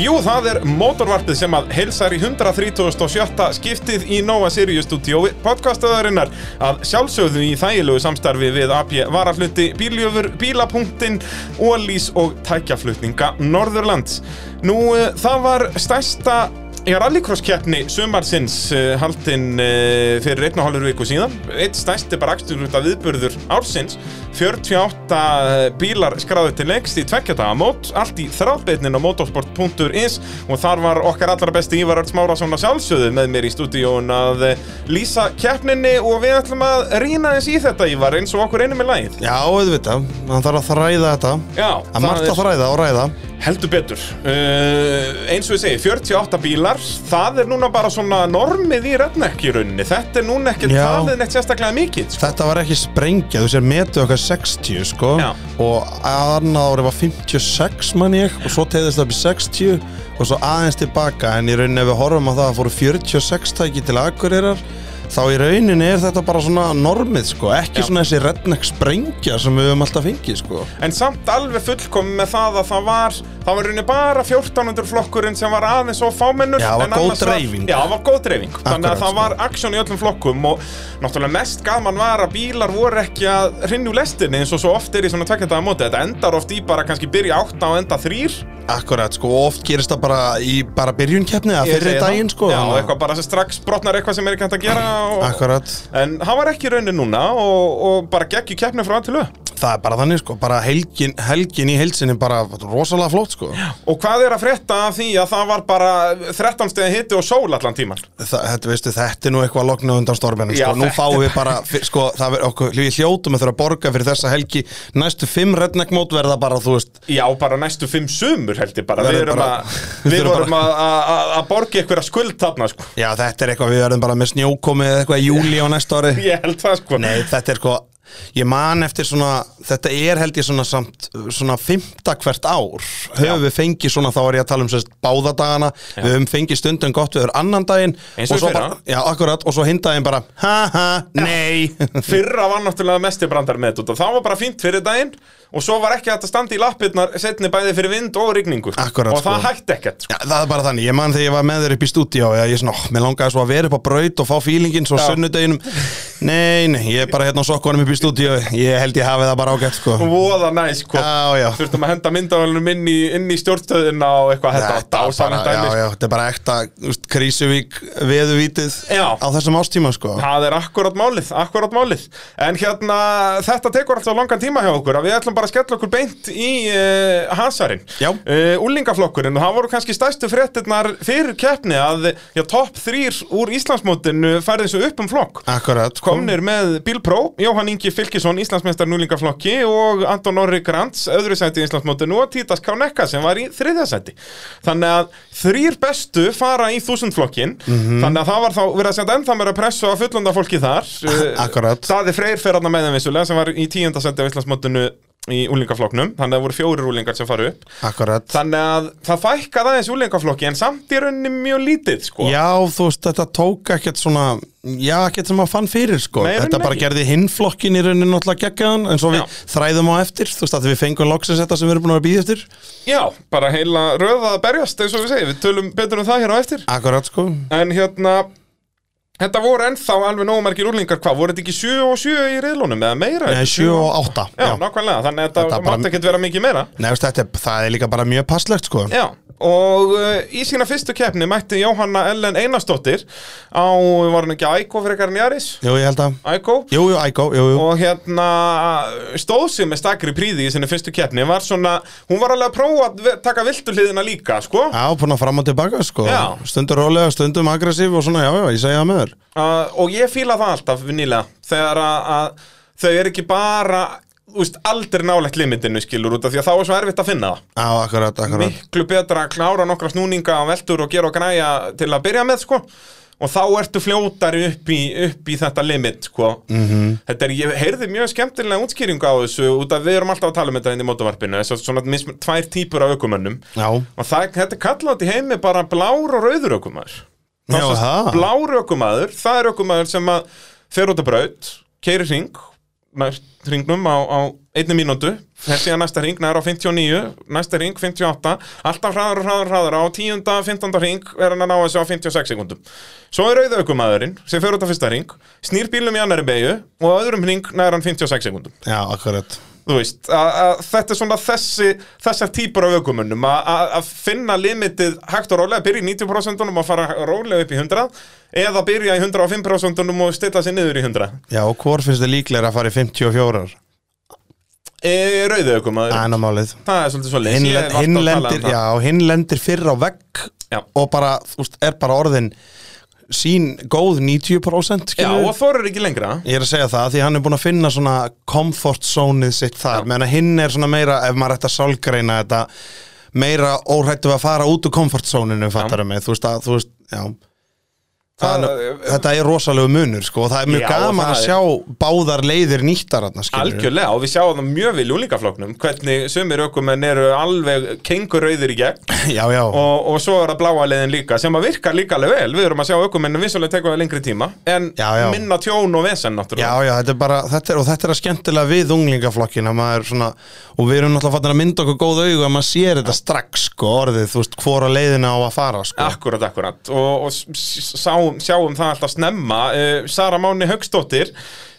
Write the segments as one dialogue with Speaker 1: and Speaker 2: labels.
Speaker 1: Jú, það er mótorvarpið sem að heilsar í 137. skiptið í Nova Sirius Studio podcastöðarinnar að sjálfsögðu í þægilegu samstarfi við AP Varaflutti, Bíljöfur, Bílapunktin, Ólís og Tækjaflutninga Norðurlands. Nú, eh, það var stærsta í rallycross-keppni sumarsins eh, haldin eh, fyrir einn og hálfur viku síðan. Eitt stærsti bara akstur út af viðburður ársins. 48 eh, bílar skráði til lengst í tveggja daga mót, allt í þráðbeitnin á motorsport.is og þar var okkar allra besti Ívar Örts Márásson að sjálfsögðu með mér í stúdíón að eh, lýsa keppninni og við ætlum að rýna eins í þetta Ívar eins og okkur einum er lagið.
Speaker 2: Já, auðvitað, hann þarf að þræða þetta Það
Speaker 1: Já,
Speaker 2: er margt að þræða og ræða
Speaker 1: Heldur betur. Uh, eins og ég segi, 48 bílar, það er núna bara svona normið í redneck í rauninni. Þetta er núna ekkert
Speaker 2: Já.
Speaker 1: talið neitt sérstaklega mikið. Sko.
Speaker 2: Þetta var ekki sprengja, þú sér metið okkar 60 sko
Speaker 1: Já.
Speaker 2: Og annað árið var 56 mann ég Og svo tegðist það upp í 60 Og svo aðeins tilbaka En í rauninni ef við horfum á það að fóru 46 tæki til Akureyrar Þá í rauninni er þetta bara svona normið sko Ekki
Speaker 1: Já.
Speaker 2: svona þessi redneck sprengja sem við höfum alltaf fengið sko
Speaker 1: En samt alveg fullkomið með það að það var, það var í rauninni bara 1400 flokkurinn sem var aðeins og fámennur.
Speaker 2: Já, það var
Speaker 1: en
Speaker 2: góð
Speaker 1: annars
Speaker 2: dreifing.
Speaker 1: Já, það var góð dreifing. Þannig
Speaker 2: Akkurat,
Speaker 1: að það
Speaker 2: sko.
Speaker 1: var aksjón í öllum flokkum og náttúrulega mest gaman var að bílar voru ekki að rinna úr lestinni eins og svo oft er í svona tvekkendaða móti. Þetta endar oft í bara kannski byrja 8 og enda 3.
Speaker 2: Akkurat sko, og oft gerist það bara í bara byrjunkeppni Eða
Speaker 1: Ég
Speaker 2: fyrir
Speaker 1: segi það.
Speaker 2: daginn sko
Speaker 1: Já,
Speaker 2: þannig að-
Speaker 1: eitthvað bara sem strax brotnar eitthvað sem er ekki hægt að gera og...
Speaker 2: Akkurat
Speaker 1: En hann var ekki raunin núna og, og bara geggjur keppni frá að til auð
Speaker 2: Það er bara þannig sko, bara helgin, helgin í heilsinni bara rosalega flott sko
Speaker 1: Og hvað er að frétta af því að það var bara 13 stegar hitti og sól allan tíman
Speaker 2: Þa, þetta, veistu, þetta er nú eitthvað að lokna undan storminum
Speaker 1: Já,
Speaker 2: sko. Nú
Speaker 1: þetta
Speaker 2: fáum við bara, fyr- sko, það er okkur Við hljótum að þurfa að borga fyrir þessa helgi Næstu fimm redneck mót verða bara, þú veist
Speaker 1: Já, bara næstu fimm sumur held ég bara Við
Speaker 2: Verður
Speaker 1: erum
Speaker 2: bara-
Speaker 1: að, við
Speaker 2: Verður
Speaker 1: vorum að, að, að- að borga ykkur að skuld þarna sko
Speaker 2: Já, þetta er eitthvað, við verðum bara með snjókomi eða eitthvað í júli á næsta ári
Speaker 1: Ég held það sko
Speaker 2: Nei, þetta er sko Ég man eftir svona, þetta er held ég svona samt, svona fymta hvert ár höfum við fengið svona, þá var ég að tala um sérst báðadagana, við höfum fengið stundum gott við höfum annan daginn
Speaker 1: Eins og í
Speaker 2: svo
Speaker 1: fyrra.
Speaker 2: bara, já, akkurat, og svo hinn daginn bara ha ha, nei
Speaker 1: Fyrra var náttúrulega mesti brandar með þetta og Það var bara fínt fyrir daginn Og svo var ekki hægt að standa í lappirnar Setni bæði fyrir vind og rigningu
Speaker 2: Akkurat,
Speaker 1: Og það
Speaker 2: sko.
Speaker 1: hægt ekkert sko.
Speaker 2: Já, það er bara þannig, ég man þegar ég var með þér upp í stúdíó og ég svona, ó, mér langaði svo að vera upp á braut og fá fílingin svo
Speaker 1: Já.
Speaker 2: sunnudeginum Nei, nei, ég er bara hérna á sokkunum upp í stúdíó ég held ég hafi það bara ágætt sko
Speaker 1: Voða næs sko
Speaker 2: Já, já
Speaker 1: þurftum að henda myndavælunum inn í, inn í stjórnstöðina og eitthvað þetta var
Speaker 2: var
Speaker 1: dásamlegt
Speaker 2: bara,
Speaker 1: dæmi
Speaker 2: já,
Speaker 1: sko.
Speaker 2: já, þetta er bara ekta úst, Krísuvík veðuvítið
Speaker 1: Já.
Speaker 2: á þessum ástíma sko
Speaker 1: Það er akkurat málið, akkurat málið En hérna, þetta tekur alltaf langan tíma hjá okkur að Við ætlum bara að skella okkur beint í uh, hansarinn
Speaker 2: Já.
Speaker 1: uh, Úlingaflokkurinn, og það voru kannski stærstu fréttirnar fyrir keppni að já, topp þrýr úr Íslandsmótinu færði þessu upp um flokk
Speaker 2: Akkurat sko,
Speaker 1: Komnir með Bílpró, Jóhann Ingi Fylkisson, Íslandsmeistar núlingaflokki og Anton Orri Grants, öðru sæti í Íslandsmótinu og Títas Kánekka sem var í þriðja sæti. Þannig að þrýr bestu fara í þúsundflokkin,
Speaker 2: Mhm.
Speaker 1: þannig að það var þá verið að senda ennþá meira pressu á fullunda fólki þar. Eh,
Speaker 2: Akkurat.
Speaker 1: Daði Freyr fer aðna með þeim vissulega sem var í tíunda sæti á Íslandsmótinu í úlingaflokknum, þannig að það voru fjórir úlingar sem faru upp.
Speaker 2: Akkurat
Speaker 1: Þannig að það fækkaði aðeins úlingaflokki en samt í rauninni mjög lítið sko.
Speaker 2: Já, þú veist, þetta tók ekkert svona Já, ekkert sem maður fann fyrir sko
Speaker 1: Nei, í
Speaker 2: Þetta
Speaker 1: rauninni
Speaker 2: bara
Speaker 1: ekki.
Speaker 2: gerði hinnflokkin í rauninni náttúrulega geggjaðan En svo við
Speaker 1: Já.
Speaker 2: þræðum á eftir Þú veist, að við fengum loksins þetta sem við erum búin að býða eftir
Speaker 1: Já, bara heila röða að berjast eins og við segjum, við tölum betur um það hér á eftir
Speaker 2: Akkurat sko
Speaker 1: En hérna, þetta voru ennþá alveg nógu margir úrlingar hvað, voru þetta ekki 7 og 7 í reðlunum eða meira?
Speaker 2: Nei, 7 og 8
Speaker 1: Já, nákvæmlega, þannig að þetta
Speaker 2: Þetta bara-
Speaker 1: mátti ekkert vera mikið meira
Speaker 2: Nei, þú veist, þetta er, það er líka bara mjög passlegt sko
Speaker 1: Já, og uh, í sína fyrstu keppni mætti Jóhanna Ellen Einarsdóttir á, var hann ekki Æko fyrir eitthvað Njaris?
Speaker 2: Jú, ég held að
Speaker 1: Æko?
Speaker 2: Jú, jú, ægó, jú, jú
Speaker 1: og hérna stóð sig með stakri príði í sinni fyrstu keppni var svona, hún var alveg að prófa að ve- taka viltu hliðina líka, sko
Speaker 2: Já, búin að fram og tilbaka sko
Speaker 1: Já.
Speaker 2: Stundur rólega, stundum aggressív og svona, já, já, ég segja það með þér
Speaker 1: uh, og ég fíla það alltaf nýlega þegar að, að þau eru ekki bara úst, aldrei nálægt limitinu skilur út af því að þá er svo erfitt að finna það
Speaker 2: Já, akkurat, akkurat
Speaker 1: miklu betra að klára nokkra snúninga á veltur og gera og græja til að byrja með sko og þá ertu fljótari upp í, upp í þetta limit sko -hmm. þetta er, ég heyrði mjög skemmtilega útskýringu á þessu út af við erum alltaf að tala um þetta inn í mótavarpinu þess að svona mis, tvær típur af aukumönnum
Speaker 2: Já,
Speaker 1: og það, þetta er kallandi heimi bara blár og rauður ökumæður
Speaker 2: Já, það.
Speaker 1: blár ökumæður, það er ökumæður sem að fer út að braut, keirir hring næst ringnum á, á einni mínútu, þessi að næsta ring nær á 59, næsta ring 58 alltaf hraðar og hraðar og hraðar á 10. 15. ring er hann að ná þessu á 56 sekundum svo er auða aukumæðurinn sem fer út af fyrsta ring, snýr bílum í annari beigju og á öðrum ring nær hann 56 sekundum
Speaker 2: Já, akkurat
Speaker 1: þú veist, að, að þetta er svona þessi, þessar típur af aukumönnum að- að að finna limitið hægt og rólega, byrja í 90% og fara rólega upp í 100 eða byrja í 105% og stilla sér niður í 100
Speaker 2: Já, og hvort finnst þið líklega að fara í 54?
Speaker 1: e, rauðu aukumöður,
Speaker 2: Ænamálið
Speaker 1: það er svolítið svolítið Ég hef alltaf
Speaker 2: Hinn
Speaker 1: talað
Speaker 2: lendir,
Speaker 1: um það.
Speaker 2: Ah. já, hinn lendir fyrr á vegg
Speaker 1: Já.
Speaker 2: og bara, þú veist, er bara orðin sín góð 90%
Speaker 1: já,
Speaker 2: skilurðu?
Speaker 1: og þorir ekki lengra
Speaker 2: Ég er að segja það, því hann er búin að finna svona comfort zone-ið sitt þar, meðan að hinn er svona meira, ef maður ætti að sálgreina þetta, meira óhrættu að fara út úr comfort zone-inu, fattar mig, þú veist að, þú veist, já. Það,
Speaker 1: Það-
Speaker 2: er- þetta er rosalegu munur, sko, og það er mjög
Speaker 1: Já,
Speaker 2: gaman
Speaker 1: það
Speaker 2: að
Speaker 1: er-
Speaker 2: sjá báðar leiðir nýttar þarna, skilur.
Speaker 1: Algjörlega, og við sjáum það mjög við ljúlingafloknum hvernig sumir aukumenn eru alveg kengurauðir í gegn
Speaker 2: Já, já,
Speaker 1: og, og svo er að bláa leiðin líka sem að virka líka alveg vel, við erum að sjá aukumennum vissulega tekur það lengri tíma en
Speaker 2: Já, já.
Speaker 1: minna tjón og vesen
Speaker 2: já,
Speaker 1: náttúrulega
Speaker 2: já, þetta er bara, þetta er, og þetta er að skemmtilega við unglingaflokkin, að maður svona, og við erum náttúrulega fattin að mynda okkur góð augu að maður sér þetta strax, sko, orðið, þú veist, hvora leiðina á að fara, sko.
Speaker 1: Akkurat, akkurat og, og s- s- sáum, sjáum það alltaf snemma uh, Sara Máni Högstóttir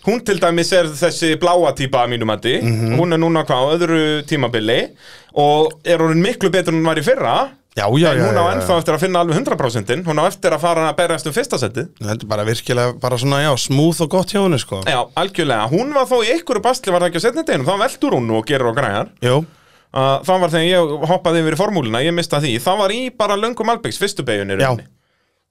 Speaker 1: hún til dæmis er þessi bláa típa að mínum andi,
Speaker 2: Mhm.
Speaker 1: hún er núna hvað á öðru tímabili og er hún miklu betur en hún var í fyrra
Speaker 2: Já, já, já,
Speaker 1: en hún
Speaker 2: já,
Speaker 1: á
Speaker 2: já.
Speaker 1: ennþá eftir að finna alveg 100% hún á eftir að fara að berjast um fyrsta setið
Speaker 2: Þetta er bara virkilega, bara svona, já, smúð og gott hjá henni, sko.
Speaker 1: Já, algjörlega, hún var þó í einhverju bastli var það ekki á setni deginum, þá veldur hún nú og gerir og græjar
Speaker 2: Jú,
Speaker 1: uh, þá var þegar ég hoppaði yfir í formúluna, ég mista því þá var í bara löngum albyggs fyrstu beginni
Speaker 2: já,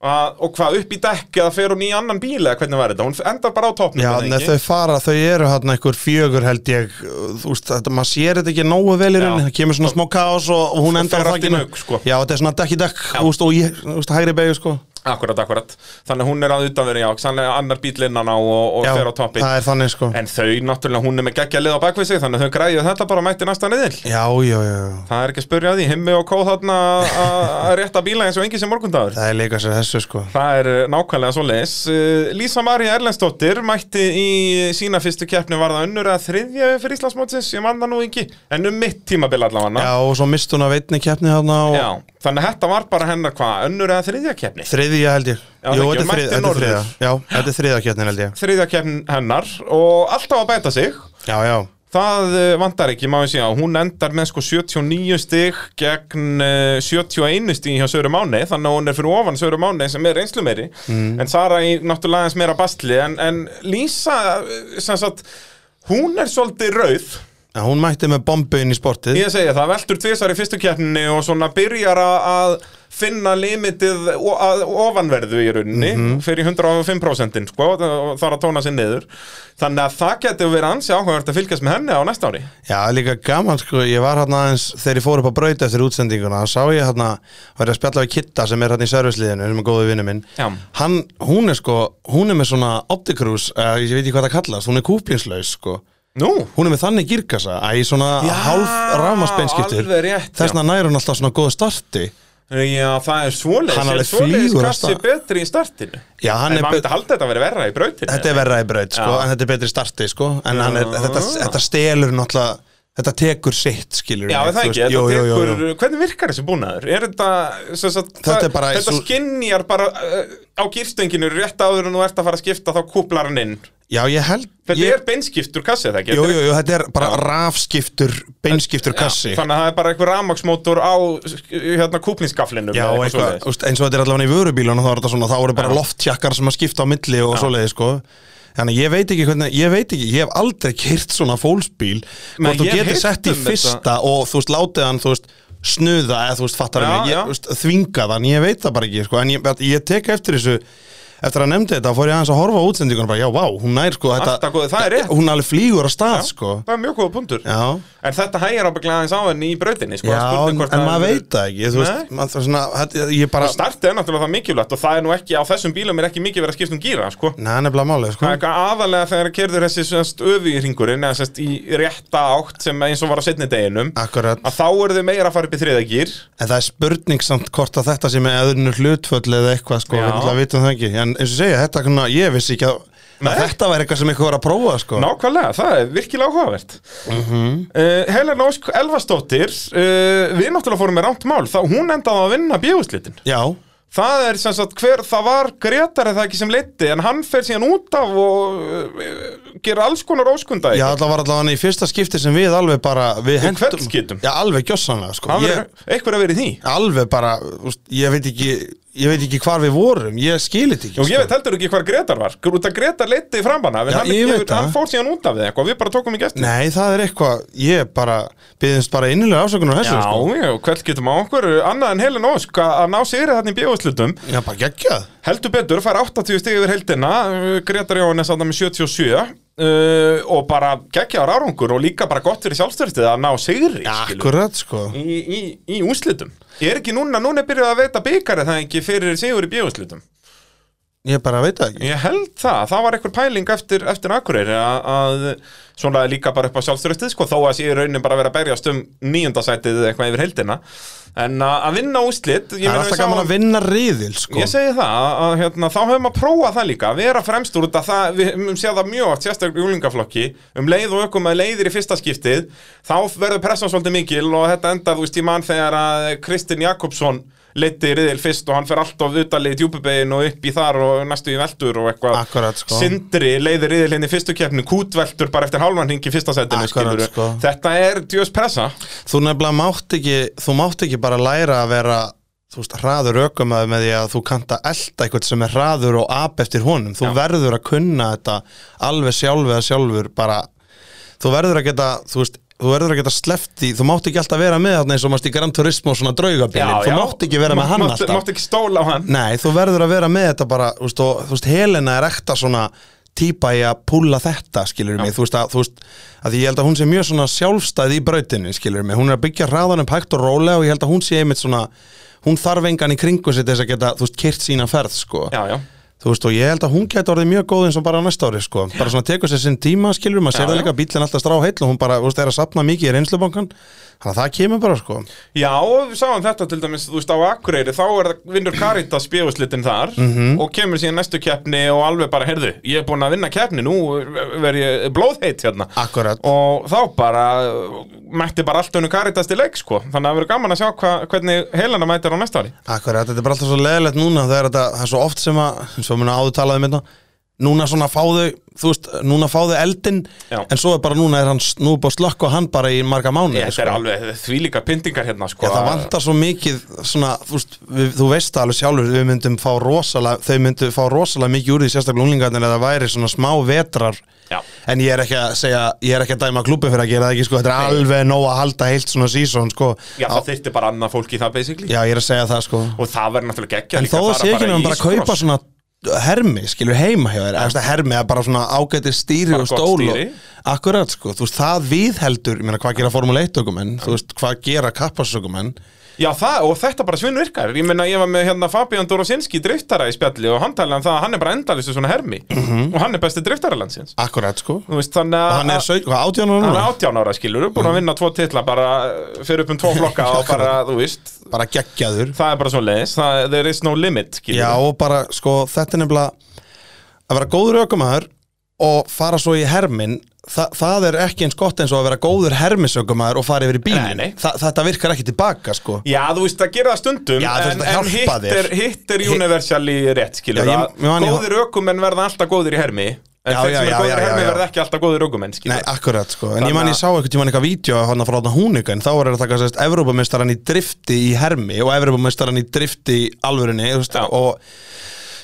Speaker 1: uh, og hvað upp í dekk eða fer hún í annan bíl eða hvernig var þetta hún endar bara á topnum
Speaker 2: já,
Speaker 1: er það
Speaker 2: en
Speaker 1: ekki?
Speaker 2: þau fara, þau eru hann einhver fjögur held ég, þú veist, þetta, maður sér þetta ekki nógu vel í rauninni, það kemur svona smá kaos og, og hún
Speaker 1: Og
Speaker 2: endar
Speaker 1: fer
Speaker 2: á
Speaker 1: allt í
Speaker 2: þakinu.
Speaker 1: mauk, sko.
Speaker 2: Já, þetta er svona dekk í dekk, þú veist, og ég, þú veist, hægri beigju, sko.
Speaker 1: Akkurat, akkurat, þannig að hún er að utanverja og þannig að annar bíl innan á og, og
Speaker 2: Já,
Speaker 1: fer á toppi
Speaker 2: það er þannig, sko.
Speaker 1: en þau náttúrulega, hún er með geggja lið á bakvið sig þannig að þau græðu þetta bara og mætti næsta niðil
Speaker 2: Já, já, já, já.
Speaker 1: það er ekki að spurja því, himmi og kóð þarna að- að rétta bíla eins og engi sem morgundagur
Speaker 2: það er líka sér þessu, sko.
Speaker 1: Það er uh, nákvæmlega svo leis. Lísa María Erlendsdóttir mætti í sína fyrstu keppni var það önnur að þriðja fyrir Íslandsmótsins, ég manna nú ekki, en um mitt tímabil allavega.
Speaker 2: Já, og svo mist hún að veitni keppni hann og
Speaker 1: Já, þannig að þetta var bara hennar hvað, önnur að þriðja keppni?
Speaker 2: þriðja held ég.
Speaker 1: Já, það
Speaker 2: Jú, þetta
Speaker 1: ekki,
Speaker 2: er þriðja,
Speaker 1: mætti
Speaker 2: þetta er
Speaker 1: norður.
Speaker 2: þriðja. Já, þetta er þriðja keppnin held ég.
Speaker 1: Þriðja keppni hennar og alltaf að bæta sig.
Speaker 2: Já, já,
Speaker 1: Það uh, vantar ekki, má ég segja, hún endar með sko 79 stig gegn uh, 71 stig hjá Söru Máni, þannig að hún er fyrir ofan Söru Máni sem er einslu meiri, en Sara í náttúrulega aðeins meira bastli, en, en Lísa, eh, sem sagt, hún er svolítið rauð,
Speaker 2: já, hún mætti með bombu inn í sportið.
Speaker 1: ég segja það, veldur tvisar í fyrstu keppninni og svona byrjar a- að finna limitið o- að ofanverðu í rauninni, fyrir 105% sko, og þarf að tóna sér niður, þannig að það getur verið ansi áhugavert að fylgjast með henni á næsta ári.
Speaker 2: Já, líka gaman sko, ég var hérna aðeins þegar ég fór upp á braut eftir útsendinguna þá sá ég hérna, var ég að spjalla við Kitta sem er hérna í servisliðinu, sem er góðu vinnu minn
Speaker 1: Já.
Speaker 2: hann, hún er sko, hún er með svona optikrús, uh, ég veit ekki hvað það kallast hún er kúplingslaus sko,
Speaker 1: Nú?
Speaker 2: hún er með þannig girkassa að í svona
Speaker 1: Já,
Speaker 2: hálf rámasbeinskiptur
Speaker 1: alveg rétt, já.
Speaker 2: þessna nær hún alltaf svona góð starti
Speaker 1: Já, það er svoleiðis
Speaker 2: Hann
Speaker 1: Er
Speaker 2: alveg
Speaker 1: svoleiðis
Speaker 2: flýgur af
Speaker 1: kassi
Speaker 2: stað.
Speaker 1: betri í startinu
Speaker 2: Já, hann
Speaker 1: En
Speaker 2: er
Speaker 1: maður
Speaker 2: bet-
Speaker 1: myndi halda þetta að vera verra í brautinu
Speaker 2: þetta er verra í braut sko,
Speaker 1: Já.
Speaker 2: en þetta er betri starti sko, en hann er,
Speaker 1: Já.
Speaker 2: þetta, þetta stelur náttúrulega, þetta tekur sitt skilur
Speaker 1: Já, er það ekki,
Speaker 2: jú,
Speaker 1: þetta
Speaker 2: jú, jú,
Speaker 1: tekur,
Speaker 2: jú.
Speaker 1: hvernig virkar þessi búnaður? Er þetta, sem sagt,
Speaker 2: Þetta er
Speaker 1: það-
Speaker 2: bara
Speaker 1: þetta
Speaker 2: svo-
Speaker 1: skynjar bara uh, á gýrstenginu rétt áður en þú ert að fara að skipta þá kúplar hann inn
Speaker 2: Já, ég held
Speaker 1: Þetta
Speaker 2: ég-
Speaker 1: er beinskiptur kassi, er það ekki?
Speaker 2: Jú,
Speaker 1: Þetta er-
Speaker 2: jú, jú, þetta er bara rafskiptur, beinskiptur kassi
Speaker 1: Þannig að það er bara einhver ramaksmótor á sk- hérna kúplingsgaflinum
Speaker 2: Já,
Speaker 1: eða
Speaker 2: og
Speaker 1: eitthvað
Speaker 2: eitthvað,
Speaker 1: svoleiðis.
Speaker 2: úst, eins og þetta er allavega í vörubílunum þá er þetta svona, þá eru bara loftjakkar sem að skipta á milli og svoleiði, sko Þannig að ég veit ekki hvernig, ég veit ekki, ég hef aldrei kyrt svona fólksbíl
Speaker 1: Men
Speaker 2: hvort þú
Speaker 1: ég hef
Speaker 2: getur
Speaker 1: heyrt
Speaker 2: sett í
Speaker 1: um
Speaker 2: fyrsta og þú veist, látið hann, þú veist snuða eða þú veist, fattar
Speaker 1: Já,
Speaker 2: mig,
Speaker 1: já.
Speaker 2: ég, þú veist, þvingað hann ég veit það bara ekki, sko, en ég, ég tek eftir þessu eftir að nefndi þetta, fór ég aðeins að horfa á útsendingunum bara, já, vá, hún nær, sko,
Speaker 1: Alltaf góð, það er
Speaker 2: þetta
Speaker 1: rétt.
Speaker 2: hún alveg flýgur á stað, sko
Speaker 1: Það er mjög góða punktur
Speaker 2: Já.
Speaker 1: En þetta hægir ábygglega aðeins á henni í brautinni sko,
Speaker 2: Já,
Speaker 1: spurning
Speaker 2: en
Speaker 1: hvort
Speaker 2: en
Speaker 1: það
Speaker 2: maður
Speaker 1: hafi verið-
Speaker 2: veit það ekki Þú veist,
Speaker 1: Nei.
Speaker 2: maður það er svona þetta- Ég bara,
Speaker 1: Og startið er náttúrulega það mikilvægt og það er nú ekki, á þessum bílum er ekki mikið verið að skipta um gíra, sko.
Speaker 2: neða nefnilega málið sko.
Speaker 1: Það er eitthvað aðalega þegar kerður þessi sérst öfi í ringurinn, eða sérst í rétta átt sem eins og var á setni deginum,
Speaker 2: Akkurat,
Speaker 1: að þá eru þau meira að fara upp í þriða gír.
Speaker 2: en það er spurning samt hvort að þetta sem er öðrunur hlutföll eða eitthvað sko,
Speaker 1: Já.
Speaker 2: við náttúrulega vitum það ekki En eins og segja, þetta kunna, ég vissi ekki að
Speaker 1: Nei.
Speaker 2: Að Þetta væri eitthvað sem eitthvað var að prófa sko.
Speaker 1: Nákvæmlega, það er virkilega áhugavert uh, Helena Ósk Elfastóttir uh, Við náttúrulega fórum með rámt mál Þá hún endaði að vinna bjöfuslitin
Speaker 2: Já,
Speaker 1: Það er sem sagt hver, það var Gretar eða ekki sem leiti En hann fer síðan út af og uh, gerir alls konar óskunda
Speaker 2: já það var allavega í fyrsta skipti sem við alveg bara Við
Speaker 1: kveldskýtum.
Speaker 2: Já, alveg gjössanlega sko.
Speaker 1: Hann
Speaker 2: ég,
Speaker 1: verður eitthvað að vera í því
Speaker 2: Alveg bara, úst, ég veit ekki Ég veit ekki hvar við vorum, ég skilit ekki sko.
Speaker 1: Og ég veit heldur ekki hvar Gretar var Út að Gretar leiti fram hana en
Speaker 2: Já,
Speaker 1: hann,
Speaker 2: ég veit
Speaker 1: hann
Speaker 2: það.
Speaker 1: fór síðan út af því eitthvað Við bara tókum ekki eftir
Speaker 2: Nei, það er eitthvað, ég bara Byðumst bara innilega ásökunar þessu
Speaker 1: Já,
Speaker 2: sko.
Speaker 1: já, hvert getum á okkur Annað en Helen Ósk að að ná sigri þarna í bjöfuslutum
Speaker 2: já, bara geggjað
Speaker 1: Heldur betur, fær 80 stig yfir heldina uh, Gretar Jóhannes að með 77 uh, og bara geggjaðar árangur og líka bara gott fyrir sjálfstörtið að ná sigri skilur,
Speaker 2: Akkurat, sko
Speaker 1: í, í, í úslitum Ég er ekki núna, núna er byrjuð að veita byggar það ekki fyrir sigur í bjöðuslitum
Speaker 2: Ég bara veit það ekki
Speaker 1: Ég held það, það var einhver pæling eftir, eftir Akureyri að, að svona líka bara upp á sjálfstörtið sko, þó að sé í raunin bara að vera að berjast um nýjöndasætið eða eitthvað yfir heldina en að, að vinna úslit
Speaker 2: Það er alltaf gaman að vinna riðil, sko
Speaker 1: Ég segi það, að, að, hérna, þá hefum að prófa það líka að vera fremst úr þetta, það, við um, séð það mjög oft sérstaklega í úlingaflokki, um leið og ökum að leiðir í fyrsta skiptið, þá verður pressan svolítið mikil og þetta endar þú veist í mann þegar að Kristinn Jakobsson leiti í riðil fyrst og hann fer alltaf utalið í djúpubegin og upp í þar og næstu í veldur og eitthvað
Speaker 2: Akkurat, sko.
Speaker 1: Sindri leiðir riðil hinn í fyrstu keppnu, kútveldur bara eftir hálfan hring í fyrsta setinu
Speaker 2: Akkurat,
Speaker 1: skilurðu.
Speaker 2: sko.
Speaker 1: Þetta er djöðs pressa
Speaker 2: Þú nefnilega mátt ekki, þú mátt ekki bara læra að vera þú veist, hraður ökumæður með því að þú kannt að elta eitthvað sem er hraður og ap eftir honum þú
Speaker 1: Já.
Speaker 2: verður að kunna þetta alveg sjálf eða sjálfur bara þú verður að geta, þú veist þú verður að geta sleppt í, þú mátt ekki alltaf vera með þarna eins og mást í Gran Turismo og svona draugabílin þú mátt ekki vera með hann
Speaker 1: Mátt-
Speaker 2: alltaf
Speaker 1: Mátt ekki stóla á hann
Speaker 2: Nei, þú verður að vera með þetta bara þú veist, og, þú veist, Helena er ekta svona típa í að púla þetta, skilur mig þú veist, að, þú veist, að því ég held að hún sé mjög svona sjálfstæð í brautinni, skilur mig hún er að byggja hraðan upp hægt og rólega og ég held að hún sé einmitt svona, hún þarf engan í kringu sér til þess að geta, þú veist, kyrt sína ferð sko.
Speaker 1: Já, já
Speaker 2: þú veist, og ég held að hún geti orðið mjög góð eins og bara á næsta ári, sko, bara svona tekur sér sinn tíma skilur, maður
Speaker 1: Já,
Speaker 2: sér það
Speaker 1: já.
Speaker 2: líka bílinn alltaf strá heill og hún bara, þú veist, er að sapna mikið í reynslubankan þannig að það kemur bara, sko
Speaker 1: Já, og við sáum þetta til dæmis, þú veist, á Akureyri þá er það vinnur Caritas bjöfuslitin þar
Speaker 2: Mhm.
Speaker 1: og kemur síðan næstu keppni og alveg bara, heyrðu, ég er búin að vinna keppni nú verð ég blóðheit hérna
Speaker 2: Akkurat.
Speaker 1: og þá bara uh, mætti bara allt önnu Caritas til leik, sko þannig að það verður gaman að sjá hva, hvernig heilana mætir á næsta ári
Speaker 2: Akkurat, þetta er bara alltaf svo leðilegt núna þegar þetta það er svo oft sem að, eins og mun áður talaði minna, núna svona fá þau þú veist, núna fá þau eldin
Speaker 1: Já.
Speaker 2: en svo er bara núna er hann snúb og slökk og hann bara í marga mánuði
Speaker 1: Þetta er alveg þvílíka pyntingar hérna, sko
Speaker 2: sko. Já, það vantar svo mikið svona, þú, veist, við, þú veist það alveg sjálfur við myndum fá rosalega, þau myndu fá rosalega mikið úr því sérstaklega unglingarnir að það væri svona smá vetrar
Speaker 1: Já.
Speaker 2: en ég er ekki að segja, ég er ekki að dæma klubbi fyrir að gera það ekki, sko, þetta er alveg nóg að halda heilt svona sísón, sko
Speaker 1: Já, það þyrfti bara annað fólk í það, basically
Speaker 2: Já, ég er að segja það, sko
Speaker 1: og það verður náttúrulega geggja
Speaker 2: En
Speaker 1: líka
Speaker 2: þó
Speaker 1: að
Speaker 2: það
Speaker 1: fara
Speaker 2: sé ekki
Speaker 1: bara
Speaker 2: nefnum
Speaker 1: í
Speaker 2: bara að kaupa
Speaker 1: íscross.
Speaker 2: svona hermi, skilur hermi hjá þér eða þú veist, hermi að bara svona ágæti stýri
Speaker 1: Bara
Speaker 2: og
Speaker 1: gott
Speaker 2: stól og,
Speaker 1: stýri.
Speaker 2: akkurat sko, þú veist, það viðheldur ég meina, hvað gera Formule 1 ökumenn, þú veist, hvað gera kapparsökumenn,
Speaker 1: Já, það, og þetta bara svinn virkar. Ég meina, ég var með hérna Fabian Dorosinski driftara í spjalli og hann talaði um það að hann er bara endalistu svona hermi og hann er besti driftara landsins.
Speaker 2: akkurat sko
Speaker 1: Þú veist, þannig að
Speaker 2: Mhm. og hann er 17, hvað, 18 ára
Speaker 1: hann er
Speaker 2: núna
Speaker 1: 18 ára skilur, búin að vinna tvo titla bara uh, fyrir upp um tvo flokka og bara, þú veist,
Speaker 2: bara geggjaður,
Speaker 1: það er bara svo leiðis, það, there is no limit, skilur.
Speaker 2: já og bara sko, þetta er nefnilega að vera góður ökumæður og fara svo í hermin Þa, það er ekki eins gott eins og að vera góður hermisökumæður og fara yfir í bílinn
Speaker 1: Nei, nei.
Speaker 2: Þa, þetta virkar ekki tilbaka sko
Speaker 1: Já, þú veist, það gerir það stundum,
Speaker 2: Já, þú veist,
Speaker 1: en,
Speaker 2: það
Speaker 1: en
Speaker 2: hjálpa
Speaker 1: hitt
Speaker 2: þér.
Speaker 1: er, hitt er universally rétt, skilur.
Speaker 2: Já,
Speaker 1: Já,
Speaker 2: ég- ég man- ég-
Speaker 1: góðir ökumenn verða alltaf góðir í hermi, en
Speaker 2: Já,
Speaker 1: þeir sem
Speaker 2: já,
Speaker 1: eru
Speaker 2: já,
Speaker 1: góðir í
Speaker 2: já,
Speaker 1: hermi
Speaker 2: já.
Speaker 1: verða ekki alltaf góðir ökumenn, skilur.
Speaker 2: Nei, akkurat sko, en
Speaker 1: Þannig
Speaker 2: ég man ég
Speaker 1: að-
Speaker 2: sá eitthvað tíma eitthvað vídeo hann frá þarna húnikan, þá var það að taka sérst Evrópameistaran í drifti í hermi og Evrópameistaran í drifti í alvörunni þú veist,
Speaker 1: Já.
Speaker 2: og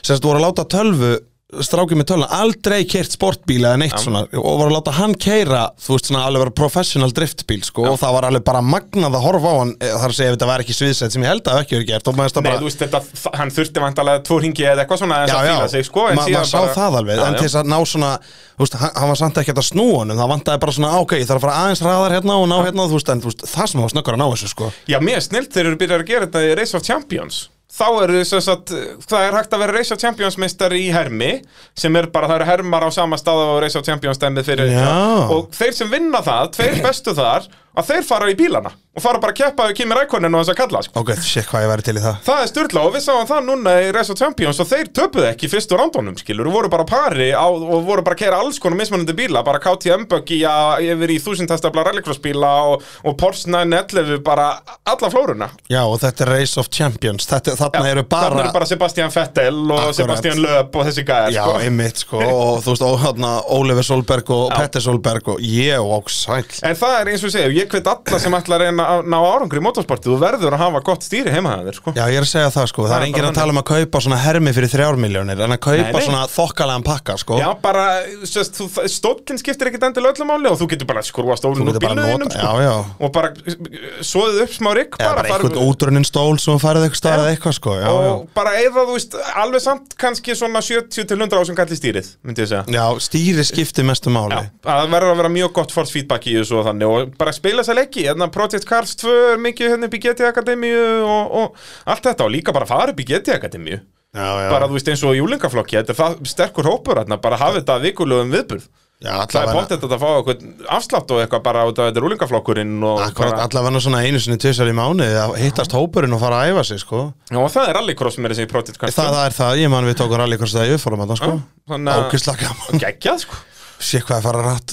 Speaker 2: sérst voru að láta tölvu strákið með tölvuna, aldrei kert sportbíl eða neitt svona, og voru að láta hann keira þú veist svona alveg bara professional driftbíl sko, og það var alveg bara magnað að horfa á hann eh, þar að segja ef þetta var ekki sviðsett sem ég held að ekki verið gert og maður veist að
Speaker 1: Nei,
Speaker 2: bara
Speaker 1: þú veist þetta, þa- hann þurfti vantalega tvo ringi eða eitthvað svona aðeins að fíla sig, sko en
Speaker 2: ma
Speaker 1: síðan
Speaker 2: maður sá
Speaker 1: bara-
Speaker 2: það alveg,
Speaker 1: Já,
Speaker 2: en
Speaker 1: já.
Speaker 2: til þess að ná svona þú veist, hann, hann var samt ekkert að snúa honum það vantaði bara svona, "Ah, ok, ég þarf að fara aðeins hraðar hérna og ná hérna, þú veist, en þú veist, það sem var snöggur að ná þessu, sko
Speaker 1: Já, mér er snillt þeir eru byrjað að gera þetta í Race of Champions Þá eru þess að, það er hægt að vera Race of Champions meistar í hermi sem er bara, það eru hermar á sama stað og Race of Champions dæmið fyrir
Speaker 2: Já.
Speaker 1: og þeir sem vinna það, tveir bestu þar að þeir fara í bílana og fara bara að keppa við Kimi Rækonin og þess að kalla sko.
Speaker 2: Ok, sék hvað ég væri til í það
Speaker 1: Það er styrla og við sáum það núna í Race of Champions og þeir töpuðu ekki fyrstu rándónum skilur og voru bara á pari á, og voru bara að kera alls konar mismunandi bíla bara KTM buggy að- yfir í þúsintastafla rallycross bíla og, og Porsche 911 bara alla flóruna
Speaker 2: Já, og þetta er Race of Champions þetta, Þarna eru bara,
Speaker 1: Þannig eru bara Sebastian Vettel og
Speaker 2: Akkurat.
Speaker 1: Sebastian Lööp og þessi gæðar
Speaker 2: Já,
Speaker 1: sko.
Speaker 2: einmitt sko Og þú veist, ó, hérna, Oliver Solberg og Petter Solberg og ég og sæl
Speaker 1: En það er eins og ég segi, ég hvet alla sem ætla að reyna að ná árangri í motorsportið Þú verður að hafa gott stýri heima það þér sko
Speaker 2: Já, ég er að segja það sko, það
Speaker 1: Það
Speaker 2: er
Speaker 1: er
Speaker 2: enginn
Speaker 1: bara
Speaker 2: að tala um að kaupa svona hermi fyrir þrjármiljónir en að kaupa
Speaker 1: Nei, nei.
Speaker 2: svona þokkalegan pakka sko
Speaker 1: Já, bara, sérst, þú- það- stóllinn skiptir ekkit endilega öllum máli og þú getur bara að skrúa stólinn
Speaker 2: Þú
Speaker 1: úr
Speaker 2: getur bara að
Speaker 1: bílnuðinum
Speaker 2: nota-
Speaker 1: sko.
Speaker 2: já, já.
Speaker 1: og bara uh, soðið upp smá rygg
Speaker 2: Eða bara
Speaker 1: farið-
Speaker 2: eitthvað útrunnin stól sem þú færið eitthvað starað eitthvað sko Já,
Speaker 1: og
Speaker 2: já.
Speaker 1: bara eða, þú veist, alveg samt kannski svona 70-100 á sem kallir stýrið myndi ég segja
Speaker 2: já stýri skipti mestu máli
Speaker 1: Já, að það verður að vera mjög gott force feedback í þessu og þannig og bara spila þess að leiki, hérna Project Cars 2 er mikið hérna upp í GT Akademíu og, og allt þetta og líka bara fara upp í GT Akademíu
Speaker 2: Já, já.
Speaker 1: bara þú veist eins og júlingaflokki, þetta er það sterkur hópur hérna, bara hafa þetta að vikulegum viðburð
Speaker 2: já,
Speaker 1: það er
Speaker 2: allavega
Speaker 1: bóttið að fá eitthvað afslátt og eitthvað bara út af þetta er júlingaflokkurinn og
Speaker 2: Akkurat, allavega svona einu sinni tvisar í mánuði að hittast hópurinn og fara að æfa sig sko
Speaker 1: Já, og það er rallycross með þessi Project Cars 2
Speaker 2: Það, það er það, ég man við tókum rallycross það í uppfórum að það sko
Speaker 1: þannig að-
Speaker 2: Ókisla gaman,
Speaker 1: geggjað sko
Speaker 2: sé hvað er fara rætt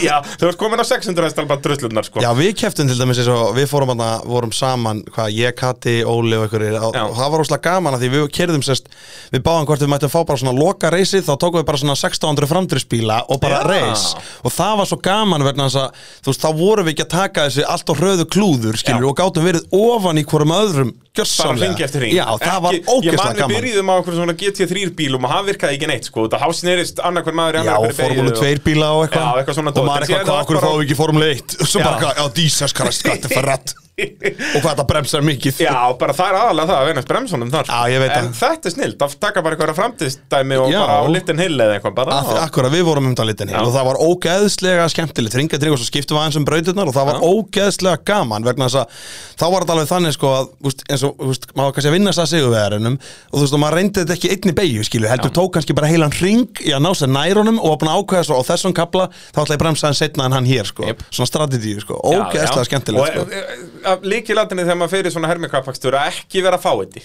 Speaker 1: Já, þú ert komin á 600 hestal bara drullunar sko
Speaker 2: Já, við keftum til dæmis eins og við fórum að vorum saman, hvað, ég, Kati, Óli og einhverjir og,
Speaker 1: Já.
Speaker 2: og það var óslega gaman að því við kerðum sérst, við báðum hvort við mættum fá bara svona loka reysið, þá tókum við bara svona 1600 framdrisbíla og bara
Speaker 1: Já.
Speaker 2: reys og það var svo gaman verðna þess að þú veist, þá vorum við ekki að taka þessi allt á hröðu klúður, skilur,
Speaker 1: Já.
Speaker 2: og gátum verið ofan í hverjum öðrum,
Speaker 1: bara
Speaker 2: gjörsamlega
Speaker 1: hring eftir hring
Speaker 2: Já, það var
Speaker 1: Ég
Speaker 2: ókisla
Speaker 1: man við
Speaker 2: gaman
Speaker 1: byrjuðum á okkur svona GT3 bílum og það virkaði ekki neitt sko Það hásin erist annarkvæm maður í
Speaker 2: Já,
Speaker 1: annarri hverri
Speaker 2: formúlu
Speaker 1: beygju
Speaker 2: 2 bíla og eitthvað
Speaker 1: Já, eitthvað svona
Speaker 2: Og
Speaker 1: dót. En
Speaker 2: maður
Speaker 1: síðan
Speaker 2: eitthvað, hvað
Speaker 1: var
Speaker 2: okkur
Speaker 1: bara-
Speaker 2: fáum við ekki formúlu 1 Svo
Speaker 1: Já.
Speaker 2: bara, eitthvað, já, dísas, hvað þetta er rætt Og hvað þetta bremsar mikið
Speaker 1: Já, bara það er aðalega það að venast bremsunum þar sko.
Speaker 2: Já, ég veit
Speaker 1: En
Speaker 2: það.
Speaker 1: þetta er snilt, það taka bara eitthvað framtíðstæmi og
Speaker 2: Já.
Speaker 1: bara á litin hill eða eitthvað bara
Speaker 2: Að- Akkurat, við vorum um dalitin hér og það var ógeðslega skemmtilegt ringa trík og svo skiptum við aðeins um brautirnar og það var ógeðslega gaman vegna þess að þá var þetta alveg þannig sko að þú veist, eins og, þú veist, maður var kannski að vinna þess að sigurveðarinnum og þú veist, og maður reyndi þetta ekki einni beigju skilju, heldur tók kannski bara heilan ring í að ná sér nærunum og var búin að ákveða svo á þessum kapla, þá ætla ég að bremsa hann setna en hann hér sko,
Speaker 1: Jep.
Speaker 2: svona strategíu sko,
Speaker 1: Já,
Speaker 2: ógeðslega
Speaker 1: já.
Speaker 2: skemmtilegt sko.
Speaker 1: Og eh, líkilatinni þegar maður fyrir svona hermikapakstur að ekki vera fáiði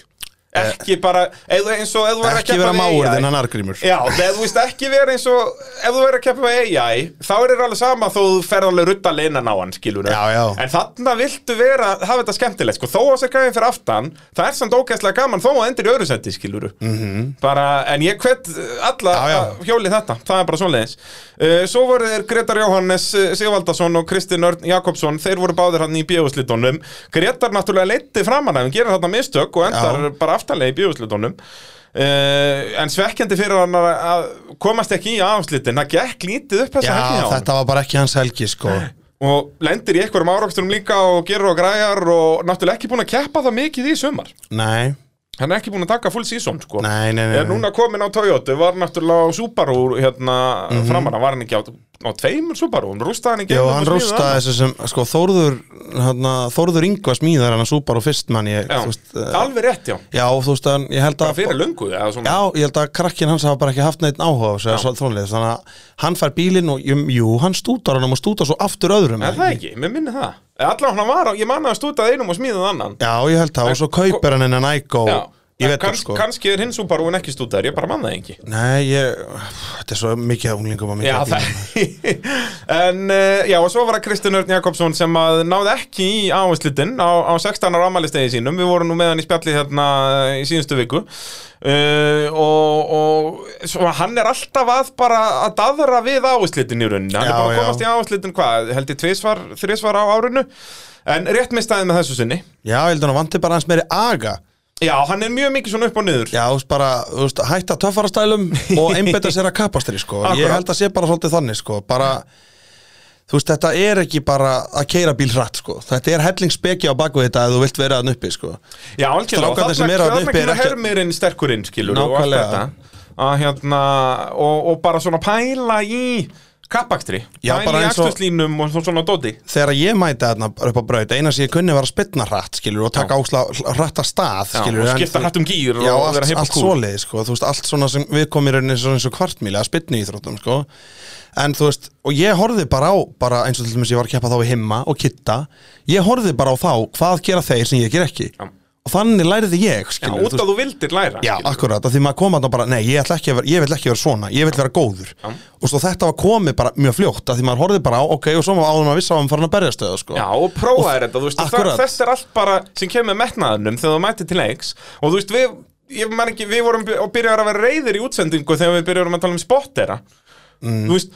Speaker 1: Ekki bara, eða eins og eða
Speaker 2: Eh. Ekki vera máur þinn hann argrímur
Speaker 1: Já, þegar þú veist ekki vera eins og ef þú verður að keppa með AI þá er þér alveg sama þó þú ferð alveg rutta leinan á hann skilur
Speaker 2: Já, já.
Speaker 1: En þarna viltu vera, hafa þetta skemmtilegt sko, þó að sér gæðin fyrir aftan það er samt ógæslega gaman þó að endur í öðru seti skilur -hmm. Bara, en ég hvet alla
Speaker 2: Mhm. Já, já.
Speaker 1: að hjóli þetta það er bara svoleiðis uh, Svo voru þeir Gretar Jóhannes uh, Sigvaldason og Kristinn Örn Jakobsson, þeir voru báðir hann í bíóslitunum Gretar náttúrulega leiti framan af, hann gerir þarna mistök og endar bara aftanlega í bíóslitunum uh, en svekkjandi fyrir hann að- að komast ekki í afslitin það gekk lítið upp þessa
Speaker 2: Já,
Speaker 1: helgi hjá hann
Speaker 2: þetta var bara ekki hans helgi sko
Speaker 1: og lendir í einhverjum árakstunum líka og gerur og græjar og náttúrulega ekki búin að keppa það mikið í sumar
Speaker 2: Nei,
Speaker 1: hann er ekki búin að taka full season sko
Speaker 2: nei, nei, nei,
Speaker 1: er núna komin á Toyota, var náttúrulega á Subaru hérna
Speaker 2: Mhm.
Speaker 1: mm framanna, var hann ekki á, á tveimur Subaru, hann rústaði hann ekki
Speaker 2: Jó,
Speaker 1: einum
Speaker 2: hann
Speaker 1: og smíðaði
Speaker 2: rústaði þessu sem, sko, Þórður, hana, Þórður Ingva smíðar hann að Subaru fyrst mann ég,
Speaker 1: Já,
Speaker 2: þú veist, eh,
Speaker 1: alveg rétt já,
Speaker 2: já, þú veist, hann, ég held
Speaker 1: bara
Speaker 2: að,
Speaker 1: fyrir lungu eða svona
Speaker 2: já, ég held að krakkin hans hafa bara ekki haft neitt áhuga á þessu, eða svo þrónlega, þannig að hann fær bílinn og, jú, jú, hann stútar hann og stútar svo aftur öðrum,
Speaker 1: Er það ekki, mér minni það Allan hann var á, ég manna að stútaði einum og smíðað annan
Speaker 2: Já, ég held það, og svo kaupir hann hennan Ægó,
Speaker 1: Já,
Speaker 2: ég
Speaker 1: en
Speaker 2: veit það,
Speaker 1: kanns,
Speaker 2: sko,
Speaker 1: kannski er hinn súparúin ekki stúdar, ég bara mann það ekki
Speaker 2: nei, ég, þetta er svo mikið af unglingum hérna. að mikið
Speaker 1: Já,
Speaker 2: af
Speaker 1: það
Speaker 2: bílum.
Speaker 1: En, eh, já, og svo var það Kristinn Örn Jakobsson sem að náði ekki í áherslutin á, á 16 ára ámælistegi sínum Við vorum nú með hann í spjalli hérna í síðustu viku uh, Og, og svo, hann er alltaf að bara að daðra við áherslutin í rauninni Hann
Speaker 2: Já,
Speaker 1: er bara að
Speaker 2: já.
Speaker 1: komast í áherslutin, hvað, held ég tvisvar, þrisvar á árinu En rétt mistaði með þessu sinni
Speaker 2: Já, ég held að hann vanti bara hans meiri aga
Speaker 1: Já, hann er mjög mikið svona upp og niður
Speaker 2: Já, þú veist bara, þú veist, hætta töffarastælum og einbetta sér að kapastri, sko Ég
Speaker 1: Akkurat.
Speaker 2: held að sé bara svolítið þannig, sko bara, þú veist, þetta er ekki bara að keira bíl hratt, sko Þetta er hellingsbeki á bakvið þetta ef þú vilt vera að uppi, sko
Speaker 1: Já, algjörlega, og
Speaker 2: Strákarnir sem
Speaker 1: þarna
Speaker 2: eru þarna
Speaker 1: þarna
Speaker 2: uppi eru
Speaker 1: kemur
Speaker 2: ekki-
Speaker 1: hermirinn sterkurinn, skilur og allt
Speaker 2: Nákvæmlega.
Speaker 1: þetta að hérna, og, og bara svona pæla í kappakstri
Speaker 2: Já,
Speaker 1: Bæn
Speaker 2: bara
Speaker 1: í
Speaker 2: eins og-
Speaker 1: axturslínum og svona dóti
Speaker 2: þegar ég mæti þarna upp á braut eina sem ég kunni var að spytna hratt skilur og taka áksla hratt að stað
Speaker 1: Já,
Speaker 2: skilur
Speaker 1: og skipta hrætt um gýr
Speaker 2: Já,
Speaker 1: og
Speaker 2: allt,
Speaker 1: vera hipp og
Speaker 2: allt
Speaker 1: kúl.
Speaker 2: svoleiði sko, þú veist, allt svona sem við komum í rauninni svona eins og kvartmýli að spytni í þróttum sko. en þú veist, og ég horfði bara á bara eins og til dæmis ég var að keppa þá í himma og kitta, ég horfði bara á þá hvað gera þeir sem ég ger ekki
Speaker 1: Já.
Speaker 2: og þannig læriði ég
Speaker 1: Já,
Speaker 2: skilur,
Speaker 1: út að þú vildir læra
Speaker 2: Já,
Speaker 1: skilur.
Speaker 2: akkurat, af því maður kom að það bara, nei, ég ætla ekki að vera, ég vil ekki vera svona, ég vil vera góður Og svo þetta var komið bara mjög fljótt, af því maður horfði bara á, ok, og svo maður áður maður vissi að hann farin að berjast stöðu, sko
Speaker 1: Já, og prófaðir þetta, þú veist, og það,
Speaker 2: Akkurat.
Speaker 1: þess er allt bara sem kemur metnaðunum þegar þú mætir til leiks og þú veist, við, ég man ekki, við vorum by- og byrjaðum að vera reyðir í útsendingu þegar við byrjaðum að tala um spottera Þú veist,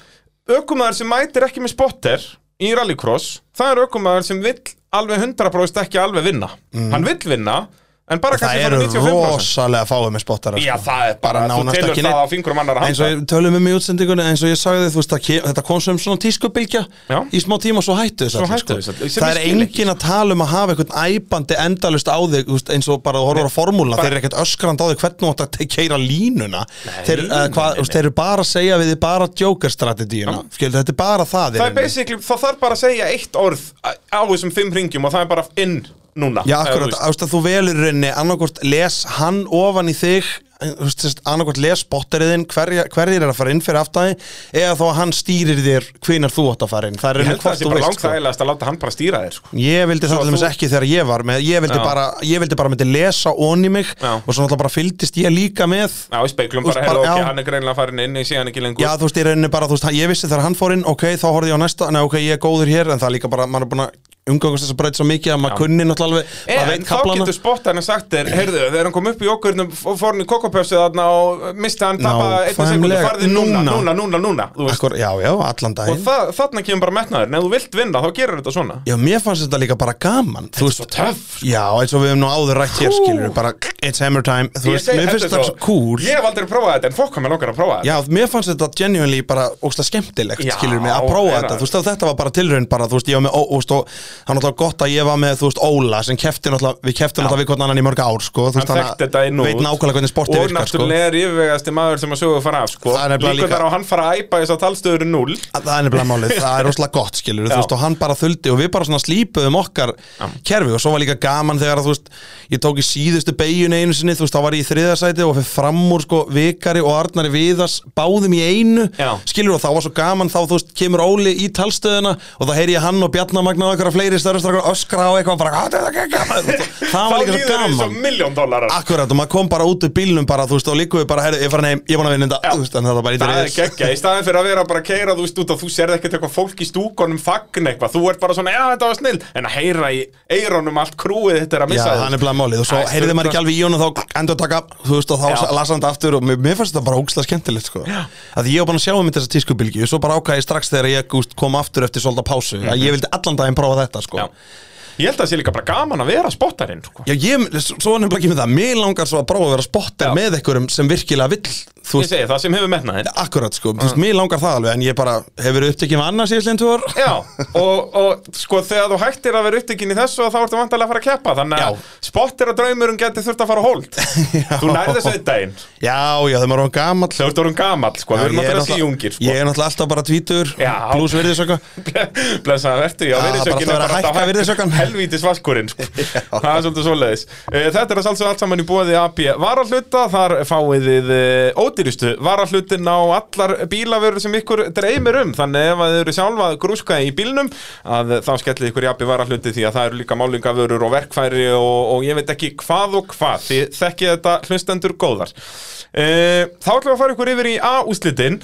Speaker 1: ökumæður sem mætir ekki með spotter í rallycross, það er ökumæður sem vill alveg 100% ekki alveg vinna Hann vill vinna, en bara
Speaker 2: Mm. Það
Speaker 1: kannski
Speaker 2: eru
Speaker 1: bara 95%
Speaker 2: rosalega fáið með spottara
Speaker 1: Já,
Speaker 2: sko.
Speaker 1: það er bara, þú
Speaker 2: nánast
Speaker 1: telur
Speaker 2: ekki
Speaker 1: það
Speaker 2: neitt.
Speaker 1: á fingurum annar að
Speaker 2: eins og ég tölum um í útsendingunni eins og ég sagði þú veist að ke- þetta kom sem svona tískubilgja
Speaker 1: Já.
Speaker 2: í smá tíma og svo hættu þess
Speaker 1: Svo
Speaker 2: allir, sko.
Speaker 1: hættu þessu allir, sem
Speaker 2: það
Speaker 1: ég
Speaker 2: er
Speaker 1: skil ekki,
Speaker 2: engin að tala um að hafa eitthvað æpandi endalust á þig þú veist, eins og bara þú horfur á formúla
Speaker 1: bara-
Speaker 2: þeir eru ekkert öskrand á þig hvernig þú átt að te- keira línuna þeir, uh,
Speaker 1: nei,
Speaker 2: hva,
Speaker 1: nei,
Speaker 2: þú veist, þeir eru bara að segja við þið bara jokerstrategíuna skilur þetta er bara það,
Speaker 1: það
Speaker 2: í
Speaker 1: er
Speaker 2: rauninni.
Speaker 1: basically, það þarf bara að segja eitt orð á á þessum fimm ringjum og það er bara inn núna
Speaker 2: Já,
Speaker 1: eða þú
Speaker 2: akkurat,
Speaker 1: veist.
Speaker 2: þú veist að þú velur í rauninni annarkvort les hann ofan í þig þú veist, sérst, annarkvort les botteriðin hverja- hverjir er að fara inn fyrir aftæði eða þá að hann stýrir þér hvenar þú átt að fara inn það er
Speaker 1: Ég
Speaker 2: rauninni
Speaker 1: held að það
Speaker 2: hvort
Speaker 1: sé
Speaker 2: þú
Speaker 1: bara
Speaker 2: veist
Speaker 1: langt
Speaker 2: sko.
Speaker 1: þægilegast að láta hann bara stýra þér sko.
Speaker 2: Ég vildi það
Speaker 1: Svo
Speaker 2: til dæmis
Speaker 1: þú-
Speaker 2: ekki þegar ég var með ég vildi,
Speaker 1: Já.
Speaker 2: bara, ég vildi bara myndi lesa onni mig
Speaker 1: Já.
Speaker 2: og svo náttúrulega bara fylgdist ég líka með
Speaker 1: Já, í speiklum
Speaker 2: Úst,
Speaker 1: bara,
Speaker 2: bara-
Speaker 1: hefur ok,
Speaker 2: já.
Speaker 1: hann er greinlega farin inn, ég sé hann ekki lengur
Speaker 2: Já, þú veist, ég rauninni bara, þú veist, ég vissi þegar hann fór inn ok, þá horfði ég á næsta, nei, ok, ég er góður hér en það er líka bara, maður er búin að umgangast þess að breyta svo mikið að maður kunni náttúrulega alveg- maður
Speaker 1: En
Speaker 2: veit
Speaker 1: þá
Speaker 2: kaflana.
Speaker 1: getur spottan að sagt þér, heyrðu, þegar hann kom upp í okkurinn og fór hann í kokkopjöfsið þarna og misti hann tappa einni sekundu,
Speaker 2: Nákvæmlega.
Speaker 1: farði núna,
Speaker 2: Núna.
Speaker 1: núna, núna, núna, þú veist
Speaker 2: Akkur, já, já, allan daginn
Speaker 1: Og það, þarna kemur bara metnaður, en ef þú vilt vinna, þá gerir þetta svona
Speaker 2: Já, mér fannst þetta líka bara gaman Þú veist,
Speaker 1: Svo töff
Speaker 2: já, eins og við hefum nú áður rætt hér
Speaker 1: Hú.
Speaker 2: skilur við, bara, it's hammer time Þú
Speaker 1: Ég
Speaker 2: veist,
Speaker 1: segi-
Speaker 2: mér finnst
Speaker 1: þetta
Speaker 2: þetta
Speaker 1: er
Speaker 2: svo cool
Speaker 1: Ég hef aldrei prófað þetta, en fokk hann með langar að prófa þetta
Speaker 2: Já, mér fannst þetta genuinely bara ógsta skemmtilegt,
Speaker 1: Já,
Speaker 2: skilur mig, að
Speaker 1: er
Speaker 2: prófa
Speaker 1: það.
Speaker 2: þetta Þú veist, að þetta var bara tilraun bara, þú veist, ég var með, ó, þú veist, og það er náttúrulega gott að ég var með, þú veist, Óla sem kefti náttúrulega, við kefti náttúrulega við hvernig annan í mörg ár, sko Þú
Speaker 1: Hann
Speaker 2: veist,
Speaker 1: þekkti þetta inn og
Speaker 2: veit
Speaker 1: út.
Speaker 2: nákvæmlega hvernig sportið
Speaker 1: Og
Speaker 2: virkar, sko
Speaker 1: náttúrulega er yfirvegasti maður sem að sögu fara af sko.
Speaker 2: Það er nefnilega
Speaker 1: Líka
Speaker 2: líka-
Speaker 1: þar á að hann fara að æpa þess að talstöður er 0
Speaker 2: Að Það er nefnilega málið, það er rosalega gott skilur
Speaker 1: Já.
Speaker 2: Þú veist og hann bara þuldi og við bara svona slípuðum okkar kerfi og svo var líka gaman þegar að þú veist Ég tók í síðustu beiginu einu sinni, þú veist þá var ég í þriðasæti og fyrir fram úr sko Vikari og Arnari Viðas báðum í einu
Speaker 1: Já.
Speaker 2: Skilur og þá var svo gaman þá þú veist kemur Óli í talstöðuna Og þá heyri ég hann og Bjarnamagna og einhverja fleiri störustrakar öskra og eitthvað bara "Ah, þetta er ekki gaman." Þú veist, Það var líka svo
Speaker 1: eins
Speaker 2: gaman
Speaker 1: og miljón dólarar
Speaker 2: Akkurat og maður kom bara út úr bílnum bara þú veist og líkuðu bara herri ég fann heim, ég er búinn að vinna þetta Þú veist, en þetta var bara í
Speaker 1: Það er
Speaker 2: þriðis.
Speaker 1: geggja, í staðin fyrir að vera bara að keira þú veist út að þú serð ekkert eitthvað fólk í stúkonum fagn eitthvað, þú ert bara svona, já þetta var snill en að heyra í eironum allt krúið þetta er að
Speaker 2: Já,
Speaker 1: missa
Speaker 2: það er nefnilega málið og svo
Speaker 1: Æ,
Speaker 2: heyrði maður
Speaker 1: stundum-
Speaker 2: ekki alveg í hún og þá endur taka, þú veist, og þá
Speaker 1: Já.
Speaker 2: sa- las hann þetta aftur og mér, mér fannst þetta bara ógslag skemmtilegt, sko að ég var bara að sjá um þessa tískubilgi og svo bara ákvæði strax þegar ég gúst, kom aftur eftir svolítið pásu, að ég vildi allan daginn prófa þetta, sko
Speaker 1: Mhm. Já. Ég held að það sé líka bara gaman að vera spottarinn sko.
Speaker 2: Já, ég, svo er nefnilega ekki með það, mér langar svo að prófa að vera spotter
Speaker 1: Já.
Speaker 2: með einhverjum sem virkilega vill, þú
Speaker 1: Ég
Speaker 2: veist,
Speaker 1: segi það sem hefur metnaðinn
Speaker 2: akkurat, sko
Speaker 1: Mhm.
Speaker 2: þú veist, mér langar það alveg, en ég bara, hefur verið upptekið með annars síðastlegin tvö ár?
Speaker 1: Já, og, og sko þegar þú hættir að vera upptekinn í þessu þá ertu vantarlega að fara að keppa þannig að
Speaker 2: Já.
Speaker 1: spottir að draumurum geti þurft að fara á hold Þú nærði þessu einn daginn
Speaker 2: Já, já, þegar maður var gamall
Speaker 1: Þú ert orðin gamall, sko,
Speaker 2: Já,
Speaker 1: við erum
Speaker 2: ég er
Speaker 1: náttúrulega
Speaker 2: náttúrulega-
Speaker 1: síungir sko.
Speaker 2: Ég er náttúrulega alltaf bara tvítur,
Speaker 1: Já.
Speaker 2: pluss virðisöka
Speaker 1: Blessaðan vertu, já,
Speaker 2: Já,
Speaker 1: virðisökin
Speaker 2: bara alltaf verið að hækka virðisaukann.
Speaker 1: Helvítis vaskurinn, sko Það er svolítið svoleiðis Eh, Þetta er að salsa allt saman í bóði AP Varahluta, þar fáið þið eh, ódýrustu varahlutin á allar bílavörur sem ykkur dreymir um Þannig ef að þið eru sjálfa að grúska í bílnum að þá skellið ykkur í AP varahluti því að það eru líka málingavörur og verkfæri og, og ég veit ekki hvað og hvað Þið þekkið þetta hlustendur góðar Eh, Þá ætlum við að fara ykkur yfir í A-úslitin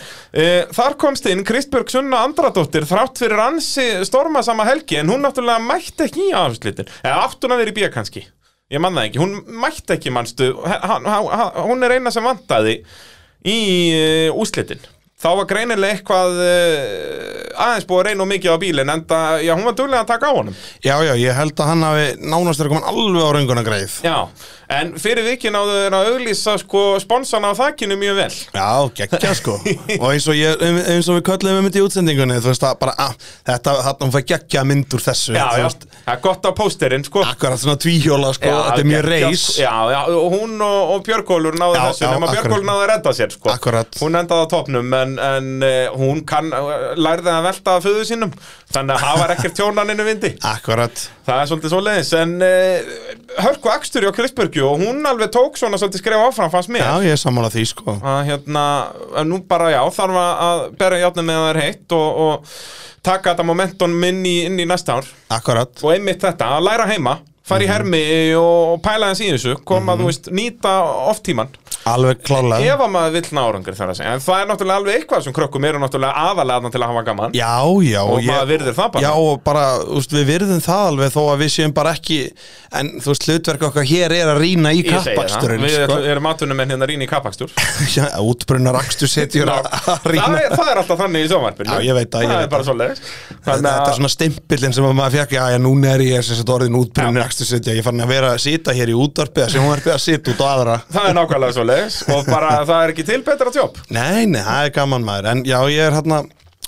Speaker 1: Þar komst inn Kristbjörg Sunna Andradóttir þrátt fyrir ansi storma sama helgi en hún náttúrulega mætti ekki í A-úslitin eða átti hún að vera í B kannski ég mann það ekki, hún mætti ekki manstu H- h- h- hún er eina sem e, vantaði í uh, úslitin þá var greinilega eitthvað uh, e, aðeins búið að reyna of mikið á bílinn en það, já, hún var duglega að taka á honum
Speaker 2: Já, já, ég held að hann hafi nánast er komin alveg á rönguna greið Já,
Speaker 1: Já, en fyrir vikið náðu þeir að auglýsa sko sponsana á þakkinu mjög vel
Speaker 2: geggja sko Og eins og, ég, eins og við köllum um þetta í útsendingunni Þú veist að bara, að, þetta, hann hún fær geggja mynd úr þessu
Speaker 1: Já,
Speaker 2: þú
Speaker 1: já,
Speaker 2: veist,
Speaker 1: það er gott á pósterinn sko
Speaker 2: Akkurat svona tvíhjóla sko,
Speaker 1: Já,
Speaker 2: þetta er mjög
Speaker 1: geggjað,
Speaker 2: reis
Speaker 1: sko. Já, já, og hún og, og Björgólfur náðu
Speaker 2: Já,
Speaker 1: þessu
Speaker 2: já,
Speaker 1: nema
Speaker 2: akkurat.
Speaker 1: Björgólfur náðu að redda sér sko
Speaker 2: Akkurat.
Speaker 1: Hún endaði á topnum en, en uh, hún kann, uh, lærði að velta að föðu sínum Þannig að hafa ekkert tjónaninu vindi
Speaker 2: Akkurat
Speaker 1: Það er svolítið svoleiðis En uh, Hörku Akstur hjá Kristbergju og hún alveg tók svona svolítið skref áfram fannst mér
Speaker 2: Já, ég er sammála því sko
Speaker 1: að hérna, en nú bara já þarf að- að berja játnum með að það er heitt og, og taka þetta momentum inn í, inn í næsta ár
Speaker 2: Akkurat
Speaker 1: og einmitt þetta, að læra heima fara
Speaker 2: Mhm.
Speaker 1: í hermi og, og pæla hans í þessu koma, þú veist, nýta off-tíman
Speaker 2: Alveg klálega
Speaker 1: ef að maður vill ná árangur þar að segja en það er náttúrulega alveg eitthvað sem krökkum eru náttúrulega aðalega þarna til að hafa gaman
Speaker 2: Já, já
Speaker 1: og maður virðir það bara
Speaker 2: Já, og bara, úst, við virðum það alveg þó að við séum bara ekki En þú veist, hlutverk okkar hér er að rýna í
Speaker 1: Ég segi það.
Speaker 2: kappaksturinn
Speaker 1: við
Speaker 2: sko.
Speaker 1: erum atvinnumenn hérna rýni í kappakstur
Speaker 2: Já, útbrunna rakstur setjur að að
Speaker 1: það,
Speaker 2: rýna
Speaker 1: er- það er alltaf þannig í sjónvarpinu
Speaker 2: Já, ég veit það,
Speaker 1: það
Speaker 2: ég
Speaker 1: er
Speaker 2: veit
Speaker 1: bara
Speaker 2: það.
Speaker 1: svoleiðis
Speaker 2: Þetta
Speaker 1: Þannig
Speaker 2: er
Speaker 1: að-
Speaker 2: svona stimpillin sem að maður fekk Já, já, núna er ég þess að orðin útbrunna rakstur setja Ég er farin að vera að sita hér í útvarpið sem hún er að sita út á aðra
Speaker 1: Það er nákvæmlega svo leiðis og bara það er ekki til betra tjóp
Speaker 2: Nei, nei, það er gaman maður En já, ég er hérna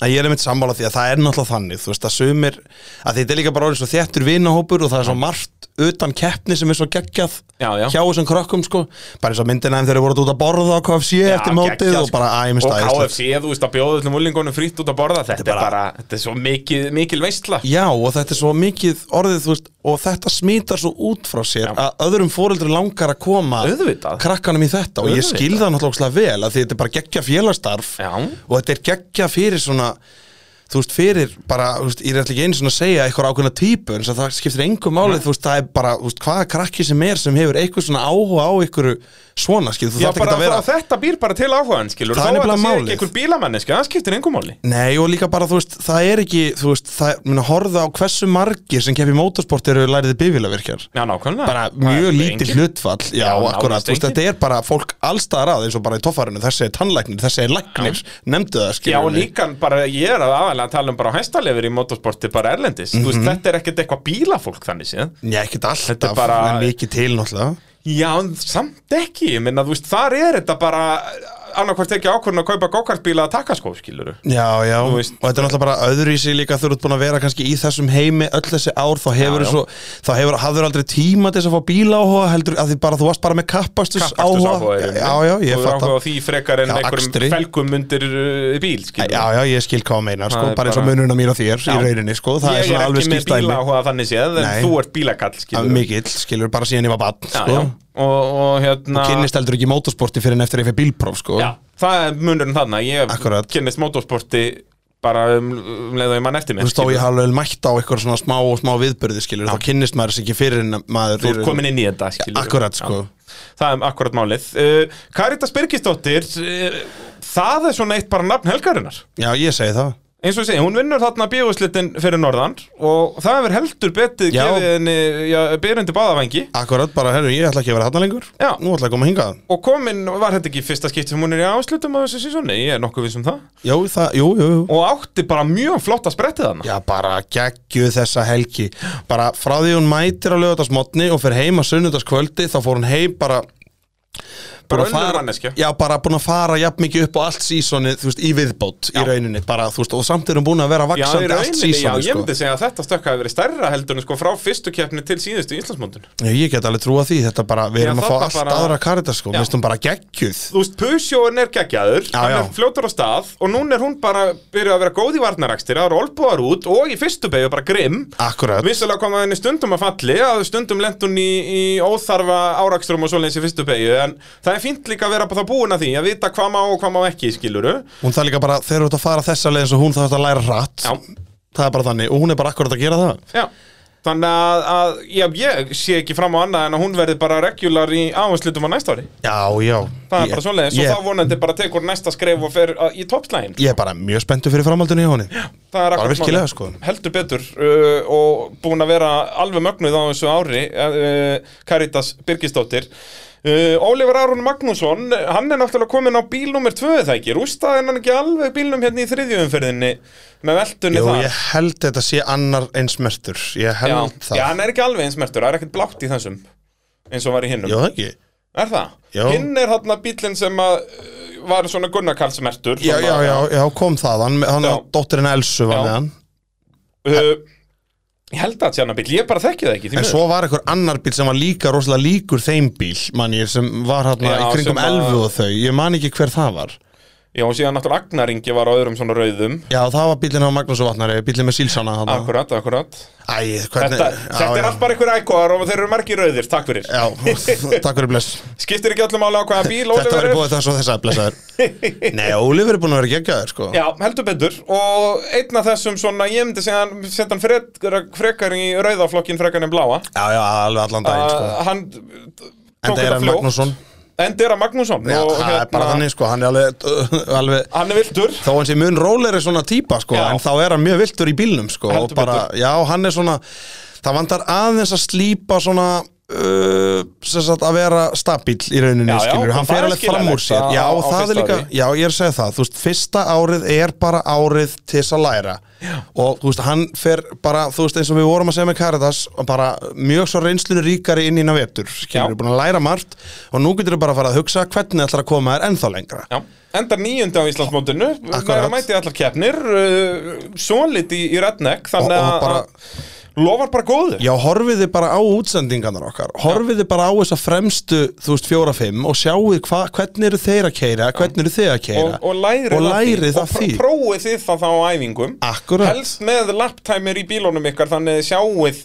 Speaker 2: Ég er einmitt sammála því að það er náttúrulega þannig Þú veist að sumir að Þetta er líka bara orðin svo þéttur vinahópur Og það er svo margt utan keppni sem er svo geggjað
Speaker 1: Já, já.
Speaker 2: Hjá þessum krökkum sko Bara eins og myndina þeim þeir eru voruð út að borða á KFC eftir mótið Og bara æmis
Speaker 1: sko. Og KFC, þú veist að bjóða öllum úlingunum frýtt út að borða Þetta
Speaker 2: Þetta er
Speaker 1: er bara, þetta er svo mikil, mikil veistla
Speaker 2: Já, og þetta er svo mikið orðið, þú veist, og þetta smítar svo út frá sér
Speaker 1: Já.
Speaker 2: að öðrum fóreldri langar að koma
Speaker 1: Auðvitað.
Speaker 2: krakkanum í þetta og ég
Speaker 1: Auðvitað.
Speaker 2: skil það náttúrulega ógeðslega vel að því þetta er bara geggja félagstarf
Speaker 1: Já.
Speaker 2: og þetta er geggja fyrir svona þú veist, fyrir bara, þú veist, ég er alltaf ekki einu svona að segja eitthvað ákveðna típu en það skiptir engum málið, þú veist, það er bara, þú veist, hvaða krakki sem er sem hefur eitthvað svona áhuga á einhverju svona, skil, þú
Speaker 1: Já,
Speaker 2: þarf ekki
Speaker 1: bara
Speaker 2: að vera
Speaker 1: þá- þetta býr bara til áhugaðan, skilur
Speaker 2: Það
Speaker 1: Þó
Speaker 2: er
Speaker 1: að
Speaker 2: nefnilega
Speaker 1: þetta sé
Speaker 2: málið.
Speaker 1: ekki einhver bílamanniski, það skiptir engum máli
Speaker 2: Nei og líka bara þú veist það er ekki þú veist það minna horfa á hversu margir sem keppi í mótorsport eru læriði bifílavirkjar
Speaker 1: Já, nákvæmlega
Speaker 2: bara
Speaker 1: Það
Speaker 2: mjög
Speaker 1: er
Speaker 2: lítið
Speaker 1: engin-
Speaker 2: hlutfall já,
Speaker 1: Já,
Speaker 2: akkurat,
Speaker 1: nánast
Speaker 2: þú veist,
Speaker 1: engin.
Speaker 2: þetta er bara fólk allstaðar að eins og bara í toffarinu þessi er tannlæknir, þessi er læknir nefndu það,
Speaker 1: Já, og
Speaker 2: skiljum
Speaker 1: líka bara, ég er að aðalega að tala um bara hæstalefur í motorsporti bara erlendis Þú
Speaker 2: Mhm.
Speaker 1: veist, þetta er ekkert eitthvað bílafólk þannig séð
Speaker 2: Já, ekkert
Speaker 1: Þetta er
Speaker 2: alltaf,
Speaker 1: bara-
Speaker 2: en mikið til náttúrulega
Speaker 1: Já, en samt ekki, ég minna, þú veist, þar er þetta bara annarkvært ekki ákvörðin að kaupa gókartbíla að taka sko, skó, skiluru
Speaker 2: Já, já, og
Speaker 1: veist-
Speaker 2: þetta er náttúrulega bara öðru í sig líka þú ert búin að vera kannski í þessum heimi öll þessi ár, þá hefur
Speaker 1: Já, já.
Speaker 2: svo þá hefur, hafður aldrei tíma til þess að fá bíla áhuga heldur, að því bara þú varst bara með kappastus áhuga,
Speaker 1: kappakstursáhuga
Speaker 2: já, já, ég fatt
Speaker 1: áhuga á því frekar en
Speaker 2: Já,
Speaker 1: einhverjum
Speaker 2: akstri.
Speaker 1: felgum undir uh, bíl skilur.
Speaker 2: Já, já, ég skil hvað að meina, sko,
Speaker 1: Það er
Speaker 2: bara eins og
Speaker 1: bara-
Speaker 2: mununa mín og þér í rauninni, sko, það er
Speaker 1: ég
Speaker 2: svona
Speaker 1: er
Speaker 2: alveg
Speaker 1: ekki með
Speaker 2: skýrt dæmi
Speaker 1: bílaáhuga þannig séð en
Speaker 2: Nei.
Speaker 1: þú ert bílakall
Speaker 2: Af
Speaker 1: skilur
Speaker 2: Mikill, skilur, bara síðan ég var bann,
Speaker 1: já,
Speaker 2: sko
Speaker 1: já. Og, og hérna
Speaker 2: Kynnist heldur ekki mótorsporti fyrir en eftir ég fyrir bílpróf, sko
Speaker 1: já, það er munurinn þarna ég
Speaker 2: Akkurat.
Speaker 1: kynnist motorsporti bara um, um leið og ég mann eftir
Speaker 2: Þú
Speaker 1: mér
Speaker 2: veist, þá ég hafði alveg mætt á eitthvað svona smá og smá viðbyrði, skilur, þá kynnist maður þess ekki fyrir en maður
Speaker 1: Þú ert komin inn í þetta, skilur
Speaker 2: Akkurat, sko.
Speaker 1: Það er akkurat málið uh, Karitas Birgisdóttir uh, Það er svona eitt bara nafn helgarinnar
Speaker 2: Já, ég segi það
Speaker 1: eins og ég segi, hún vinnur þarna bíóslitin fyrir norðan og það hefur heldur betið
Speaker 2: Já.
Speaker 1: gefið henni byrjandi báðavengi
Speaker 2: Akkurat, bara, herru, ég ætla ekki að vera þarna lengur
Speaker 1: Já.
Speaker 2: Nú ætla ég að koma hingað
Speaker 1: og komin, var þetta ekki fyrsta skipti sem hún er í áslutum á þessu sísónu, ég er nokkuð viss um það
Speaker 2: Jú, það, jú, jú, jú
Speaker 1: og átti bara mjög flott að sprettið þarna
Speaker 2: Já, bara geggju þessa helgi Bara frá því hún mætir á lögatarsmotni og fer heim á sunnudagskvöldi þá fór hún heim bara
Speaker 1: bara
Speaker 2: búin að
Speaker 1: önnur
Speaker 2: fara-
Speaker 1: manneskja
Speaker 2: Já, bara búin að fara jafn mikið upp á allt sísoni þú veist, í viðbót í rauninni bara, þú veist, og samt erum búin að
Speaker 1: Já,
Speaker 2: vera
Speaker 1: í
Speaker 2: vaksandi allt
Speaker 1: rauninni, já, ég
Speaker 2: sísoni sko.
Speaker 1: myndi segja að þetta stökk hafi verið stærra heldur en sko frá fyrstu keppni til síðustu í Íslandsmóndun
Speaker 2: Já, ég get alveg trúa því, þetta bara, við
Speaker 1: Já,
Speaker 2: erum að fá
Speaker 1: þarna
Speaker 2: allt
Speaker 1: bara-
Speaker 2: aðra karita sko,
Speaker 1: Já.
Speaker 2: mistum bara geggjuð
Speaker 1: Þú veist, Pusjóin er geggjaður,
Speaker 2: Já,
Speaker 1: hann
Speaker 2: já.
Speaker 1: er fljótur á stað og núna er hún bara byrjuð að vera góð í varnarakstir, það eru olbúðar út og í fyrstu beigju bara grimm
Speaker 2: Akkurat,
Speaker 1: Vissulega kom að henni stundum að falli að stundum lent hún í, í óþarfa áraksturum og svoleiðis í fyrstu beigju en það er fínt líka að vera bara búin að því að vita hvað má og hvað má ekki, skiluru
Speaker 2: hún það líka bara, þegar þú ert að fara þessa leið eins og hún þarf að læra rætt
Speaker 1: Já,
Speaker 2: Það er bara þannig, og hún er bara akkurat að gera það
Speaker 1: já Þannig að, að já, ég sé ekki fram á annað en að hún verði bara regular í áherslutum á næsta ári
Speaker 2: Já, já
Speaker 1: Það er
Speaker 2: Ég-
Speaker 1: bara svoleiðis
Speaker 2: ég-
Speaker 1: og þá vonandi bara tekur næsta skref og fer að, í toppslægin
Speaker 2: Ég er bara mjög spenntu fyrir framhaldinu í honum
Speaker 1: Það er
Speaker 2: Bara
Speaker 1: akkurat
Speaker 2: virkilega,
Speaker 1: málið.
Speaker 2: sko.
Speaker 1: Heldur betur uh, og búin að vera alveg mögnuð á þessu ári uh, Caritas Birgisdóttir Uh, Ólifur Aron Magnússon, hann er náttúrulega komin á bíl nummer 2 það ekki, rústaði hann ekki alveg bílnum hérna í þriðjöfumferðinni með veltunni
Speaker 2: Jú,
Speaker 1: þar
Speaker 2: ég held þetta sé annar einsmertur Ég
Speaker 1: já,
Speaker 2: held það
Speaker 1: já, hann er ekki alveg eins mertur, það er ekkert blátt í þessum eins og var í hinnum,
Speaker 2: Já, það ekki
Speaker 1: er það?
Speaker 2: Já.
Speaker 1: Hinn er hann að bílinn sem að uh, var svona Gunnarkarlsmertur
Speaker 2: Já, já, já, já, kom það Hann, hann
Speaker 1: Já.
Speaker 2: dóttirinn Elsu var
Speaker 1: Já.
Speaker 2: með hann
Speaker 1: Uh, ég held að þetta sé hann að bíl, ég bara þekki það ekki því
Speaker 2: En
Speaker 1: miður.
Speaker 2: svo var einhver annar bíl sem var líka rosalega líkur þeim bíl Man ég sem var hann
Speaker 1: Já,
Speaker 2: í kringum
Speaker 1: sem að-
Speaker 2: elfu og þau Ég man ekki hver það var
Speaker 1: Já, og síðan náttúrulega Agnar Ingi var á öðrum svona rauðum
Speaker 2: Já, það var bílinn á Magnús og Vatnari Bílinn með sílsána hann
Speaker 1: Akkurat, akkurat
Speaker 2: Æ, hvernig
Speaker 1: Þetta,
Speaker 2: já,
Speaker 1: þetta er
Speaker 2: já.
Speaker 1: allt bara einhver ægóðar og þeir eru margir rauðir, takk fyrir
Speaker 2: Já, takk fyrir bless
Speaker 1: Skiptir ekki öllum álega á hvaða bíl
Speaker 2: Þetta
Speaker 1: Oliver
Speaker 2: verður
Speaker 1: er?
Speaker 2: búið þess og þess að blessaður Nei, Ólífur er búin að vera geggjaður sko
Speaker 1: Já, heldur betur og einn af þessum svona, ég myndi segja hann setja hann frekar, frekar í rauðaflokkin frekar en bláa
Speaker 2: já, já, alveg allan daginn sko
Speaker 1: uh, Hann
Speaker 2: En það er hann Magnússon
Speaker 1: Enda er hann Magnússon
Speaker 2: Já,
Speaker 1: og hérna,
Speaker 2: það er bara þannig sko, hann er alveg, alveg
Speaker 1: Hann er viltur
Speaker 2: Þó hann sé mun róleri svona típa sko,
Speaker 1: Já.
Speaker 2: en þá er hann mjög viltur í bílnum sko og
Speaker 1: Heldur
Speaker 2: bara, já, hann er svona Það vantar aðeins að slípa svona uh, sem sagt að vera stabíl í rauninni,
Speaker 1: Já, já,
Speaker 2: skilur
Speaker 1: og
Speaker 2: Hann
Speaker 1: það
Speaker 2: fer
Speaker 1: er
Speaker 2: alveg fram úr
Speaker 1: skiljanlegt
Speaker 2: sér
Speaker 1: á-
Speaker 2: Já,
Speaker 1: á
Speaker 2: það
Speaker 1: fyrsta
Speaker 2: er líka,
Speaker 1: ári.
Speaker 2: já, ég er að segja það Þú veist, fyrsta árið er bara árið til þess að læra já. og þú veist, hann fer bara, þú veist, eins og við vorum að segja með Caritas bara mjög svo reynslunni ríkari inn í navetur, skilur,
Speaker 1: Já.
Speaker 2: búin að læra margt og nú getur bara að fara að hugsa hvernig ætlar að koma þér ennþá lengra
Speaker 1: Já, endar nýjundi á Íslandsmótinu Meira
Speaker 2: Akkurat.
Speaker 1: mæti í allar keppnir uh, Sólít í, í Redneck Þannig
Speaker 2: Og- og
Speaker 1: að
Speaker 2: bara-
Speaker 1: að lofar bara góður
Speaker 2: Já, horfiði bara á útsendingarnar okkar Horfiði bara á þessa fremstu þú veist, fjóra-fimm og sjáuð hva, hvernig eru þeir að keira, hvernig eru þeir að keira
Speaker 1: og, og lærið
Speaker 2: og
Speaker 1: af
Speaker 2: lærið
Speaker 1: og
Speaker 2: af
Speaker 1: pr-
Speaker 2: því
Speaker 1: prófið þið það þá á æfingum
Speaker 2: Akkurat.
Speaker 1: helst með laptimer í bílunum ykkar þannig að þið sjáuð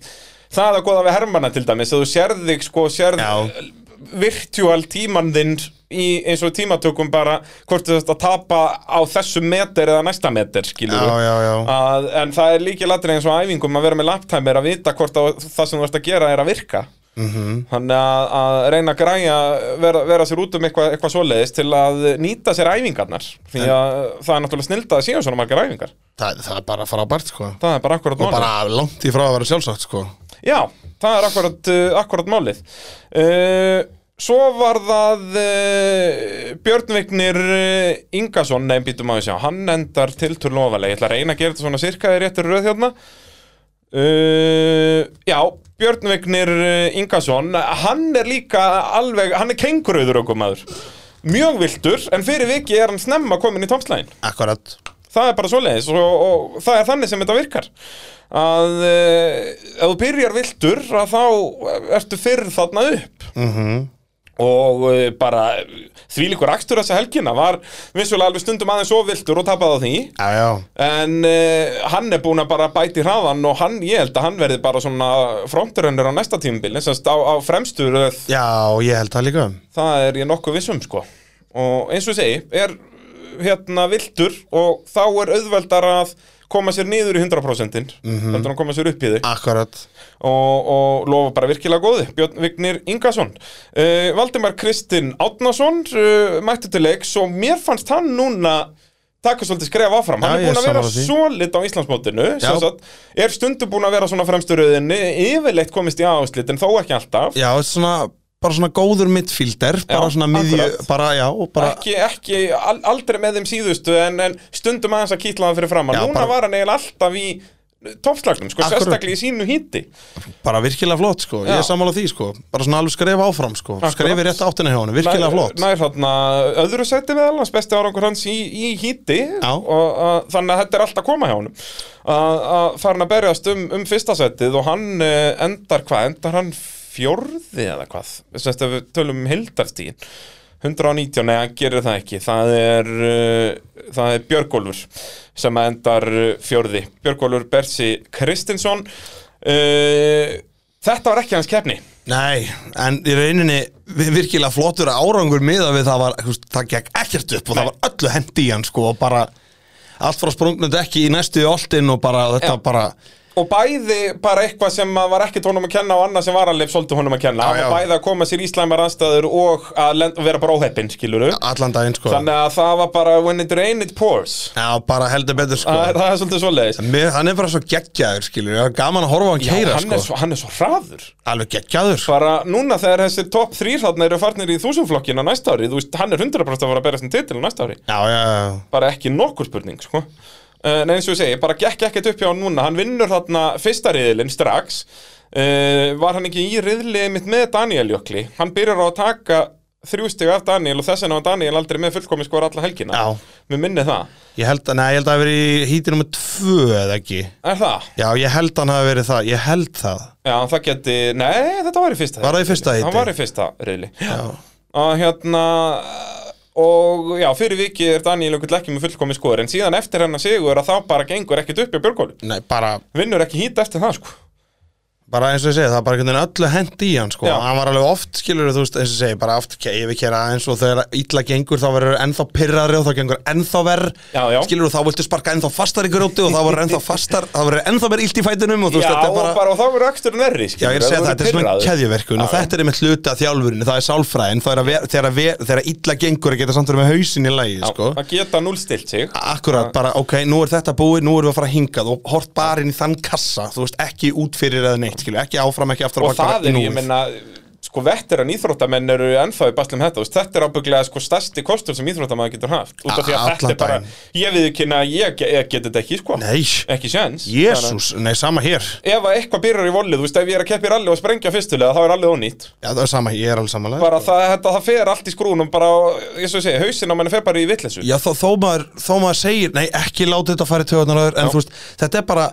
Speaker 1: það að goða við hermana til dæmis að þú sérð þig sko sérð
Speaker 2: Já.
Speaker 1: virtual tíman þinn í eins og tímatökum bara hvort þú þarft að tapa á þessum meter eða næsta meter skilur
Speaker 2: Já, já, já.
Speaker 1: Að, en það er líki latri eins og á æfingum að vera með laptimer að vita hvort að, það sem þú ert að gera er að virka
Speaker 2: Mhm.
Speaker 1: -hmm. þannig að, að reyna að græja vera, vera sér út um eitthvað eitthva svoleiðis til að nýta sér æfingarnar því að það er náttúrulega snilda að séu svona margar æfingar
Speaker 2: það, það er bara frábært sko
Speaker 1: það er bara akkurat
Speaker 2: og
Speaker 1: málið
Speaker 2: bara langt í frá að vera sjálfsagt sko
Speaker 1: já, það er akkurat, uh, akkurat málið uh, svo var það uh, Björnvignir uh, Ingason, nefn býtum að við sjá hann endar tiltur lofalega, ég ætla að reyna að gera þetta svona sirka í réttur röð hérna Uh, já, Björn Vignir uh, Ingason, hann er líka alveg, hann er kengurauður okkur maður Mjög viltur, en fyrir viki er hann snemma komin í tómslægin
Speaker 2: Akkurat
Speaker 1: það er bara svoleiðis og, og það er þannig sem þetta virkar að uh, ef þú byrjar viltur að þá ertu fyrr þarna upp
Speaker 2: Mhm.
Speaker 1: -hmm. og uh, bara því líkur akstur þessa helgina var vissulega alveg stundum aðeins svo viltur og tapaði á því
Speaker 2: Já, já,
Speaker 1: en uh, hann er búin að bara bæti hraðan og hann, ég held að hann verði bara svona frontrunner á næsta tímubili sem sagt á, á fremstur uh,
Speaker 2: já, ég held það líka
Speaker 1: það er ég nokkuð vissum sko og eins og ég segi, er hérna viltur og þá er auðveldar að koma sér niður í 100% mm
Speaker 2: Mhm.
Speaker 1: -hmm. heldur hann koma sér upp í þig
Speaker 2: Akkurat
Speaker 1: og, og lofa bara virkilega góði Björn Vignir Ingason uh, Valdimar Kristinn Átnason uh, mættu til leiks og mér fannst hann núna taka svolítið skref áfram hann er
Speaker 2: Já, ég
Speaker 1: búin að
Speaker 2: er
Speaker 1: vera
Speaker 2: sammála því.
Speaker 1: svolít á Íslandsmótinu sem
Speaker 2: Já.
Speaker 1: sagt, er stundu búin að vera svona fremstu rauðinni yfirleitt komist í áslit en þó ekki alltaf
Speaker 2: Já, svona, bara svona góður midfielder Bara svona miðju,
Speaker 1: akkurat.
Speaker 2: bara, já, og bara
Speaker 1: ekki, ekki al, aldrei með þeim síðustu en, en stundum aðeins að kýtla hann fyrir fram
Speaker 2: Já,
Speaker 1: núna
Speaker 2: bara-
Speaker 1: var hann eiginlega alltaf í toppslagnum, sko,
Speaker 2: Akkurat.
Speaker 1: sérstaklega í sínu híti
Speaker 2: Bara virkilega flott sko, ég
Speaker 1: Já.
Speaker 2: er sammála því sko Bara svona alveg skref áfram sko Skref í rétt áttina hjá honum, virkilega flott
Speaker 1: nær þarna öðru sæti með alveg besti árangur hans í, í híti
Speaker 2: Já.
Speaker 1: og að, þannig að þetta er allt að koma hjá honum að, að farin að berjast um, um fyrsta sætið og hann eh, endar hvað, endar hann fjórði eða hvað, þess að við tölum um hildarstíðin 119, nei, hann gerir það ekki það er, uh, það er Björgólfur sem að endar eh, fjórði Björgólfur Bersi Kristinsson uh, Þetta var ekki hans keppni
Speaker 2: Nei, en í rauninni vi- virkilega flottur árangur miða við það var, þú veist, það gekk ekkert upp og það
Speaker 1: Nei.
Speaker 2: var öllu hendi í hann sko og bara allt frá sprungnund ekki í næstu í oltin og bara þetta
Speaker 1: Já.
Speaker 2: bara
Speaker 1: og bæði bara eitthvað sem að var ekkert honum að kenna og annað sem var alveg svolítið honum að kenna
Speaker 2: Já, já.
Speaker 1: og bæði að koma sér í slæmar anstæður og að lend, vera bara óheppin, skilur
Speaker 2: Allan daginn sko
Speaker 1: þannig að það var bara when it rain it pours
Speaker 2: Já, bara heldur betur sko
Speaker 1: það, það er svolítið svoleiðis
Speaker 2: Mér, Hann er bara svo geggjaður skilur Það er gaman að horfa á hann
Speaker 1: Já,
Speaker 2: keira
Speaker 1: hann,
Speaker 2: sko
Speaker 1: er svo, hann er svo hraður
Speaker 2: Alveg geggjaður sko
Speaker 1: bara núna þegar þessir topp þrýrðarna eru farnir í þúsundflokkina næsta ári þú veist, hann er 100% að fara að berast um titil næsta ári
Speaker 2: Já, já, já
Speaker 1: bara ekki nokkur spurning sko. uh, Nei eins og ég segi, bara gekk ekkert upp hjá hann núna Hann vinnur þarna fyrsta riðilinn strax uh, Var hann ekki í riðli mitt með Daniel Jökli Hann byrjar á að taka þrjú stig af Daniel og þess vegna var Daniel aldrei með fullkomis skor alla helgina
Speaker 2: Já.
Speaker 1: Mér minni það
Speaker 2: Ég held að, nei, ég held að það hafi verið í hítið nummer tvö eða ekki
Speaker 1: Er það?
Speaker 2: Já, ég held að hann hafi verið það, ég held það
Speaker 1: Já, það geti, nei þetta var í fyrsta
Speaker 2: Var það í
Speaker 1: riðli.
Speaker 2: fyrsta heiti?
Speaker 1: Hann var í fyrsta riðli
Speaker 2: Já,
Speaker 1: að hérna og já, fyrir viki er Daniel Jökli ekki með fullkomis skor en síðan eftir hennar sigur að þá bara gengur ekkert upp í björgólu
Speaker 2: nei, bara,
Speaker 1: Vinnur ekki hít eftir það sko
Speaker 2: bara eins og ég segi, það var bara einhvern veginn öllu hent í hann sko
Speaker 1: Já.
Speaker 2: Hann var alveg oft, skilur þú veist, eins og ég segi, bara oft ke- yfirkera eins og þegar illa gengur þá verður ennþá pirrari og þá gengur ennþá verð
Speaker 1: Já, já.
Speaker 2: Skilur þá viltu sparka ennþá fastar í grjóti og þá verður ennþá fastar, þá verður ennþá verið illt í fætinum og þú
Speaker 1: Já,
Speaker 2: veist, þetta
Speaker 1: og,
Speaker 2: er
Speaker 1: bara...
Speaker 2: bara
Speaker 1: og þá verður aksturinn verri
Speaker 2: Já, ég er að segja það, þetta er svona keðjuverkun og þetta er einmitt hluti af þjálfurinu, það er sálfræðin, það er að vera, þegar, að vera, þegar að illa gengur að geta samt verið með hausinn í lagi, sko.
Speaker 1: Að geta núlstilt sig
Speaker 2: Akkurat, bara, ok, nú er þetta búið, nú erum við að fara að hingað og hort bara inn í þann kassa, þú veist, ekki út fyrir eða neitt, skilju, ekki áfram, ekki aftur á
Speaker 1: Og
Speaker 2: bak, bara
Speaker 1: það er,
Speaker 2: núið.
Speaker 1: ég menna Sko, vetteran íþróttamenn eru ennþá í baslum þetta þú veist, Þetta er ábygglega sko stærsti kostur sem íþróttamaður getur haft Út af því að
Speaker 2: A-
Speaker 1: þetta
Speaker 2: allan
Speaker 1: er bara
Speaker 2: daginn.
Speaker 1: Ég við ekki að ég, ge- ég geti þetta ekki, sko
Speaker 2: Nei,
Speaker 1: Ekki sjens
Speaker 2: jésús, nei, sama hér,
Speaker 1: Ef að eitthvað byrjar í volið, þú veist, ef ég er að keppa í rally og sprengja fyrstulega, þá er allið ónýtt
Speaker 2: já, það er sama, ég er alveg samanlega.
Speaker 1: Bara það, þetta, það fer allt í skrúnum, bara, ég svo segi, hausinn á manni fer bara í vitleysu
Speaker 2: Já, þó, þó, maður, þó maður segir, nei, ekki láta þetta fara í töðunar öður, en þú veist, þetta er bara,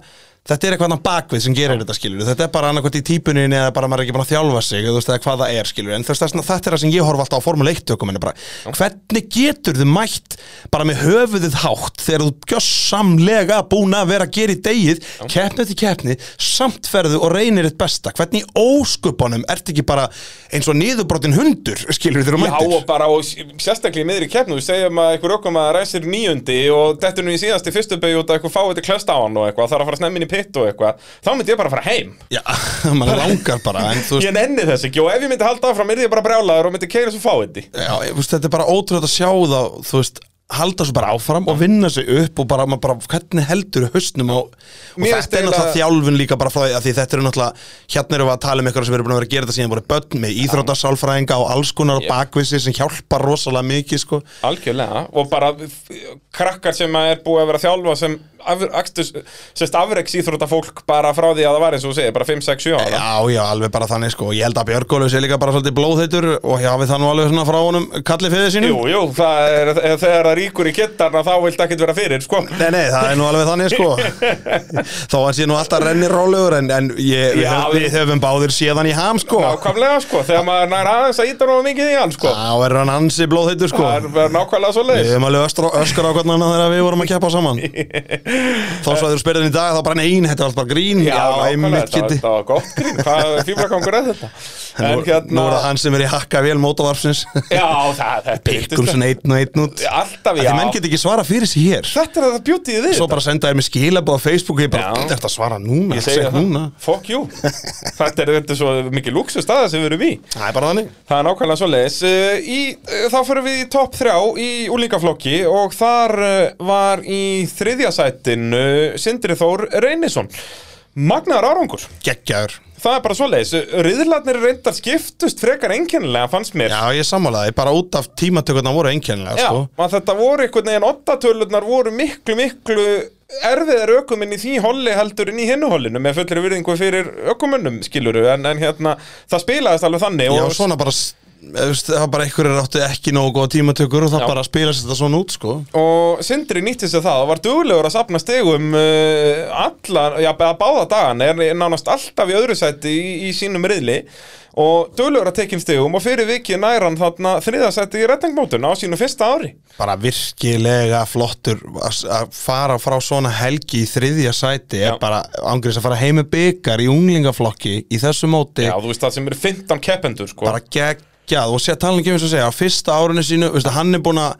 Speaker 2: þetta er eitthvað annan bakvið sem gerir þetta, skilur, þetta er bara annarkvæmt í típuninni eða bara maður er ekki búin að þjálfa sig, þú veist, eða hvað það er, skilur, en þú veist, þessna, þetta er það sem ég horf alltaf á formule 1 tökuminu, bara, hvernig getur þið mætt bara með höfuðið hátt þegar þú gjössamlega búin að vera að gera í degið, keppni til keppni, samt ferðu og reynir þitt besta, hvernig í ósköpunum ert ekki bara eins og niðurbrotin hundur, skilur, þegar þú
Speaker 1: Já
Speaker 2: mættir?
Speaker 1: og bara og s- sérstaklega í miðri keppnu við segjum að einhver okkur maður ræsir nýjundi og dettur nú í síðast í fyrstu beigju og það eitthvað fá þetta klöst á hann og eitthvað þarf að fara snemmin í pitt og eitthvað þá myndi ég bara fara heim
Speaker 2: Já, maður langar bara, en þú veist,
Speaker 1: Ég nenni þess ekki og ef ég myndi halda áfram er ég bara brjálaður og myndi keira svo fá þetta
Speaker 2: já, ég, veist, þetta er bara ótrúlega að sjá það, þú veist, halda svo bara áfram og vinna sig upp og bara, maður bara hvernig heldur hausnum á, og
Speaker 1: Mér finnst
Speaker 2: þetta er náttúrulega
Speaker 1: eiginlega-
Speaker 2: þjálfun líka bara frá því að því þetta eru náttúrulega, hérna erum við að tala um eitthvað sem eru búin að vera að gera þetta síðan voru börn með íþrótasálfræðinga og alls konar og bakvissi sem hjálpar rosalega mikið, sko.
Speaker 1: Algjörlega og bara f- krakkar sem að er búið að vera að þjálfa sem af, akstus, sérst afreks íþróta fólk bara frá því að það var eins og þú segir bara 5, 6, 7 ára
Speaker 2: Já, já, alveg bara þannig, sko, og ég held að Björgólu sé líka bara svolítið blóðheitur og hafi það nú alveg svona frá honum kallið fyrir sínum.
Speaker 1: Jú, jú, það er, þegar það ríkur í kittarna þá viltu ekkert vera fyrir, sko
Speaker 2: Nei, nei, það er nú alveg þannig sko Þó hann sé nú alltaf renni rólegur En, en ég, við,
Speaker 1: Já,
Speaker 2: höfum,
Speaker 1: við-
Speaker 2: við höfum báðir séðan í ham sko
Speaker 1: Nákvæmlega sko, þegar maður nær aðeins að íta nógu mikið í hann sko
Speaker 2: Þá er hann ansi blóðhittur sko
Speaker 1: Það er verið nákvæmlega svo
Speaker 2: Við
Speaker 1: leiðis
Speaker 2: höfum alveg öskra, öskra á hvernig annað þegar við vorum að keppa saman Þá svo að þú spyrir hann í dag Þá bara nein, þetta er alltaf bara grín Já, einmitt
Speaker 1: þetta
Speaker 2: kitti
Speaker 1: þetta var gott grín, hvað fýblagangur er þetta?
Speaker 2: Nú,
Speaker 1: En
Speaker 2: nú
Speaker 1: hérna,
Speaker 2: er það hann sem er í hakka vel mótavarpsins
Speaker 1: já það, þetta
Speaker 2: Bilgur sem einn og einn út
Speaker 1: Alltaf
Speaker 2: Því
Speaker 1: já,
Speaker 2: menn get ekki svara fyrir sér hér
Speaker 1: þetta er það bjútið í þið
Speaker 2: Svo bara senda þér mér skilabóð á Facebook og Ég bara,
Speaker 1: Já.
Speaker 2: þetta er að svara núna
Speaker 1: Ég segi
Speaker 2: segja
Speaker 1: það,
Speaker 2: núna.
Speaker 1: fuck you Þetta er þetta er svo mikið lúksu staða sem við erum í
Speaker 2: Það er bara þannig
Speaker 1: Það er nákvæmlega svo leiðis Þá fyrir við í topp þrjá í úlingaflokki og þar eh, var í þriðja sætin eh, Sindri Þór Reynisson Magnaðar árangur
Speaker 2: Gekkjaður
Speaker 1: Það er bara svoleiðis, riðlarnir reyndar skiptust frekar einkennilega fannst mér
Speaker 2: Já, ég sammálaði, bara út af tímatökurna voru einkennilega, sko.
Speaker 1: að þetta voru einhvern veginn ottatölurnar voru miklu, miklu erfiðar ökuminn í því holli heldur en í hinnu hollinu með fullri virðingu fyrir ökumönnum skiluru en, en hérna, það spilaðist alveg þannig
Speaker 2: Já,
Speaker 1: og
Speaker 2: svona bara, s- eða, veist, það var bara einhverjir áttu ekki nógu góða tímatökur og það
Speaker 1: Já.
Speaker 2: bara spilast þetta svona út, sko.
Speaker 1: Og Sindri nýtti sér það og var duglegur að safna stegum uh, allan, já, að báða dagan er nánast alltaf í öðru sæti í, í sínum riðli og duglegur að tekinn stegum og fyrir vikið nær hann þarna þriðasæti í reddingmótun á sínu fyrsta ári
Speaker 2: Bara virkilega flottur að að fara frá svona helgi í þriðja sæti
Speaker 1: Já.
Speaker 2: er bara ángriðs að fara heim með byggar í unglingaflokki í þessu móti,
Speaker 1: Já, þú veist það sem eru 15 keppendur sko
Speaker 2: bara gegn geggjað og sé talan ekki um þess að segja á fyrsta árinu sínu, veistu, hann er búin að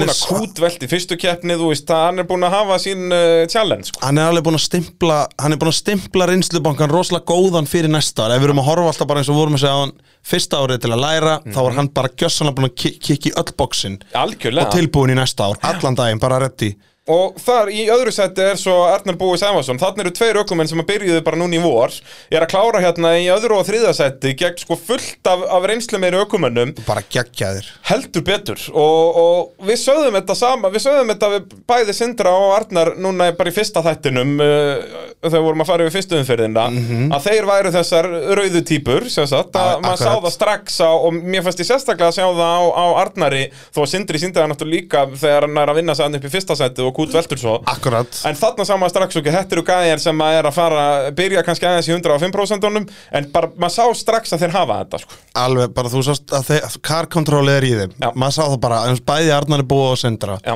Speaker 1: Hún
Speaker 2: er
Speaker 1: að
Speaker 2: sa-
Speaker 1: kútvelti fyrstu keppni, þú veist, hann er búin að hafa sín uh, challenge, sko.
Speaker 2: hann er alveg búin að stimpla hann er búin að stimpla reynslubankan rosalega góðan fyrir næsta ár, ef við erum að horfa alltaf bara eins og við vorum að segja á hann fyrsta árið til að læra þá
Speaker 1: Mhm.
Speaker 2: var hann bara gjössanlega búin að ki- kikki í öll bóksin
Speaker 1: Algjörlega.
Speaker 2: og tilbúin í næsta ár, allan daginn, bara reddi
Speaker 1: Og þar í öðru seti er svo Arnar Búi Sæmarsson Þannig eru tveir ökumenn sem að byrjuðu bara núna í vor Er að klára hérna í öðru og þriða seti Gegn sko fullt af, af reynslu meiri ökumennum
Speaker 2: bara geggjaðir
Speaker 1: Heldur betur og, og við sögðum þetta sama Við sögðum þetta við bæði Sindra og Arnar Núna bara í fyrsta þættinum uh, Þegar vorum að fara yfir fyrstu umferðina Að þeir væru þessar rauðu típur Sem sagt að
Speaker 2: Mhm. A-
Speaker 1: maður sá
Speaker 2: akkurat.
Speaker 1: það strax á, Og mér fannst ég sérstaklega að sjá það á, á Arnari Þó að Sindri síndi það náttúrulega líka Þegar hann er að vinna sæðan upp í fyrsta seti Og kút veltur svo
Speaker 2: akkurat,
Speaker 1: En þarna sá maður strax okkur, þetta eru gæjar sem maður er að fara, byrja kannski aðeins í 105%-unum, en bara, maður sá strax að þeir hafa þetta, sko.
Speaker 2: alveg, bara þú sást að þeir, car control er í þeim
Speaker 1: Já.
Speaker 2: maður sá það bara, eins og bæði Arnar er búið og sendra
Speaker 1: Já.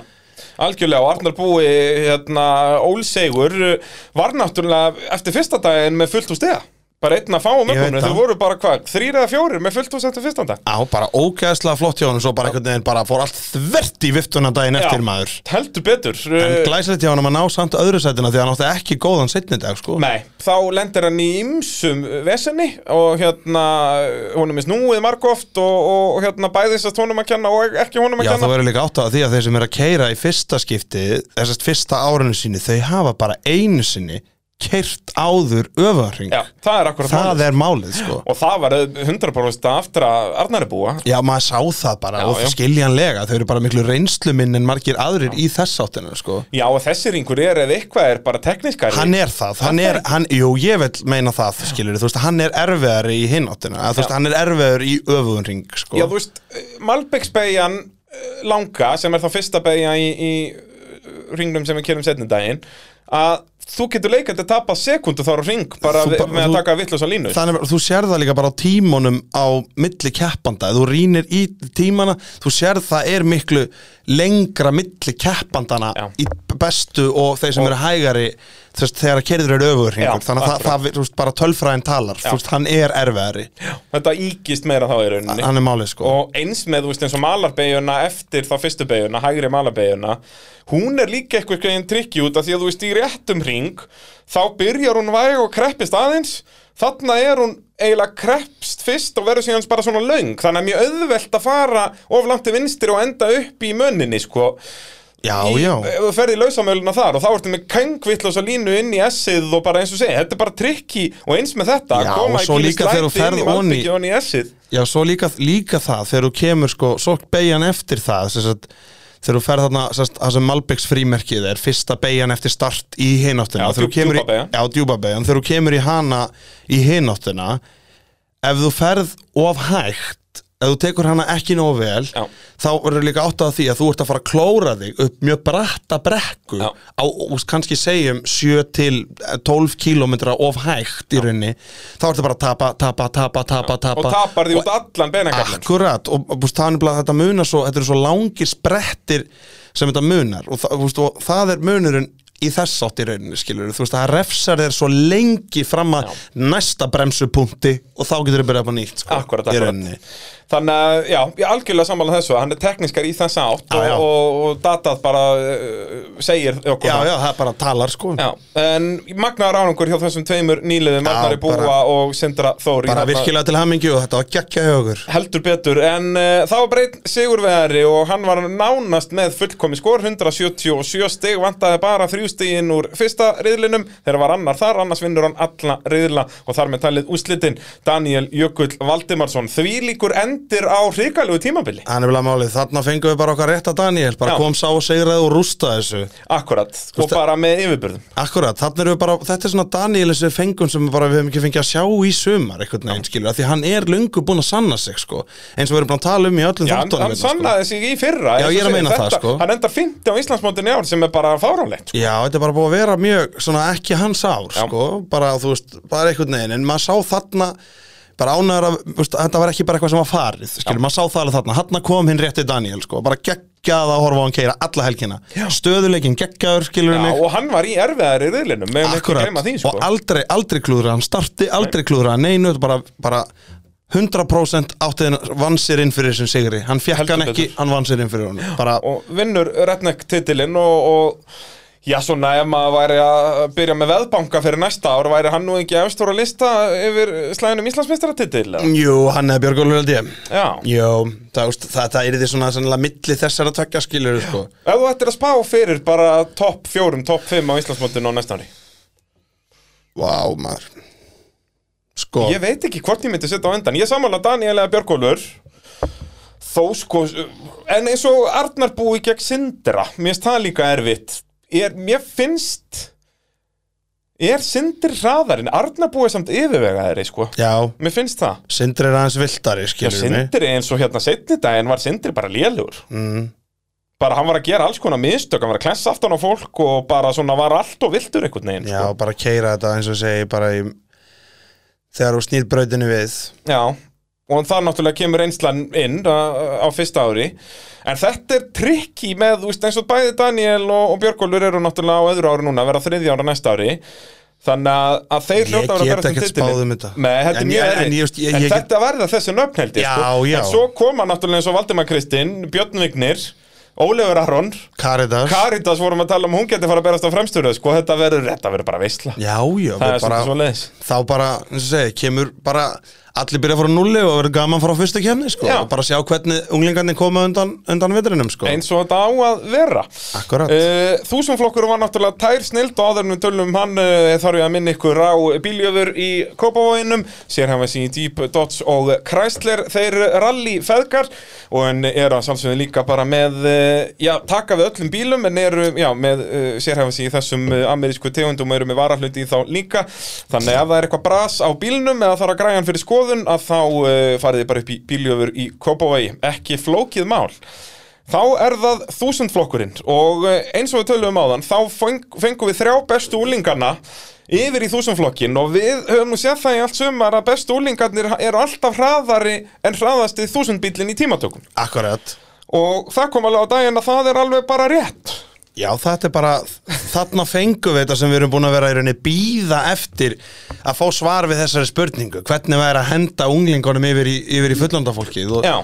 Speaker 1: Algjörlega og Arnar Búi, hérna, ólsegur, var náttúrulega eftir fyrsta daginn með fullt úr stiga. Bara einn að fá um
Speaker 2: Ég veit
Speaker 1: ökunum,
Speaker 2: það.
Speaker 1: þau voru bara hvað, þrýr eða fjórir með fullt úr eftir fyrsta dag.
Speaker 2: á, bara ógeðslega flott hjá hann svo bara einhvern veginn bara fór allt þvert í viftuna daginn eftir maður
Speaker 1: Heldur betur. eh,
Speaker 2: En glæsilegt hjá hann að maður ná samt öðru sætina því að hann átti ekki góðan setni dag sko
Speaker 1: Nei, þá lendir hann í ymsum vesenni og hérna, honum er snúið margóft og, og hérna bæðisast honum að kenna og ekki honum að
Speaker 2: Já,
Speaker 1: kenna.
Speaker 2: þá verður líka átt að því að þeir sem er að keira í fyrsta skipti, þessast fyrsta árinu sínu, þau hafa bara einu sinni keirt áður öfarring.
Speaker 1: Já, það er akkurat
Speaker 2: það
Speaker 1: málið.
Speaker 2: er málið, sko.
Speaker 1: Og það var auð- 100% aftur að Arnari búa
Speaker 2: Já, maður sá það bara
Speaker 1: Já,
Speaker 2: og
Speaker 1: já.
Speaker 2: skiljanlega, þau eru bara miklu reynsluminn en margir aðrir í þess áttinu, sko.
Speaker 1: Já, og þessi ringur er eða eitthvað er bara tekniskari
Speaker 2: Hann er það, hann er, hann, jú, ég vil meina það, skilur, þú veist, hann er erfiðar í hinn áttinu, að, þú veist,
Speaker 1: Já.
Speaker 2: hann er erfiðar í öfunring, sko.
Speaker 1: Já, þú veist, Malbyggsbegjan langa, sem er þá fyrsta begja í, í eh, ringnum sem við kerum setni daginn að þú getur leikandi að tapa sekundu þar á ring bara
Speaker 2: Þú
Speaker 1: við,
Speaker 2: bara-
Speaker 1: með
Speaker 2: þú-
Speaker 1: að taka vittlösa línu
Speaker 2: Þannig að þú sér það líka bara á tímunum á milli keppanda, þú rýnir í tímana, þú sér það er miklu lengra milli keppandana
Speaker 1: Já.
Speaker 2: í bestu og þeir sem
Speaker 1: Og-
Speaker 2: eru hægari þess, þegar að kerður eru öfur
Speaker 1: Já,
Speaker 2: þannig að það, það, þú veist, bara tölfræðin talar þú veist, hann er erfiðari,
Speaker 1: Þetta íkist meira þá í rauninni
Speaker 2: hann er málið sko
Speaker 1: og eins með, þú veist, eins og malarbegjuna eftir þá fyrstu begjuna, hægri malarbegjuna hún er líka eitthvað einhvern trikki út af því að þú veist, í réttum ring þá byrjar hún væg og kreppist aðeins þarna er hún eiginlega kreppst fyrst og verður síðan bara svona löng þannig að mjög auðvelt að fara of langt til vinstri og enda upp í mönninni, sko
Speaker 2: Já,
Speaker 1: Í-
Speaker 2: já,
Speaker 1: ef þú ferð í lausamöluna þar og þá ertu með kengvittlösa línu inn í essið og bara eins og segja, þetta er bara trikki og eins með þetta,
Speaker 2: Já,
Speaker 1: að koma
Speaker 2: og svo
Speaker 1: ekki
Speaker 2: líka þegar þú
Speaker 1: slæti inn í
Speaker 2: ferð ofan í-
Speaker 1: malbyggju og inn í essið
Speaker 2: já, svo líka, líka það þegar þú kemur sko, svo beigjan eftir það þess að þegar þú ferð þarna sem sagt, það sem Malbecks frímerkið er fyrsta beigjan eftir start í hináttina
Speaker 1: Já,
Speaker 2: Þegar þú
Speaker 1: djúp-
Speaker 2: kemur í-
Speaker 1: djúpa beygjan.
Speaker 2: já, djúpa beigjan þegar þú kemur í hana í hináttina ef þú ferð of hægt ef þú tekur hana ekki nóg vel
Speaker 1: Já.
Speaker 2: þá verður líka átt að því að þú ert að fara að klóra þig upp mjög bratta brekku
Speaker 1: Já.
Speaker 2: á, og kannski segjum 7 til 12 kílómetra of hægt í rauninni, þá ertu bara að tapa, tapa, tapa, tapa, tapa
Speaker 1: og tapar því út allan benakallin
Speaker 2: Akkurat, og og, þú veist, það er nefnilega þetta munar svo, þetta eru svo langir sprettir sem þetta munar og, það, þú veist, og það er munurinn í þess átt í rauninni, skilur þú veist, það refsar þér svo lengi fram að næsta bremsupunkti og þá getur þið byrjað upp á nýtt, sko,
Speaker 1: Akkurat,
Speaker 2: í
Speaker 1: akkurat.
Speaker 2: rauninni
Speaker 1: Þannig að, já, ég er algjörlega sammála þessu Hann er tekniskar í þessa átt
Speaker 2: Já, já.
Speaker 1: og, og, og datað bara uh, segir okkur
Speaker 2: Já,
Speaker 1: það.
Speaker 2: já, það er bara talar, sko
Speaker 1: Já, en magnaðar ánungur hjá þessum tveimur nýliðum
Speaker 2: Já,
Speaker 1: Arnari Búa
Speaker 2: bara-
Speaker 1: og Sindra Þóri hérna.
Speaker 2: bara virkilega til hamingju og þetta var geggja hjá okkur
Speaker 1: Heldur betur, en uh, það var breytt Sigurveri og hann var nánast með fullkomi skor, 177 stig, vantaði bara þrjú stiginn úr fyrsta riðlinum, þegar var annar þar, annars vinnur hann alla riðla og þar með talið úslitin Daniel Jökull Valdimarsson, þvílíkur endir á hrikalegu tímabili.
Speaker 2: Það er nefnilega málið, þarna fengum við bara okkar rétta Daniel, bara
Speaker 1: Já.
Speaker 2: kom sá og segraði og rústa þessu
Speaker 1: Akkurat, og
Speaker 2: veist-
Speaker 1: bara með yfirbyrðum
Speaker 2: Akkurat, þarna erum við bara, þetta er svona Daniel sem við fengum sem bara við hefum ekki fengið að sjá í sumar einhvern veginn, skilur, af því hann er lungu búinn að sanna sig, sko, eins og við erum búin að tala um í öllum
Speaker 1: Já, hann,
Speaker 2: þáttunum
Speaker 1: hann
Speaker 2: hérna,
Speaker 1: sannaði sig í fyrra
Speaker 2: Já,
Speaker 1: eins og
Speaker 2: ég er að
Speaker 1: segir,
Speaker 2: meina það,
Speaker 1: þetta-
Speaker 2: sko.
Speaker 1: Hann endar 50 á Íslandsmótinu í ár sem er bara fáránlegt sko.
Speaker 2: sko. Já, þetta er bara búið að vera mjög, svona ekki hans ár,
Speaker 1: Já.
Speaker 2: sko, bara, þú veist, bara einhvern veginn, en maður sá þarna bara ánæður að, þú veist, þetta var ekki bara eitthvað sem var farið, skilur, maður sá það alveg þarna, hann kom hinn rétti Daniel, sko, bara geggjað að horfa á hann keira alla helgina, stöðuleikin geggjaður, skilur
Speaker 1: Já, og hann var í erfiðari riðlinum meðan ekki
Speaker 2: Akkurat,
Speaker 1: gleyma því sko.
Speaker 2: og aldrei, aldrei klúðra hann starti, aldrei klúðra hann neinu, þetta bara, bara 100% átti hann vann sér inn fyrir þessum sigri hann fekk
Speaker 1: Heldur
Speaker 2: hann ekki,
Speaker 1: betur.
Speaker 2: hann vann sér inn fyrir honum bara,
Speaker 1: og vinnur Redneck titilinn og, og já svona ef maður væri að byrja með veðbanka fyrir næsta ár væri hann nú ekki efstur að lista yfir slæðinum Íslandsmeistaratitil eða?
Speaker 2: jú, hann eða Björgólfur held ég
Speaker 1: Já,
Speaker 2: jú, það, úst, það, það er því svona sannlega milli þessara tvekja skilur sko.
Speaker 1: ef þú ættir að spá fyrir bara topp fjórum, topp fimm á Íslandsmótinu á næsta ári
Speaker 2: vá, maður sko,
Speaker 1: Ég veit ekki hvort ég myndi setja á endan Ég samanlega Daniel eða Björgólfur Þó sko En eins og Arnar búi gegn Sindra Mér finnst það líka erfitt er, Mér finnst Er Sindir hraðarinn Arnar búi samt yfirvegaðari sko
Speaker 2: já,
Speaker 1: Mér finnst það
Speaker 2: Sindri er aðeins viltari
Speaker 1: Já,
Speaker 2: skilur mig
Speaker 1: Sindri eins og hérna setni daginn var Sindri bara lélugur
Speaker 2: mm,
Speaker 1: Bara hann var að gera alls konar mistök Hann var að klessa aftan á fólk Og bara svona var allt og viltur einhvern veginn
Speaker 2: já,
Speaker 1: sko.
Speaker 2: bara keira þetta eins og ég segi bara í, þegar þú snýr brautinu við
Speaker 1: Já, og það náttúrulega kemur einslan inn uh, á, á fyrsta ári En þetta er trikki með, þú veist, eins og bæði Daniel og, og Björgólfur eru náttúrulega á öðru ári núna að vera þriðja ára næsta ári Þannig að, að þeir
Speaker 2: Ég
Speaker 1: hljóta að vera
Speaker 2: get
Speaker 1: að
Speaker 2: ekkert
Speaker 1: berjast um
Speaker 2: spáð um
Speaker 1: titilinn.
Speaker 2: þetta.
Speaker 1: Nei, þetta er
Speaker 2: En ég-
Speaker 1: mjög
Speaker 2: en-
Speaker 1: erfitt
Speaker 2: en ég veist, ég-
Speaker 1: En
Speaker 2: ég get-
Speaker 1: þetta verða þessu nöfn held ég sko.
Speaker 2: Já, já.
Speaker 1: En svo koma náttúrulega eins og Valdimar Kristinn, Björn Vignir, Ólefur Aron
Speaker 2: Karitas
Speaker 1: Karitas vorum að tala um, hún geti fara að berast á fremstöru sko. Þetta verður, þetta verður bara veisla
Speaker 2: Já, já,
Speaker 1: Það er
Speaker 2: bara,
Speaker 1: svona svo leiðis
Speaker 2: þá bara, eins og segi, kemur bara allir byrja að fara á nulli og verður gaman frá fyrstu kemni, sko,
Speaker 1: Já.
Speaker 2: og bara sjá hvernig unglingarnir koma undan, undan vitrinum, sko
Speaker 1: eins og þetta á að vera
Speaker 2: Akkurat.
Speaker 1: uh, Þúsumflokkur var náttúrulega tær snild og áður en við tölum um hann uh, þarf ég að minna ykkur á bíljöfur í Kópavóinum sérhæfa sig í Deep Dots og Chrysler þeir rally feðgar og en eru að sjálfsögðu líka bara með uh, já, taka við öllum bílum en eru já, með uh, sérhæfa sig í þessum uh, amerísku tegundum og eru með varahluti í þá líka þannig að ef það er eitthvað bras á bílnum eða þarf að græja hann fyrir skoðun að þá uh, farið þið bara upp í bíljöfur í Kópavogi ekki flókið mál Þá er það þúsundflokkurinn og eh, eins og við töluðum áðan þá feng- fengum við þrjá bestu úlingarna yfir í þúsundflokkin og við höfum nú séð það í allt sumar að bestu úlingarnir eru alltaf hraðari en hraðasti þúsundbílinn í tímatökum
Speaker 2: Akkurat
Speaker 1: og það kom alveg á daginn að það er alveg bara rétt
Speaker 2: Já, þetta er bara, þarna fengum við þetta sem við erum búin að vera í rauninni býða eftir að fá svar við þessari spurningu hvernig væri að henda unglingunum yfir í, yfir í fullandafólkið og,
Speaker 1: Já.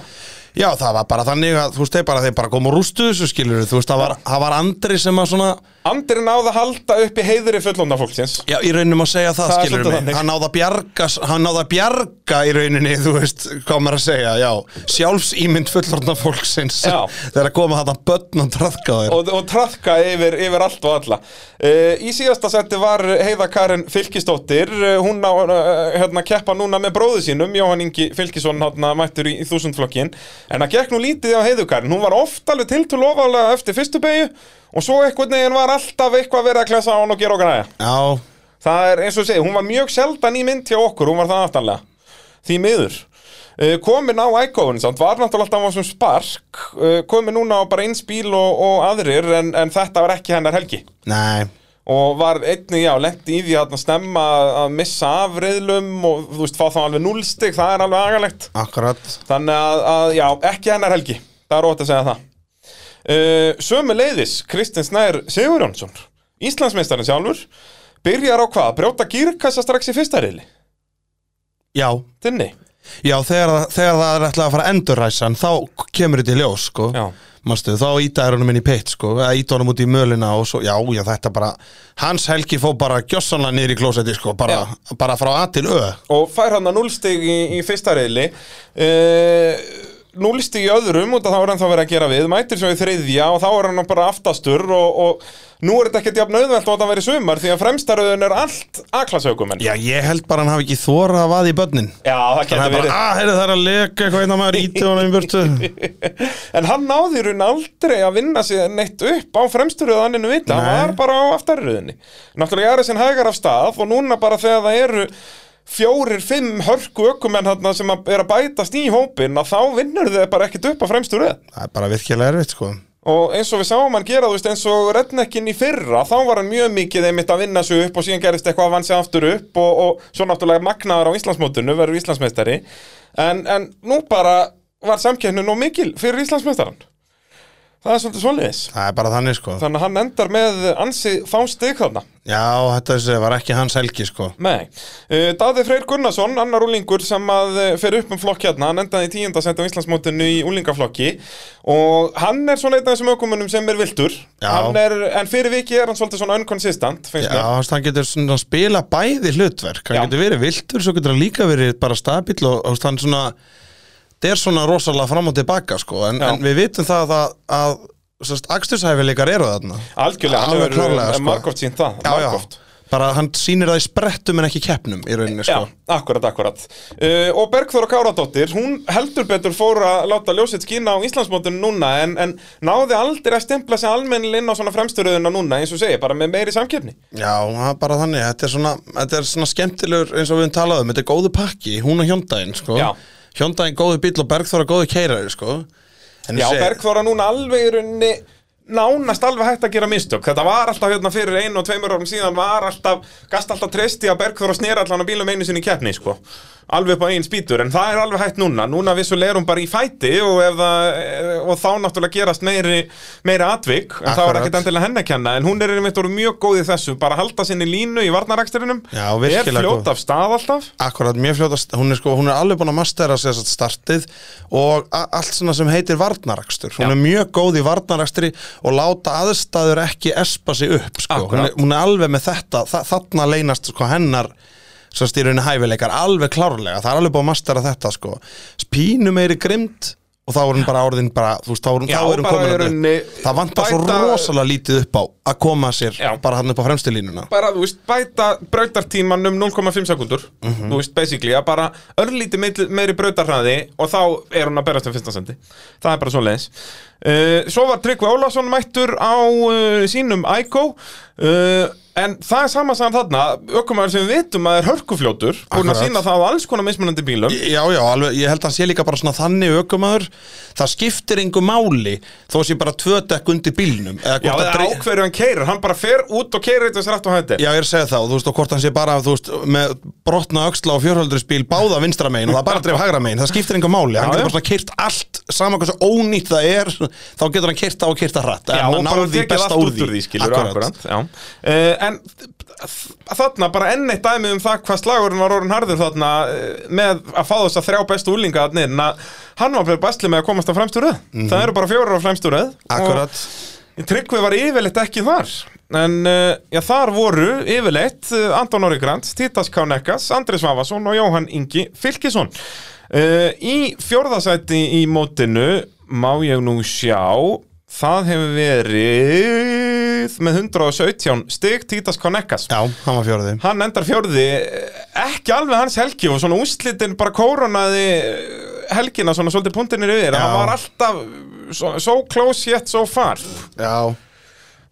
Speaker 2: Já, það var bara þannig að, þú veist, þeir bara, þeir bara komu rústu þessu skilur, þú veist, það var, það var Andri sem að svona,
Speaker 1: Andri náði að halda upp í heiðri fullónda fólksins
Speaker 2: Já, í rauninum að segja það,
Speaker 1: Það er
Speaker 2: skilur
Speaker 1: svolítið
Speaker 2: mig
Speaker 1: þannig.
Speaker 2: Hann náða að bjarga, hann náða að bjarga í rauninni, þú veist, hvað maður að segja, já Sjálfsýmynd fullorðna fólksins
Speaker 1: Já.
Speaker 2: Þegar að koma þarna börn og trafka þér
Speaker 1: og, og trafka yfir, yfir allt og alla uh, Í síðasta seti var Heiða Karin Fylkisdóttir uh, Hún á, uh, hérna, keppa núna með bróðu sínum Jóhann Ingi Fylkisson hérna, mættur í, í þúsundflokkin En það gekk nú lítið á Heiðu Karin Hún var oft alveg til til ofalega eftir fyrstu beigju Og svo einhvern veginn var alltaf eitthvað verið að klesa á hann og gera okkar aðja
Speaker 2: Já,
Speaker 1: Það er eins og ég segi, hún var mjög sjaldan í mynd hjá okkur, hún var það aftanlega Því miður Eh, Komin á Icon, samt var náttúrulega alltaf á sem spark eh, Komin núna á bara eins bíl og, og aðrir en, en þetta var ekki hennar helgi
Speaker 2: nei,
Speaker 1: Og var einnig, já, lendi í því að snemma að missa af reyðlum Og þú veist, fá þá alveg núlstig, það er alveg agalegt
Speaker 2: akkurat
Speaker 1: Þannig að, að, já, ekki hennar helgi Það er ótt að segja það uh, Sömu leiðis, Kristinn Snær Sigurjónsson Íslandsmeistarinn sjálfur Byrjar á hvað? Að Brjóta gírkassa strax í fyrsta reyli
Speaker 2: Já,
Speaker 1: Þinni
Speaker 2: já, þegar, það- þegar það er ætlað að fara að endurræsa hann, þá kemur þetta í ljós, sko
Speaker 1: Já.
Speaker 2: Manstu, þá íta er honum inn í pitt, sko eða íta honum út í mölina og svo, já, já, þetta bara Hans helgi fó bara gjössanlega niður í klósetti, sko, bara, bara frá A til Ö
Speaker 1: Og fær hann að núlstig í, í fyrsta reyli uh, Núlstig í öðrum og þá er hann þá verið að gera við Mætir svo í þriðja og þá er hann bara aftastur Og, og nú er þetta ekkert jafn auðvelt og það verið sumar Því að fremstaröðun er allt aklasaugum
Speaker 2: Já, ég held bara hann hafi ekki þórað að vaða í börnin
Speaker 1: Já, það
Speaker 2: Það
Speaker 1: getur
Speaker 2: er bara,
Speaker 1: verið
Speaker 2: að, heyrðu, það er að leka eitthvað innan maður íti honum í burtu
Speaker 1: En hann náði í raun aldrei að vinna sér neitt upp á fremsturöðaninu vita, hann
Speaker 2: Nei.
Speaker 1: var bara á aftarröðinni. Náttúrulega er þessin hægar af stað og núna bara þegar það eru fjórir, fimm hörku ökumenn þarna sem að- er að bætast í hópin að þá vinnur þau bara ekkit upp á fremsturöð.
Speaker 2: Það er bara virkilega erfitt, sko
Speaker 1: Og eins og við sáum hann gera, þú veist, eins og Redneckin í fyrra, þá var hann mjög mikið einmitt að vinna sig upp og síðan gerist eitthvað að vann sig aftur upp og, og svo náttúrulega magnaðar á Íslandsmótinu, verður Íslandsmeistari. En, en nú bara var samkeppnin nóg mikil fyrir Íslandsmeistaran. það er svolítið svoleiðis
Speaker 2: Það er bara þannig sko
Speaker 1: þannig að hann endar með ansi fá stig þarna
Speaker 2: Já, þetta þessi var ekki hans helgi sko
Speaker 1: Nei, uh, Daði Freyr Gunnarsson, annar úlingur sem að uh, fer upp um flokk hérna, hann endaði í tíundasend á Íslandsmótinu í úlingaflokki og hann er svona einn af þessum ökumunum sem er viltur,
Speaker 2: Já.
Speaker 1: Hann er, en fyrir viki er hann svolítið svona unconsistent, finnst
Speaker 2: Já,
Speaker 1: mér.
Speaker 2: hans, hann getur svona að spila bæði hlutverk Hann
Speaker 1: Já.
Speaker 2: getur verið viltur, svo getur hann líka verið bara stabill og hans, hann svona Það er svona rosalega fram og tilbaka sko En,
Speaker 1: Já.
Speaker 2: en við vitum það að, að, að Akstushæfileikar eru þarna
Speaker 1: Algjörlega, hann
Speaker 2: Alveg
Speaker 1: hefur
Speaker 2: klárlega,
Speaker 1: sko.
Speaker 2: sko.
Speaker 1: margóft sínt það,
Speaker 2: Já, já,
Speaker 1: margoft.
Speaker 2: bara hann sýnir það í sprettum en ekki í keppnum í rauninni sko
Speaker 1: Já, akkurat, akkurat uh, Og Bergþóra Káradóttir, hún heldur betur fór að láta ljósið skína á Íslandsmótinu núna en, en náði aldrei að stempla sig almennilega inn á svona fremsturöðuna núna eins og segja, bara með meiri samkeppni
Speaker 2: Já, það er bara þannig, þetta er svona, þetta er svona skemmtilegur eins og við höfum talað um, þetta er góðu pakki, hún og hjóndaginn, sko.
Speaker 1: Já.
Speaker 2: Hjóndaginn góðu bíl og Bergþóra góðu keirari, sko. En
Speaker 1: Já,
Speaker 2: þessi-
Speaker 1: Bergþóra núna alveg í rauninni nánast alveg hægt að gera mistök þetta var alltaf hérna fyrir einu og tveimur árum síðan var alltaf, gast alltaf treysti að Bergþóra snera allan á bílum einu sinni í keppni sko. alveg upp á einn spýtur, en það er alveg hægt núna núna vissulega er hún bara í fæti og, ef það, og þá náttúrulega gerast meiri meiri atvik, en það var
Speaker 2: Akkurat.
Speaker 1: ekkert endilega henni að kenna, en hún er einmitt orðið mjög góð í þessu, bara halda sinni línu í varnaraksturinnum
Speaker 2: Já,
Speaker 1: er
Speaker 2: virkilega
Speaker 1: fljót
Speaker 2: góð.
Speaker 1: af stað alltaf
Speaker 2: Akkurat, mjög fljótast, hún er sko, hún er alveg búin að mastera sér satt startið og a- allt svona sem heitir varnarakstur. Hún
Speaker 1: Já.
Speaker 2: er mjög góð í varnarakstri og láta aðstæður ekki espa sig upp, sko. Hún er,
Speaker 1: Akkurat.
Speaker 2: hún er alveg með þetta, þa þarna leynast sko hennar svo stýrunni hæfileikar alveg klárlega, það er alveg búin að mastera þetta, sko. Spínu meiri grimt og þá er hún bara orðin bara, þú veist, þá er hún,
Speaker 1: Já,
Speaker 2: þá er hún
Speaker 1: bara í
Speaker 2: komin
Speaker 1: rauninni
Speaker 2: upp. Það vantar svo
Speaker 1: bæta-
Speaker 2: rosalega lítið upp á að koma sér
Speaker 1: Já.
Speaker 2: bara hann upp á fremstu línuna.
Speaker 1: bara, þú veist, bæta brautartíman um 0,5 sekundur
Speaker 2: Mhm.
Speaker 1: þú veist, basically, að bara örlíti meiri brautarhraði og þá er hún að berast um fyrsta sendi það er bara svo leiðis svo var Tryggvi Ólafsson mættur á uh, sínum Aiko uh, en það er sama saman þarna ökumæður sem við vitum að er hörkufljótur búin að
Speaker 2: Akkurat.
Speaker 1: sína það á alls konar mismunandi bílum
Speaker 2: Já, já, alveg, ég held að hann sé líka bara svona þannig ökumaður, það skiptir engu máli þó sé bara tvö dekk undir bílnum
Speaker 1: Já,
Speaker 2: eða hvort
Speaker 1: það er
Speaker 2: að dre...
Speaker 1: ákverju hann keirir, hann bara fer út og keirir þetta sér aftur á hætti
Speaker 2: Já, ég er að segja þá, þú veist, og hvort hann sé bara, þú veist, með brotna öxla og fjörhöldrisbíl báða vinstra megin og það bara dreif hægra megin, það skiptir engu máli,
Speaker 1: Já,
Speaker 2: hann getur
Speaker 1: já.
Speaker 2: bara svona keirt allt, sama hversu ónýtt það er, þá getur hann keirt það og keirt það hratt,
Speaker 1: Já,
Speaker 2: en
Speaker 1: og
Speaker 2: hann
Speaker 1: bara
Speaker 2: náður því
Speaker 1: tekið
Speaker 2: besta
Speaker 1: allt út
Speaker 2: úr því.
Speaker 1: úr því, skilur akkurat, akkurat uh, En þ- þarna bara enn eitt dæmi um það hvað slagurinn var orðin harður þarna eh, með að fá þess að þrjá bestu úlinga þarna inn að hann var bara bæsli með að komast á fremstu röð Það eru bara fjórar á fremstu röð
Speaker 2: Mhm. Akkurat,
Speaker 1: Og Tryggvi var yfirleitt ekki þar En uh, já, þar voru yfirleitt uh, Anton Óri Grant, Títas K. Nekkas, Andri Svavason og Jóhann Ingi Fylkisson uh, Í fjórðasæti í mótinu má ég nú sjá Það hefur verið með 117 stig Títas K. Nekkas
Speaker 2: já, hann var fjörði.
Speaker 1: Hann endar fjórði, eh, ekki alveg hans helgi og svona úslitin bara kóronaði eh, helgina svona svolítið puntinir yfir
Speaker 2: Já.
Speaker 1: Hann var alltaf so, so close yet so far
Speaker 2: Já,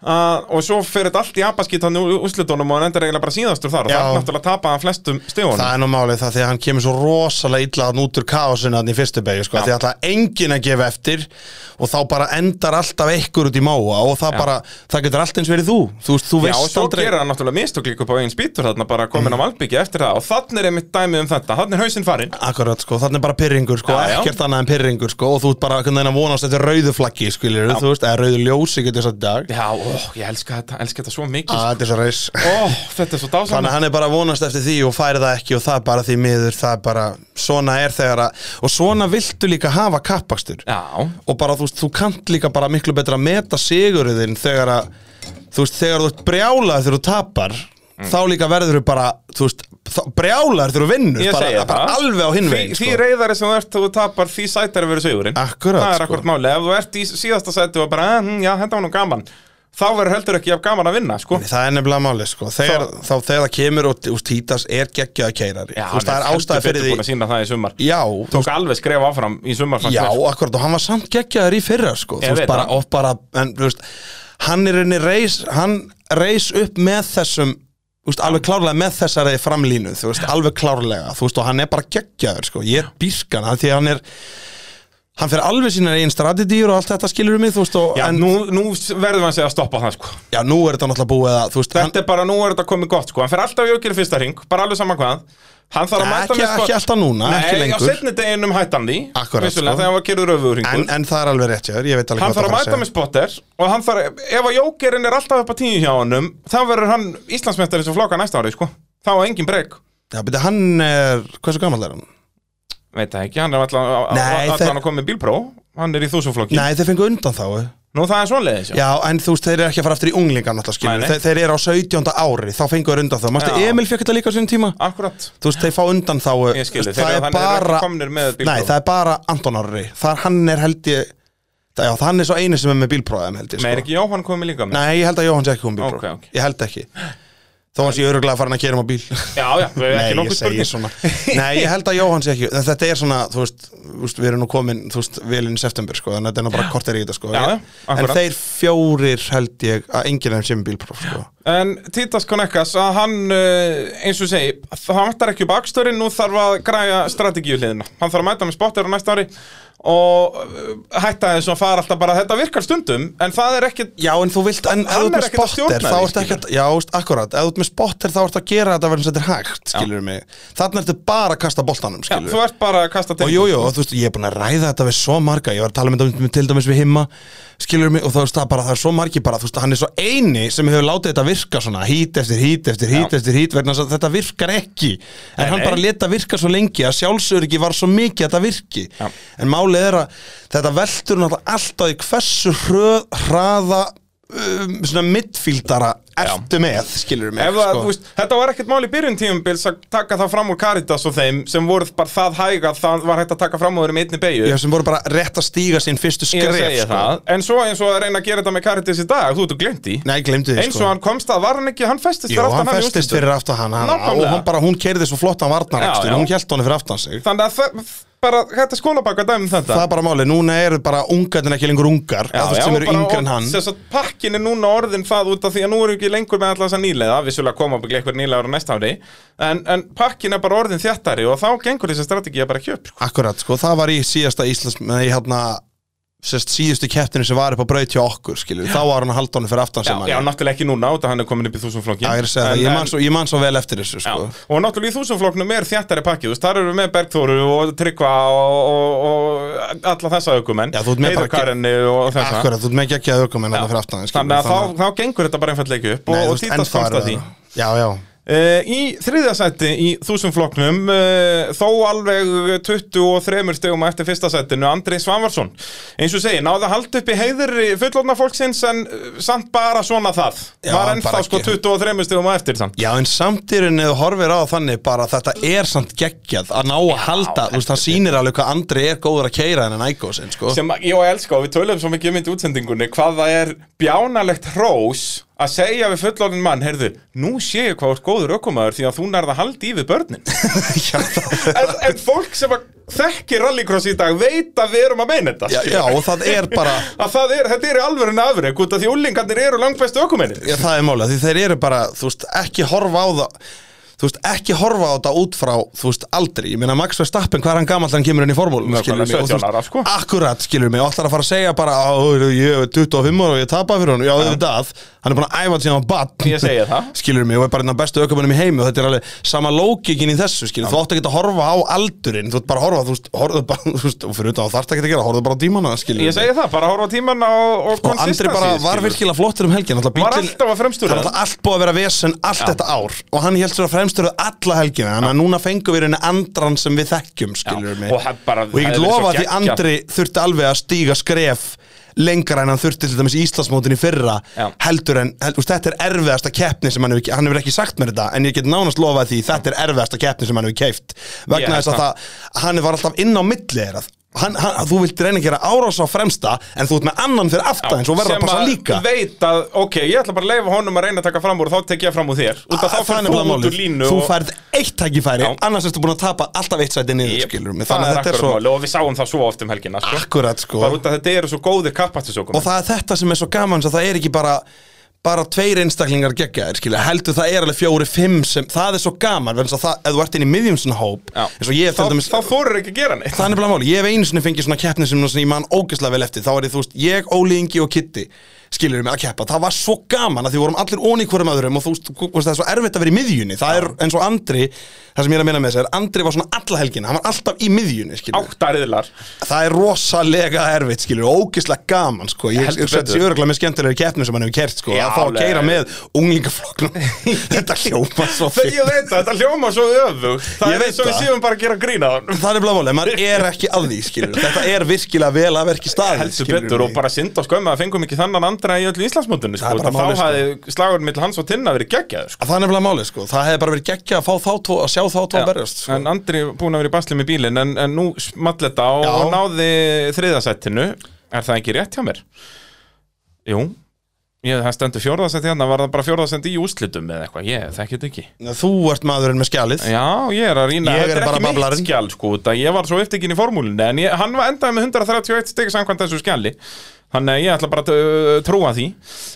Speaker 1: að, og svo fyrir þetta allt í abaskýt hann úr úrslitunum og hann endar eiginlega bara síðastur þar og
Speaker 2: Já.
Speaker 1: það er náttúrulega tapaði hann flestum stíðunum
Speaker 2: Það er nú málið það því að hann kemur svo rosalega illa hann út úr kaosinu hann í fyrstu beigju sko,
Speaker 1: Já.
Speaker 2: því að það enginn að gefa eftir og þá bara endar alltaf ekkur út í máa og það bara, það getur allt eins verið þú þú veist,
Speaker 1: Já,
Speaker 2: þú
Speaker 1: og
Speaker 2: veist
Speaker 1: svo
Speaker 2: aldrei
Speaker 1: gerir hann náttúrulega mistök líka upp á eigin spýtur þarna bara komin á Malbyggi eftir það og þannig er einmitt dæmið um þetta, þannig er hausinn farinn
Speaker 2: Akkurat sko, þannig bara pyrringur sko,
Speaker 1: Já, já.
Speaker 2: ekkert annað en pyrringur sko og þú ert bara einhvern veginn að vonast eftir rauðu flaggi skiljur, þú veist, eða rauðu ljósi getur sagt í dag
Speaker 1: Já, ó, ég elska þetta, elska þetta svo
Speaker 2: að
Speaker 1: mikið
Speaker 2: þetta er svo reis
Speaker 1: Ó, þetta er svo dásann
Speaker 2: Ah. Þannig að hann er bara að vonast eftir því og færi það ekki og það er bara því miður, það er bara, svona er þegar að, og svona viltu líka hafa kappakstur.
Speaker 1: Já,
Speaker 2: og bara þú veist, þú kannt líka bara miklu betra að meta sigurðin þegar að þú veist, þegar þú ert brjálaður þegar þú tapar
Speaker 1: Mm.
Speaker 2: þá líka verður þú bara þú veist, þá- brjálaður þegar þú vinnur
Speaker 1: ég
Speaker 2: bara,
Speaker 1: segja
Speaker 2: bara
Speaker 1: það
Speaker 2: alveg á hinn veginn sko.
Speaker 1: Því, því reyðari sem þú ert þegar þú tapar, því sætari verður sigurinn
Speaker 2: Akkurat,
Speaker 1: Það er
Speaker 2: sko.
Speaker 1: akkurat máli, ef þú ert í síðasta sæti og bara, hm, já, þetta var nú gaman Þá verður heldur ekki jafn gaman að vinna, sko
Speaker 2: Það er nefnilega máli, sko Þegar, þá, þegar það kemur og úst, Títas er geggjaða keirari
Speaker 1: Já,
Speaker 2: Þú veist, það er ástæði fyrir
Speaker 1: búin að
Speaker 2: því
Speaker 1: sína það í sumar
Speaker 2: Já, þú
Speaker 1: Tók alveg skref áfram í sumar fannst
Speaker 2: Já,
Speaker 1: mér.
Speaker 2: akkurat, og hann var samt geggjaður í fyrra sko,
Speaker 1: Ég
Speaker 2: þú veist
Speaker 1: veit
Speaker 2: bara,
Speaker 1: það.
Speaker 2: og bara en, þú veist, hann er henni reis hann reis upp með þessum þú veist, alveg klárlega með þessari framlínu þú veist, alveg klárlega, þú veist, og hann er bara geggjaður sko, ég er býskan, því að hann er hann fer alveg sínar einn strategíur og allt þetta skilur mig, þú veist, og,
Speaker 1: Já,
Speaker 2: en
Speaker 1: nú, nú verðum hann segja að stoppa það, sko
Speaker 2: já, nú er þetta náttúrulega búið að, þú veist, hann,
Speaker 1: Þetta er bara, nú er þetta komið gott, sko Hann fer alltaf í aukil fyrsta ring, bara alveg sama hvað Hann þarf að
Speaker 2: Nei,
Speaker 1: mæta
Speaker 2: ekki-
Speaker 1: með sko
Speaker 2: ekki alltaf núna,
Speaker 1: Nei,
Speaker 2: ekki lengur.
Speaker 1: á setni deginum hættan því
Speaker 2: Akkurat,
Speaker 1: vissulega,
Speaker 2: sko.
Speaker 1: Þegar hann var kyrður öfugur
Speaker 2: en,
Speaker 1: ringur
Speaker 2: en það er alveg rétt hjá þér, ég veit alveg
Speaker 1: Hann
Speaker 2: hvað
Speaker 1: þarf að
Speaker 2: það
Speaker 1: mæta með spotter Og hann þarf, ef að jókerinn er alltaf upp á tíu hjá honum Þá verður hann Íslandsmeistari sem flokka næsta ári, sko Þá er engin breyk
Speaker 2: Já, beti, hann er, hversu gammal er hann?
Speaker 1: Veit það ekki, hann er allan,
Speaker 2: Nei,
Speaker 1: allan
Speaker 2: þeir-
Speaker 1: að koma með bílpró Hann er í þúsumflokki
Speaker 2: Nei, þeir fengu undan þá eh.
Speaker 1: Nú það er svonleiðis, já
Speaker 2: Já, en þú veist, þeir eru ekki að fara aftur í unglingan alltaf skilur
Speaker 1: Nei, nei.
Speaker 2: Þe, Þeir eru á 17. ári, þá fengu þeir undan þá Mastu,
Speaker 1: Já.
Speaker 2: Emil fekk þetta líka á sinni tíma
Speaker 1: Akkurat,
Speaker 2: Þú veist, þeir fá undan þá
Speaker 1: ég skilði
Speaker 2: Það er bara,
Speaker 1: komnir með bílpró
Speaker 2: nei, það er bara Anton Orri Það er hann er held ég það, Já, það hann er svo einu sem er með bílpróðum held ég
Speaker 1: Nei, er
Speaker 2: sko.
Speaker 1: ekki Jóhann komið líka með?
Speaker 2: Nei, ég held að Jóhann sé ekki hún bílpróð
Speaker 1: Ok, ok.
Speaker 2: Ég held ekki Þó hans ég öruglega farin að kera um á bíl
Speaker 1: Já, já, við erum
Speaker 2: Nei,
Speaker 1: ekki
Speaker 2: ég
Speaker 1: nokkuð
Speaker 2: segi
Speaker 1: spurning
Speaker 2: svona Nei, ég held að Jóhann sé ekki en Þetta er svona, þú veist, þú veist við erum nú komin Þú veist, velinn í september, sko Þannig að þetta er nú bara kortir í þetta, sko
Speaker 1: Já, já,
Speaker 2: En
Speaker 1: akkurat.
Speaker 2: þeir fjórir held ég að enginn af þeim sé með bílpróf, sko
Speaker 1: En Títas Konekkas, að hann, uh, eins og segi, það vantar ekki upp aksturinn, nú þarf að græja strategíu hliðina. Hann þarf að mæta með spotter á næsta ári og uh, hætta þess að fara alltaf bara, þetta virkar stundum, en það er ekki,
Speaker 2: Já, en þú vilt, en
Speaker 1: Hann
Speaker 2: ef þú ert
Speaker 1: er
Speaker 2: með
Speaker 1: ekkert að stjórna
Speaker 2: spotter Þá
Speaker 1: því,
Speaker 2: ert ekki að, já, þú veist, akkurat Ef þú ert með spotter þá ert að gera þetta verðins þetta er hægt, skilur mig Þannig ertu bara að kasta boltanum,
Speaker 1: já,
Speaker 2: skilur
Speaker 1: þú ert bara að kasta til.
Speaker 2: Og jú, jú, og þú veist, ég er búin að ræða þetta við svo marga Ég var að tala með þetta til dæmis við himma Skilur mig, og þú veist, það, bara, það er svo margi bara Þú veist, hann er svo eini sem hefur látið þetta virka svona Hít eftir hít eftir hít
Speaker 1: Já.
Speaker 2: eftir hít Vegna þess að þetta virkar ekki En
Speaker 1: Nei,
Speaker 2: hann
Speaker 1: nei.
Speaker 2: bara leta virka svo lengi Að sjálfsöryggi var svo mikið að þetta virki
Speaker 1: Já.
Speaker 2: En málið er að þetta veltur náttúrulega alltaf í hversu hröð, hraða um, Svona midfíldara ertu með, skilur mig sko.
Speaker 1: Ef það, þú veist, þetta var ekkert mál í byrjun tímubils að taka það fram úr Caritas og þeim sem voru bara það hæg að það var hægt að taka fram úr þeim einni beigju.
Speaker 2: Já, sem voru bara rétt að stíga sín fyrstu
Speaker 1: Ég
Speaker 2: skref sko.
Speaker 1: segi það. En svo eins og að reyna að gera þetta með Caritas í dag, þú ert glemt í.
Speaker 2: Nei, glemdu því sko.
Speaker 1: eins og hann komst að var hann ekki, hann festist
Speaker 2: Jú,
Speaker 1: fyrir aftan í
Speaker 2: hann festist
Speaker 1: úrslitum.
Speaker 2: fyrir aftan hann, hann og
Speaker 1: Nákvæmlega.
Speaker 2: hann bara, hún keirði svo flottan
Speaker 1: Já,
Speaker 2: varnarakstur,
Speaker 1: já.
Speaker 2: hún hjælt honum fyrir aftan sig
Speaker 1: þannig að það, bara, þetta er skólabakka dæmum þetta
Speaker 2: það er bara málið, núna eru bara ungarnir ekki lengur ungar, já, þú veist sem eru
Speaker 1: bara-
Speaker 2: yngri en
Speaker 1: og
Speaker 2: hann
Speaker 1: sem sagt, pakkin er núna orðin það út af því að nú eru ekki lengur með allans að nýlega vissulega koma upp ekki eitthvað nýlega á næsta ári en, en pakkin er bara orðin þjættari og þá gengur þessi strategið bara ekki upp sko.
Speaker 2: akkurat, sko, það var í síðasta Íslands nei, hérna, sérst, síðustu kepptinu sem var upp á braut hjá okkur, skilju þá var hann að halda honum fyrir aftan
Speaker 1: já,
Speaker 2: sig
Speaker 1: já,
Speaker 2: mann.
Speaker 1: náttúrulega ekki núna út af hann er komin upp í þúsumflokkin
Speaker 2: Já, ég er að segja það, ég man svo- ég man svo vel eftir þessu,
Speaker 1: Já,
Speaker 2: sko
Speaker 1: og náttúrulega í þúsumfloknum er þjættari pakkið, þú veist, þar eru við með Bergþóru og Tryggva og, og, og alla þessa aukumenn,
Speaker 2: Já, þú ert með bara-
Speaker 1: Karenni og þessa
Speaker 2: akkurat, þú ert með ekki að aukum en
Speaker 1: Já.
Speaker 2: fyrir aftan þig, skilurðu,
Speaker 1: Þannig að þá, þá gengur þetta bara einfallega ekki upp
Speaker 2: Nei,
Speaker 1: og,
Speaker 2: þú
Speaker 1: og
Speaker 2: veist,
Speaker 1: Títas
Speaker 2: ennþá
Speaker 1: komst
Speaker 2: eru
Speaker 1: að því.
Speaker 2: það. já, já,
Speaker 1: Uh, í þriðja sæti í þúsundfloknum, uh, þó alveg 23 stegum eftir fyrsta sætinu, Andrei Svanvarsson. Eins og segi, náði að halda upp í heiður fullorna fólksins en uh, samt bara svona það.
Speaker 2: Já,
Speaker 1: Var
Speaker 2: bara
Speaker 1: ennþá
Speaker 2: ekki.
Speaker 1: sko 23 stegum eftir samt.
Speaker 2: Já, en samt í rauninni þú horfir á þannig bara að þetta er samt geggjað að ná að halda, þú veist, það sýnir alveg hvað Andri er góður að keira en en ægósin, sko.
Speaker 1: sem að- ég og elska og við töluðum svo mikið um þetta í útsendingunni hvað það er bjánalegt hrós að segja við fullorðin mann, heyrðu, nú sé ég hvað þú ert góður ökumæður því að þú nærða haldi í við börnin
Speaker 2: já, það-
Speaker 1: en, en fólk sem að þekkir rallycross í dag veit að við erum að meina þetta
Speaker 2: já,
Speaker 1: skilur.
Speaker 2: já, og það er bara,
Speaker 1: að það er, þetta er í alvöru nafri út af því úlingarnir eru langbæstu ökumennir
Speaker 2: já, það er málið, því þeir eru bara, þú veist, ekki horfa á það, þú veist, ekki horfa á þetta út frá, þú veist, aldrei. Ég meina, Max Verstappen, hvað er hann gamall þegar hann kemur inn í formúlum,
Speaker 1: Nákvæmlega,
Speaker 2: skilur mig? og þú
Speaker 1: 17 ára,
Speaker 2: veist,
Speaker 1: sko.
Speaker 2: Akkurat, skilur mig, og ætlar að fara að segja bara, "Ó, ég er 25 ára og ég tapaði fyrir hann, já, auðvitað, hann er búin að æfa þetta síðan hann var barn.
Speaker 1: Ég segi það.
Speaker 2: skilur mig, og er bara einn af bestu aukumennum í heimi og þetta er alveg sama lókikin í þessu skilur, þú átt ekki að horfa á aldurinn þú ert bara að horfa, þú veist, horfðu bara þú veist, og fyrir utan þá þarft ekki að gera, horfðu bara á tímana skilur
Speaker 1: ég segi það, bara horfa á tíman og, og
Speaker 2: og Sko, Andri bara
Speaker 1: consistency,
Speaker 2: var
Speaker 1: skilur.
Speaker 2: virkilega flottur um helgin alltaf
Speaker 1: Var
Speaker 2: bíllinn-
Speaker 1: alltaf að fremstur
Speaker 2: Það er
Speaker 1: það.
Speaker 2: alltaf allt búið að vera vesen allt þetta ár og hann held sér að fremsturuð alla helgina þannig að núna fengum við henni andran sem við þekkjum skilur
Speaker 1: Já,
Speaker 2: mig
Speaker 1: og hann bara-
Speaker 2: og
Speaker 1: það
Speaker 2: ég get
Speaker 1: er svo
Speaker 2: lofa að því
Speaker 1: geggjað.
Speaker 2: Andri þurfti alveg að stíga skref lengra en hann þurfti til dæmis í Íslandsmótin í fyrra
Speaker 1: Já.
Speaker 2: heldur en, held, úst, þetta er erfiðasta keppni sem hann hefur, hann hefur ekki sagt mér þetta en ég get nánast lofað því þetta er erfiðasta keppni sem hann hefur keift
Speaker 1: Ég
Speaker 2: vegna
Speaker 1: held
Speaker 2: þess að
Speaker 1: það.
Speaker 2: það, hann var alltaf inn á milli þeirra Hann, hann, þú vilt reyna að gera árás á fremsta en þú ert með annan fyrir aftan eins og verður að
Speaker 1: sem
Speaker 2: passa líka
Speaker 1: veit að, ok, ég ætla bara að leifa honum að reyna að taka fram úr, þá tek ég fram úr þér út af þá
Speaker 2: Ah, Það er
Speaker 1: fyrir
Speaker 2: nefnilega
Speaker 1: þú út
Speaker 2: málið.
Speaker 1: úr línu
Speaker 2: Þú
Speaker 1: og-
Speaker 2: færð eitt tækifæri,
Speaker 1: Já.
Speaker 2: annars ertu búin að tapa alltaf eitt sæti niður,
Speaker 1: Jep,
Speaker 2: skilur mig
Speaker 1: það
Speaker 2: Þannig að
Speaker 1: er
Speaker 2: þetta er
Speaker 1: akkurat
Speaker 2: svo
Speaker 1: máli og við sáum það svo oft um helgina sko.
Speaker 2: akkurat sko
Speaker 1: bara út af þetta eru svo góðir kappastisókum
Speaker 2: Og það er þetta sem er svo gaman, svo það er ekki bara bara tveir einstaklingar geggjaðir, skilja, heldur það er alveg fjóri, fimm sem, það er svo gaman, vegna þess að það, ef þú ert inn í miðjum svona hóp,
Speaker 1: Já.
Speaker 2: eins og ég
Speaker 1: Þá,
Speaker 2: fyrir dæmis-
Speaker 1: þá þorir ekki að gera neitt
Speaker 2: Það er nefnilega máli, ég hef einu sinni fengið svona keppni sem sem ég man ógeðslega vel eftir Þá er ég, þú veist, ég, Óli Ingi og Kitty skilur mig að keppa Það var svo gaman að því vorum allir ón í hverjum öðrum og þú veist, þú veist, það er svo erfitt að vera í miðjunni Það er eins og Andri, það sem ég er að minna með þess er Andri var svona alla helgina, hann var alltaf í miðjunni, skilur
Speaker 1: Áttariðlar
Speaker 2: Það er rosalega erfitt, skilur, ógeðslega gaman, sko Ég
Speaker 1: Heldur
Speaker 2: er sett sér
Speaker 1: betur.
Speaker 2: örgulega með skemmtilegri keppni sem hann hefur kert, sko
Speaker 1: Já,
Speaker 2: Að fá að
Speaker 1: alveg.
Speaker 2: keira með unglingaflokknum Þetta hljóma svo
Speaker 1: Þegar ég veit það, þetta hljóma svo öfugt Það
Speaker 2: Ég
Speaker 1: er
Speaker 2: veit
Speaker 1: eins og við
Speaker 2: það.
Speaker 1: séum bara að gera grína þann
Speaker 2: Það er blá máli, maður er ekki að því, skilur Þetta er virkilega vel að verki staðið
Speaker 1: Heldur
Speaker 2: skilurðu
Speaker 1: betur
Speaker 2: mig.
Speaker 1: og bara synd á skömmu að fengum ekki þannan andra í öllu Íslandsmótinu sko.
Speaker 2: Það er
Speaker 1: Það
Speaker 2: bara
Speaker 1: þá
Speaker 2: málið, sko.
Speaker 1: hafði slagurinn mill hans og Tinna verið geggjaður sko.
Speaker 2: Að Það er nefnilega málið, sko Það hefði bara verið geggja að fá þá tvo, að sjá þá tvo að berjast sko.
Speaker 1: En Andri búin að vera í basli með bílinn En, en nú small þetta og,
Speaker 2: Já.
Speaker 1: og náði þriðasættinu Er það ekki rétt hjá mér? Jú Ég, það stendur fjórðasætt hérna, var það bara fjórðasætt í úslitum eða eitthvað, ég þekki þetta ekki
Speaker 2: Þú ert maðurinn með skjalið
Speaker 1: Já, ég er að rýna,
Speaker 2: Ég
Speaker 1: þetta
Speaker 2: er
Speaker 1: er
Speaker 2: bara
Speaker 1: ekki mitt
Speaker 2: bablarinn.
Speaker 1: skjál sko, það ég var svo upptekinn í formúlinu en ég, hann var endaði með 131 stegi samkvæmt þessu skjali þannig að ég ætla bara að uh, trúa því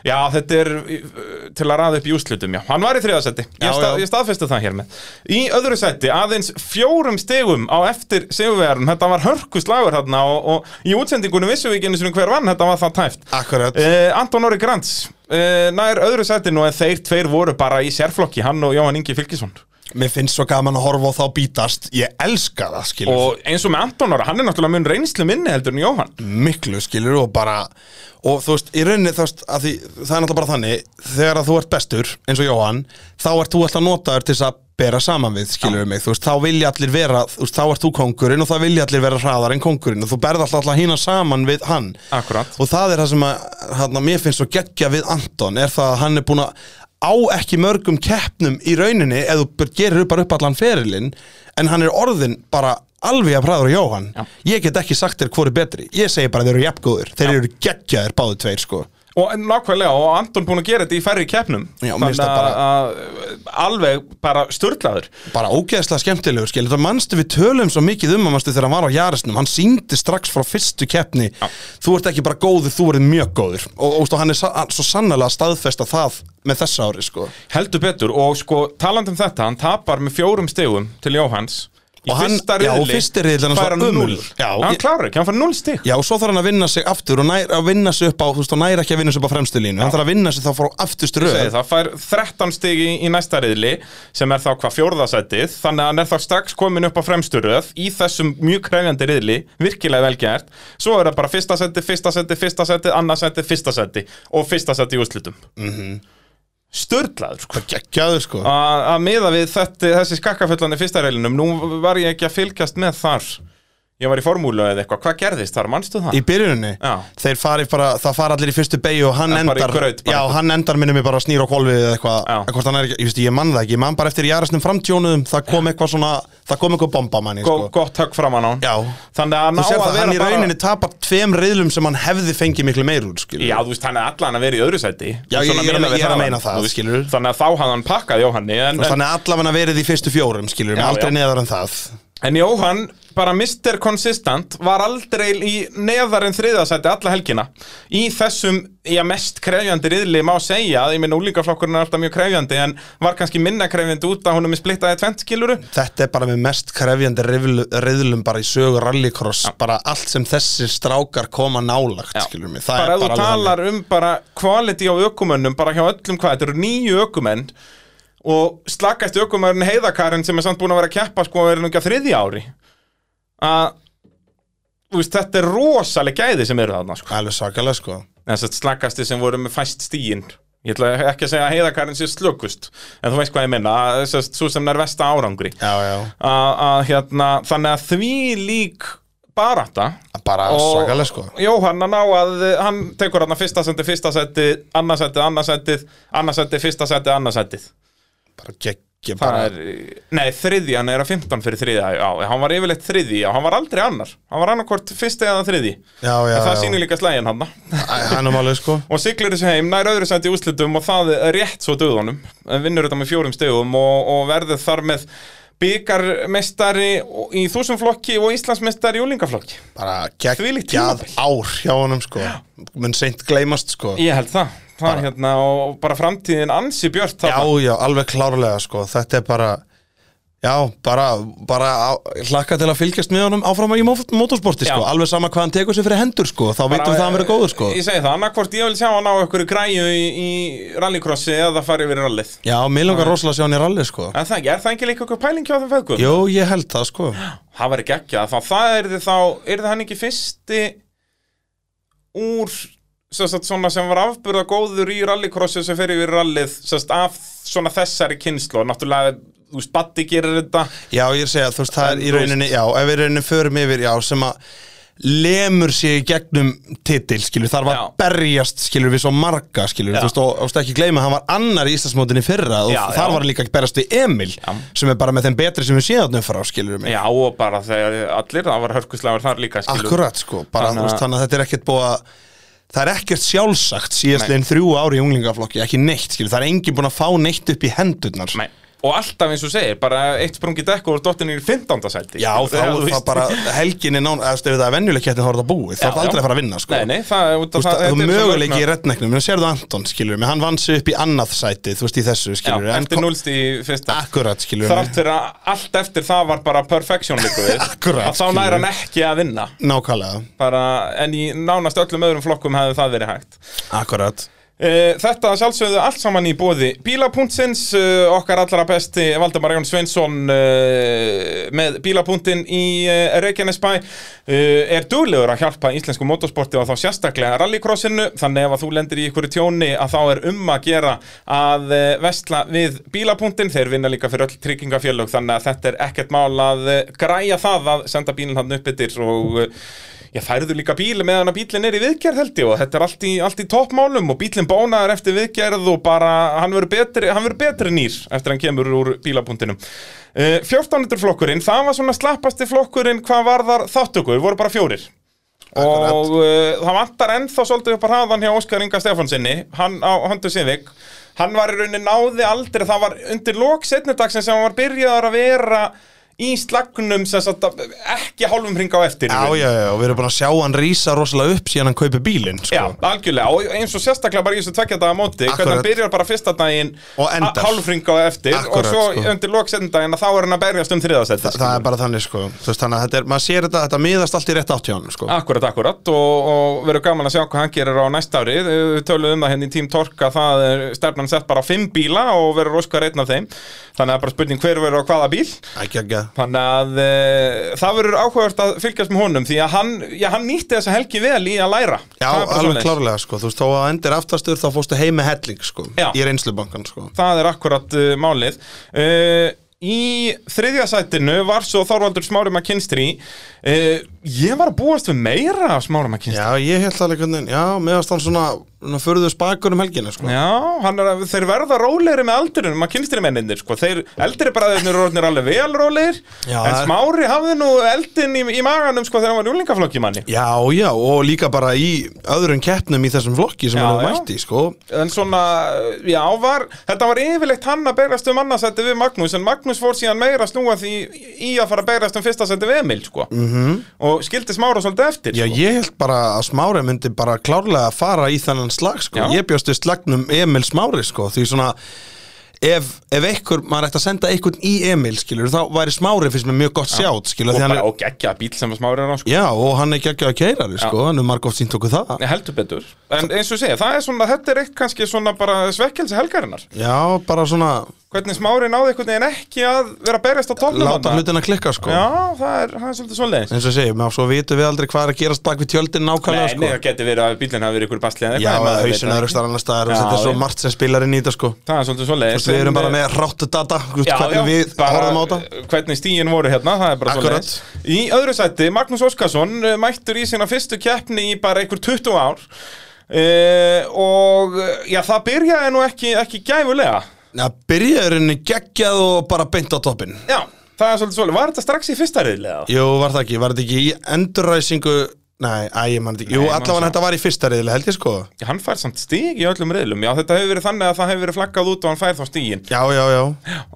Speaker 1: Já, þetta er uh, til að raða upp í úslutum, já Hann var í þriðasetti,
Speaker 2: Já,
Speaker 1: ég, stað,
Speaker 2: já.
Speaker 1: ég staðfesti það hér með Í öðru setti, aðeins fjórum stegum á eftir sigurvegarum þetta var hörkuslagur þarna og, og í útsendingunum vissum við ekki einu sinni hver vann, þetta var það tæft
Speaker 2: Akkurat
Speaker 1: Uh, Anton Orri Grants uh, nær öðru sætinu en þeir tveir voru bara í sérflokki hann og Jóhann Ingi Fylkisson
Speaker 2: Mér finnst svo gaman að horfa á þá bítast Ég elska það, skilur
Speaker 1: og eins og með Anton Orra, hann er náttúrulega mun reynslu minni heldur en Jóhann
Speaker 2: Miklu, skilur Og bara Og þú veist, í rauninni þú veist, að því, Það er náttúrulega bara þannig Þegar að þú ert bestur, eins og Jóhann Þá ert þú alltaf notaður til þess að bera saman við, skilur mig Þú veist, þá vilja allir vera Þú veist, þá ert þú kongurinn og þá vilja allir vera hraðar en kongurinn Og þú berð alltaf, alltaf hína saman við hann
Speaker 1: Akkurat.
Speaker 2: og það er það sem að hana, mér finnst svo geggja við Anton er það að hann er búin að á ekki mörgum keppnum í rauninni eða þú bara gerir upp bara upp allan ferilinn en hann er orðin bara alveg að præður á Jóhann
Speaker 1: Já.
Speaker 2: ég get ekki sagt þér hvori betri ég segi bara þeir eru jafngóður þeir eru geggjaðir báðu tveir sko
Speaker 1: og nákvæmlega, og Anton búin að gera þetta í færri keppnum
Speaker 2: Já, mér finnst það
Speaker 1: að að- alveg bara sturglaður
Speaker 2: bara ógeðslega skemmtilegur skil þetta mannstu við tölum svo mikið um að mannstu þegar hann var á Jarisnum hann síndi strax frá fyrstu keppni þú ert ekki bara góður, þú ert mjög góður og, og, og hann er sa hann- svo sannlega staðfesta það með þessa ári sko
Speaker 1: heldur betur og sko talandi um þetta, hann tapar með fjórum stegum til Jóhanns í
Speaker 2: Og hann-
Speaker 1: fyrsta
Speaker 2: já, og
Speaker 1: riðli
Speaker 2: fyrsti riðillinn hans
Speaker 1: fær
Speaker 2: var
Speaker 1: hann
Speaker 2: ömurlegur.
Speaker 1: 0
Speaker 2: Já,
Speaker 1: hann
Speaker 2: ég-
Speaker 1: klárar ekki, hann fær 0 steg
Speaker 2: Já, og svo þarf hann að vinna sig aftur og nær, að vinna sig upp á, þú veist, hann nær ekki að vinna sig upp á fremstu línu, hann þarf að vinna sig þá frá afturstu röð
Speaker 1: segir það, fær 13 stig í, í næsta riðli sem er þá hvað fjórðasætið þannig að hann er þá strax komin upp á fremstu röð í þessum mjög krefjandi riðli virkilega vel gert, svo er það bara fyrsta seti, fyrsta seti, fyrsta seti, annað seti, fyrsta seti og fyrsta seti í úrslitum mm
Speaker 2: Mhm.
Speaker 1: -hmm. Sturlaður sko
Speaker 2: Gekkjaður, sko
Speaker 1: A- að miða við þetta, þessi skakkafullan í fyrsta reilinum, nú var ég ekki að fylgjast með þar, ég var í formúlu eða eitthvað, hvað gerðist þar, manstu það?
Speaker 2: Í byrjuninni,
Speaker 1: Já.
Speaker 2: þeir fari bara, það fari allir í fyrstu beigju og hann
Speaker 1: Já, bara í
Speaker 2: endar,
Speaker 1: graut, bara
Speaker 2: já,
Speaker 1: eitthvað.
Speaker 2: hann endar minnum mig bara að snýra á kolvið eða eitthvað,
Speaker 1: Já.
Speaker 2: að hvort hann er ekki, ég veist, ég man það ekki, ég man bara eftir jarasnum framtjónuðum, það kom eitthvað svona, það kom eitthvað bomba manni,
Speaker 1: Gó,
Speaker 2: sko
Speaker 1: gott högg framan á hann
Speaker 2: Já,
Speaker 1: Þannig að ná
Speaker 2: þú sér
Speaker 1: að
Speaker 2: það,
Speaker 1: vera
Speaker 2: hann í
Speaker 1: bara-
Speaker 2: rauninni tapar tveim riðlum sem hann hefði fengið miklu meir úr, skilur
Speaker 1: Já, þú veist, hann er allan að vera í öðru sæti
Speaker 2: Já,
Speaker 1: Svona
Speaker 2: ég- ég er að-
Speaker 1: miðað við
Speaker 2: ég er að
Speaker 1: þaðan,
Speaker 2: meina það,
Speaker 1: þú veist.
Speaker 2: skilurðu.
Speaker 1: Þannig að þá hafði hann pakkað Jóhanni en, en,
Speaker 2: Þannig að allavega verið í fyrstu fjórum, skilur,
Speaker 1: Já,
Speaker 2: aldrei
Speaker 1: já.
Speaker 2: neðar en það
Speaker 1: en Jóhann, bara Mr. Consistent var aldrei í neðar en þriðasæti alla helgina Í þessum, já, mest krefjandi riðli má segja að Ég minn úlingaflokkurinn er alltaf mjög krefjandi En var kannski minna krefjandi út að hún er með splittaði tvent skiluru
Speaker 2: þetta er bara með mest krefjandi riðlu- riðlum bara í sögu rallycross bara allt sem þessir strákar koma nálagt
Speaker 1: Já.
Speaker 2: skilur mig, það
Speaker 1: Bara
Speaker 2: er
Speaker 1: ef þú
Speaker 2: bara
Speaker 1: talar um bara quality á ökumönnum Bara hjá öllum hvað, þetta eru nýju ökumenn Og slakast ökumönn heiðakarinn sem er samt búin að vera að keppa Sko er nú ekki að þriðja ári Að þú veist, þetta er rosaleg gæði sem eru þarna sko.
Speaker 2: alveg, alveg sakalega sko
Speaker 1: Þess að slakasti sem voru með fæst stíin Ég ætla ekki að segja að heiðakarinn sé slökust En þú veist hvað ég minna Svo sem nær vesta árangri
Speaker 2: já, já,
Speaker 1: að, að, hérna, Þannig að því lík barata
Speaker 2: bara
Speaker 1: Og-
Speaker 2: sakalega sko
Speaker 1: Jóhann að ná að eh, hann tekur hann fyrsta sendi, fyrsta sendi, annarsendið, annarsendið, annarsendið, fyrsta sendi, annarsendið.
Speaker 2: bara geggjum
Speaker 1: Það
Speaker 2: bara
Speaker 1: er, eh, nei, þriðji, hann er að 15 fyrir þriðja, já, hann var yfirleitt þriðji, já, hann var aldrei annar, hann var annarkvort fyrsti eða þriðji.
Speaker 2: já, já,
Speaker 1: En það
Speaker 2: já,
Speaker 1: sýnir líka slægin hann.
Speaker 2: hann er málið sko
Speaker 1: Og siglir þessu heim, nær öðru sendi í úslitum og það er rétt svo döðunum, vinnur þetta með fjórum stegum og, og verður þar með byggarmestari í þúsumflokki og Íslandsmestari í úlingaflokki
Speaker 2: bara
Speaker 1: Þvílíkt
Speaker 2: geggjað
Speaker 1: tímabil.
Speaker 2: ár hjá honum sko mun seint gleymast sko
Speaker 1: Ég held það, það er hérna og bara framtíðin ansi björt
Speaker 2: já, já, alveg klárlega sko þetta er bara já, bara, bara á, hlakka til að fylgjast með honum áfram í mót- motorsporti sko
Speaker 1: Já.
Speaker 2: alveg sama hvað hann tekur sér fyrir hendur sko þá vitum við það að hann verið góður sko
Speaker 1: eh, Ég segi það, annarkvort ég vil sjá hann á ykkur græju í, í rallycrossi eða fara yfir í rallið
Speaker 2: já, mér langar rosalega að sjá hann í rally sko
Speaker 1: En það ekki, er það ekki líka ykkur pæling hjá þeim feðgum?
Speaker 2: jú, ég held það sko
Speaker 1: Það var ekki ekki að þá það er þá, er það hann ekki fyrsti úr sem sagt, svona sem var afburða góður í rallycrossi sem fer yfir í rallið sem sagt, af svona þessari kynslu og náttúrulega, þú veist, Batti gerir þetta
Speaker 2: já, ég er að segja, þú veist, það
Speaker 1: En
Speaker 2: er í
Speaker 1: þú veist-
Speaker 2: rauninni já, ef við í rauninni förum yfir, já, sem að lemur sig í gegnum titil, skilur, þar var
Speaker 1: Já.
Speaker 2: berjast skilur við svo marga, skilur,
Speaker 1: Já.
Speaker 2: þú veist og, og veist, ekki gleyma, hann var annar í Íslandsmótinni fyrra og
Speaker 1: Já,
Speaker 2: þar
Speaker 1: já.
Speaker 2: var hann líka að berjast við Emil,
Speaker 1: Já.
Speaker 2: sem er bara með þeim betri sem við séðanum frá, skilur mig
Speaker 1: Já, og bara þegar allir, það var hörkuslegar þar líka skilur.
Speaker 2: Akkurat, sko,
Speaker 1: Þannig
Speaker 2: bara, þú
Speaker 1: að-
Speaker 2: veist, þannig að þetta er ekkert búið að það er ekkert sjálfsagt síðastlegin þrjú ári í unglingaflokki, ekki neitt, skilur, það er enginn búin að fá neitt upp í hendurnar
Speaker 1: Nei. Og alltaf eins og segir, bara eitt sprungi dekk og dottin í 15. sæti
Speaker 2: Já,
Speaker 1: skilur.
Speaker 2: þá
Speaker 1: þú
Speaker 2: er það
Speaker 1: veist.
Speaker 2: bara helginni nán, eða ef það er venjuleg keppni þá er það búið, þá
Speaker 1: Já,
Speaker 2: er það aldrei
Speaker 1: já.
Speaker 2: að fara að vinna sko.
Speaker 1: Nei, nei, það er út af
Speaker 2: Þú veist,
Speaker 1: það
Speaker 2: það
Speaker 1: þetta
Speaker 2: er
Speaker 1: er svo
Speaker 2: möguleiki í
Speaker 1: mörgna-
Speaker 2: reddneknum, en sérðu Anton, skilur mig, hann vann sig upp í annað sæti, þú veist, í þessu, skilur
Speaker 1: Já,
Speaker 2: mig,
Speaker 1: eftir núlst í fyrsta
Speaker 2: akkurat, skilur
Speaker 1: Þrátt
Speaker 2: mig,
Speaker 1: fyrir að allt eftir það var bara perfection líka við Að
Speaker 2: Akkurat,
Speaker 1: þá
Speaker 2: skilur.
Speaker 1: næra hann ekki að vinna
Speaker 2: nákvæmlega,
Speaker 1: bara, En í nánast öllum öðrum flokkum hefði það verið hægt
Speaker 2: akkurat,
Speaker 1: Eh, Þetta að sjálfsögðu allt saman í bóði Bílapunktsins, eh, okkar allra besti Valdemar Jón Sveinsson eh, með bílapunktin í eh, Reykjanesbæ eh, er duglegur að hjálpa íslensku motorsporti og þá sérstaklega rallycrossinu þannig ef að þú lendir í ykkur tjóni að þá er um að gera að eh, vesla við bílapunktin, þeir vinna líka fyrir öll tryggingafélög þannig að þetta er ekkert mál að eh, græja það að senda bílinn hann upp yfir og eh, Já, færðu líka bíl meðan að bílinn er í viðgerð held ég og þetta er allt í, allt í toppmálum og bílinn bónaður eftir viðgerð og bara hann verður betri, hann verður betri nýr eftir hann kemur úr bílapunktinum. Uh, 1400 flokkurinn, það var svona slappasti flokkurinn hvað varðar þáttöku, við vorum bara fjórir. Og uh, það vantar ennþá svolítið upp að hraðan hjá Óskar Inga Stefánsinni, hann á Höndu Sivik. Hann var í rauninni náði aldrei, það var undir lók setnidagsins sem hann var byrjaður að vera í slagnum sem sagt að- ekki hálfum hring á eftir. í
Speaker 2: já,
Speaker 1: rauninni.
Speaker 2: já, já, og við erum búin að sjá hann rísa rosalega upp síðan hann kaupi bílinn, sko,
Speaker 1: Já, algjörlega, og eins og sérstaklega bara í þessu tvekja daga móti,
Speaker 2: Akkurat.
Speaker 1: hvernig hann byrjar bara fyrsta daginn
Speaker 2: Og endar.
Speaker 1: hálfringa á eftir og
Speaker 2: Akkurat,
Speaker 1: svo
Speaker 2: sko.
Speaker 1: undir loksendaginn að þá er hann að berjast um þriðasætti
Speaker 2: það er bara þannig, sko, þú veist, þannig að þetta er, maður sér þetta, þetta miðast allt í rétt átt hjá hann, sko,
Speaker 1: Akkurat, akkurat og, og verður gaman að sjá hvað hann gerir á næsta ári við töluðum um það henni í tím Torka það er stefnan sett bara á fimm bíla og verður óskar einn af þeim þannig að bara spurning hver verður á hvaða bíl
Speaker 2: ekki, ekki,
Speaker 1: Þannig að e, það verður áhugavert að fylgjast með honum því að hann, já, hann nýtti þessa helgi vel í að læra Það
Speaker 2: já,
Speaker 1: er bara
Speaker 2: alveg
Speaker 1: svoleiðis.
Speaker 2: klárlega, sko, þú veist, þó að endir aftastur þá fórstu heim með helling, sko,
Speaker 1: Já.
Speaker 2: í reynslubankan, sko,
Speaker 1: það er akkurat uh, málið uh, Í þriðja sætinu var svo Þorvaldur Smári McKinstry uh, Ég var að búast við meira af Smári McKinstry
Speaker 2: Já, ég held það líka Já, meðast hann svona, svona Förðu spakur um helgina sko.
Speaker 1: Já, hann er að, þeir verða rólegri með aldurinn, maður kynstir mennindir, sko, þeir eldri bræðirnir eru orðnir alveg vel rólegir, en
Speaker 2: Já, það er-
Speaker 1: Smári hafði nú eldin í, í maganum, sko, þegar hann var júlingaflokki manni.
Speaker 2: já, já, og líka bara í öðrum keppnum í þessum flokki sem
Speaker 1: Já,
Speaker 2: hann
Speaker 1: já.
Speaker 2: mætti sko.
Speaker 1: En svona, já, var, þetta var yfirleitt hann að berast um annarsætti við Magnús en Magnús fór síðan meira að snúa því í að fara að berast um fyrsta sætti við Emil, sko -hmm. og skildi smára svolítið eftir,
Speaker 2: Mhm. Já,
Speaker 1: sko
Speaker 2: ég held bara að Smári myndi bara klárlega að fara í þannan slag sko.
Speaker 1: Já.
Speaker 2: Ég bjóst við slagnum Emil Smári sko. Því svona Ef, ef einhver, maður ætti að senda einhvern í Emil skilur, þá væri Smári fyrst með mjög gott sjátt skilur,
Speaker 1: og
Speaker 2: því hann
Speaker 1: bara
Speaker 2: er,
Speaker 1: og geggja bíl sem var smára rann, sko
Speaker 2: já, og hann er ekki ekki að keira sko, hann er margóft sínt okkur það
Speaker 1: Nei, heldur betur, en eins og ég segja, það er svona, þetta er eitt kannski svona bara svekkelsi helgarinnar
Speaker 2: Já, bara svona,
Speaker 1: hvernig smári náði einhvern veginn ekki að vera að berjast á toppnum
Speaker 2: láta
Speaker 1: þarna.
Speaker 2: hlutina klikka sko.
Speaker 1: Já, það er, það er svolítið svolítið
Speaker 2: eins og ég segi, með svo vitum við aldrei hvað er að gerast bak við tjöldin nákvæmlega
Speaker 1: Nei, nei,
Speaker 2: sko.
Speaker 1: það geti verið að bílinn hafi verið ykkur basli eða
Speaker 2: Já,
Speaker 1: eitthvað,
Speaker 2: eða
Speaker 1: maður veit
Speaker 2: hausinn
Speaker 1: það
Speaker 2: öðru
Speaker 1: ekki.
Speaker 2: starf annar staðar og
Speaker 1: Já,
Speaker 2: þetta er svo
Speaker 1: já.
Speaker 2: margt sem spilar inn í þetta sko
Speaker 1: Það er svolítið eh, svolítið
Speaker 2: Við erum bara með ráttu data, þú veist, hvernig við horfum á þetta
Speaker 1: hvernig stíin voru hérna, það er bara
Speaker 2: Akkurat.
Speaker 1: svoleiðis. Í öðru sæti, Magnús Óskarsson eh, mættur í sína fyrstu keppni í bara einhver 20 ár uh, og eh, já, það byrjaði nú ekki, ekki gæfulega
Speaker 2: Já, byrjaðurinn er geggjað og bara beint á toppin
Speaker 1: Já, það er svolítið svolítið, var þetta strax í fyrsta riðlega?
Speaker 2: Jú, var það ekki, var þetta ekki í enduræsingu Nei, æ, ég mann þetta Jú,
Speaker 1: Nei, ég man
Speaker 2: allavega
Speaker 1: þetta.
Speaker 2: þetta var í fyrsta reyðilega, held ég sko
Speaker 1: Hann fær samt stig í öllum reyðlum Já, þetta hefur verið þannig að það hefur verið flaggað út og hann fær þá stigin
Speaker 2: Já, já, já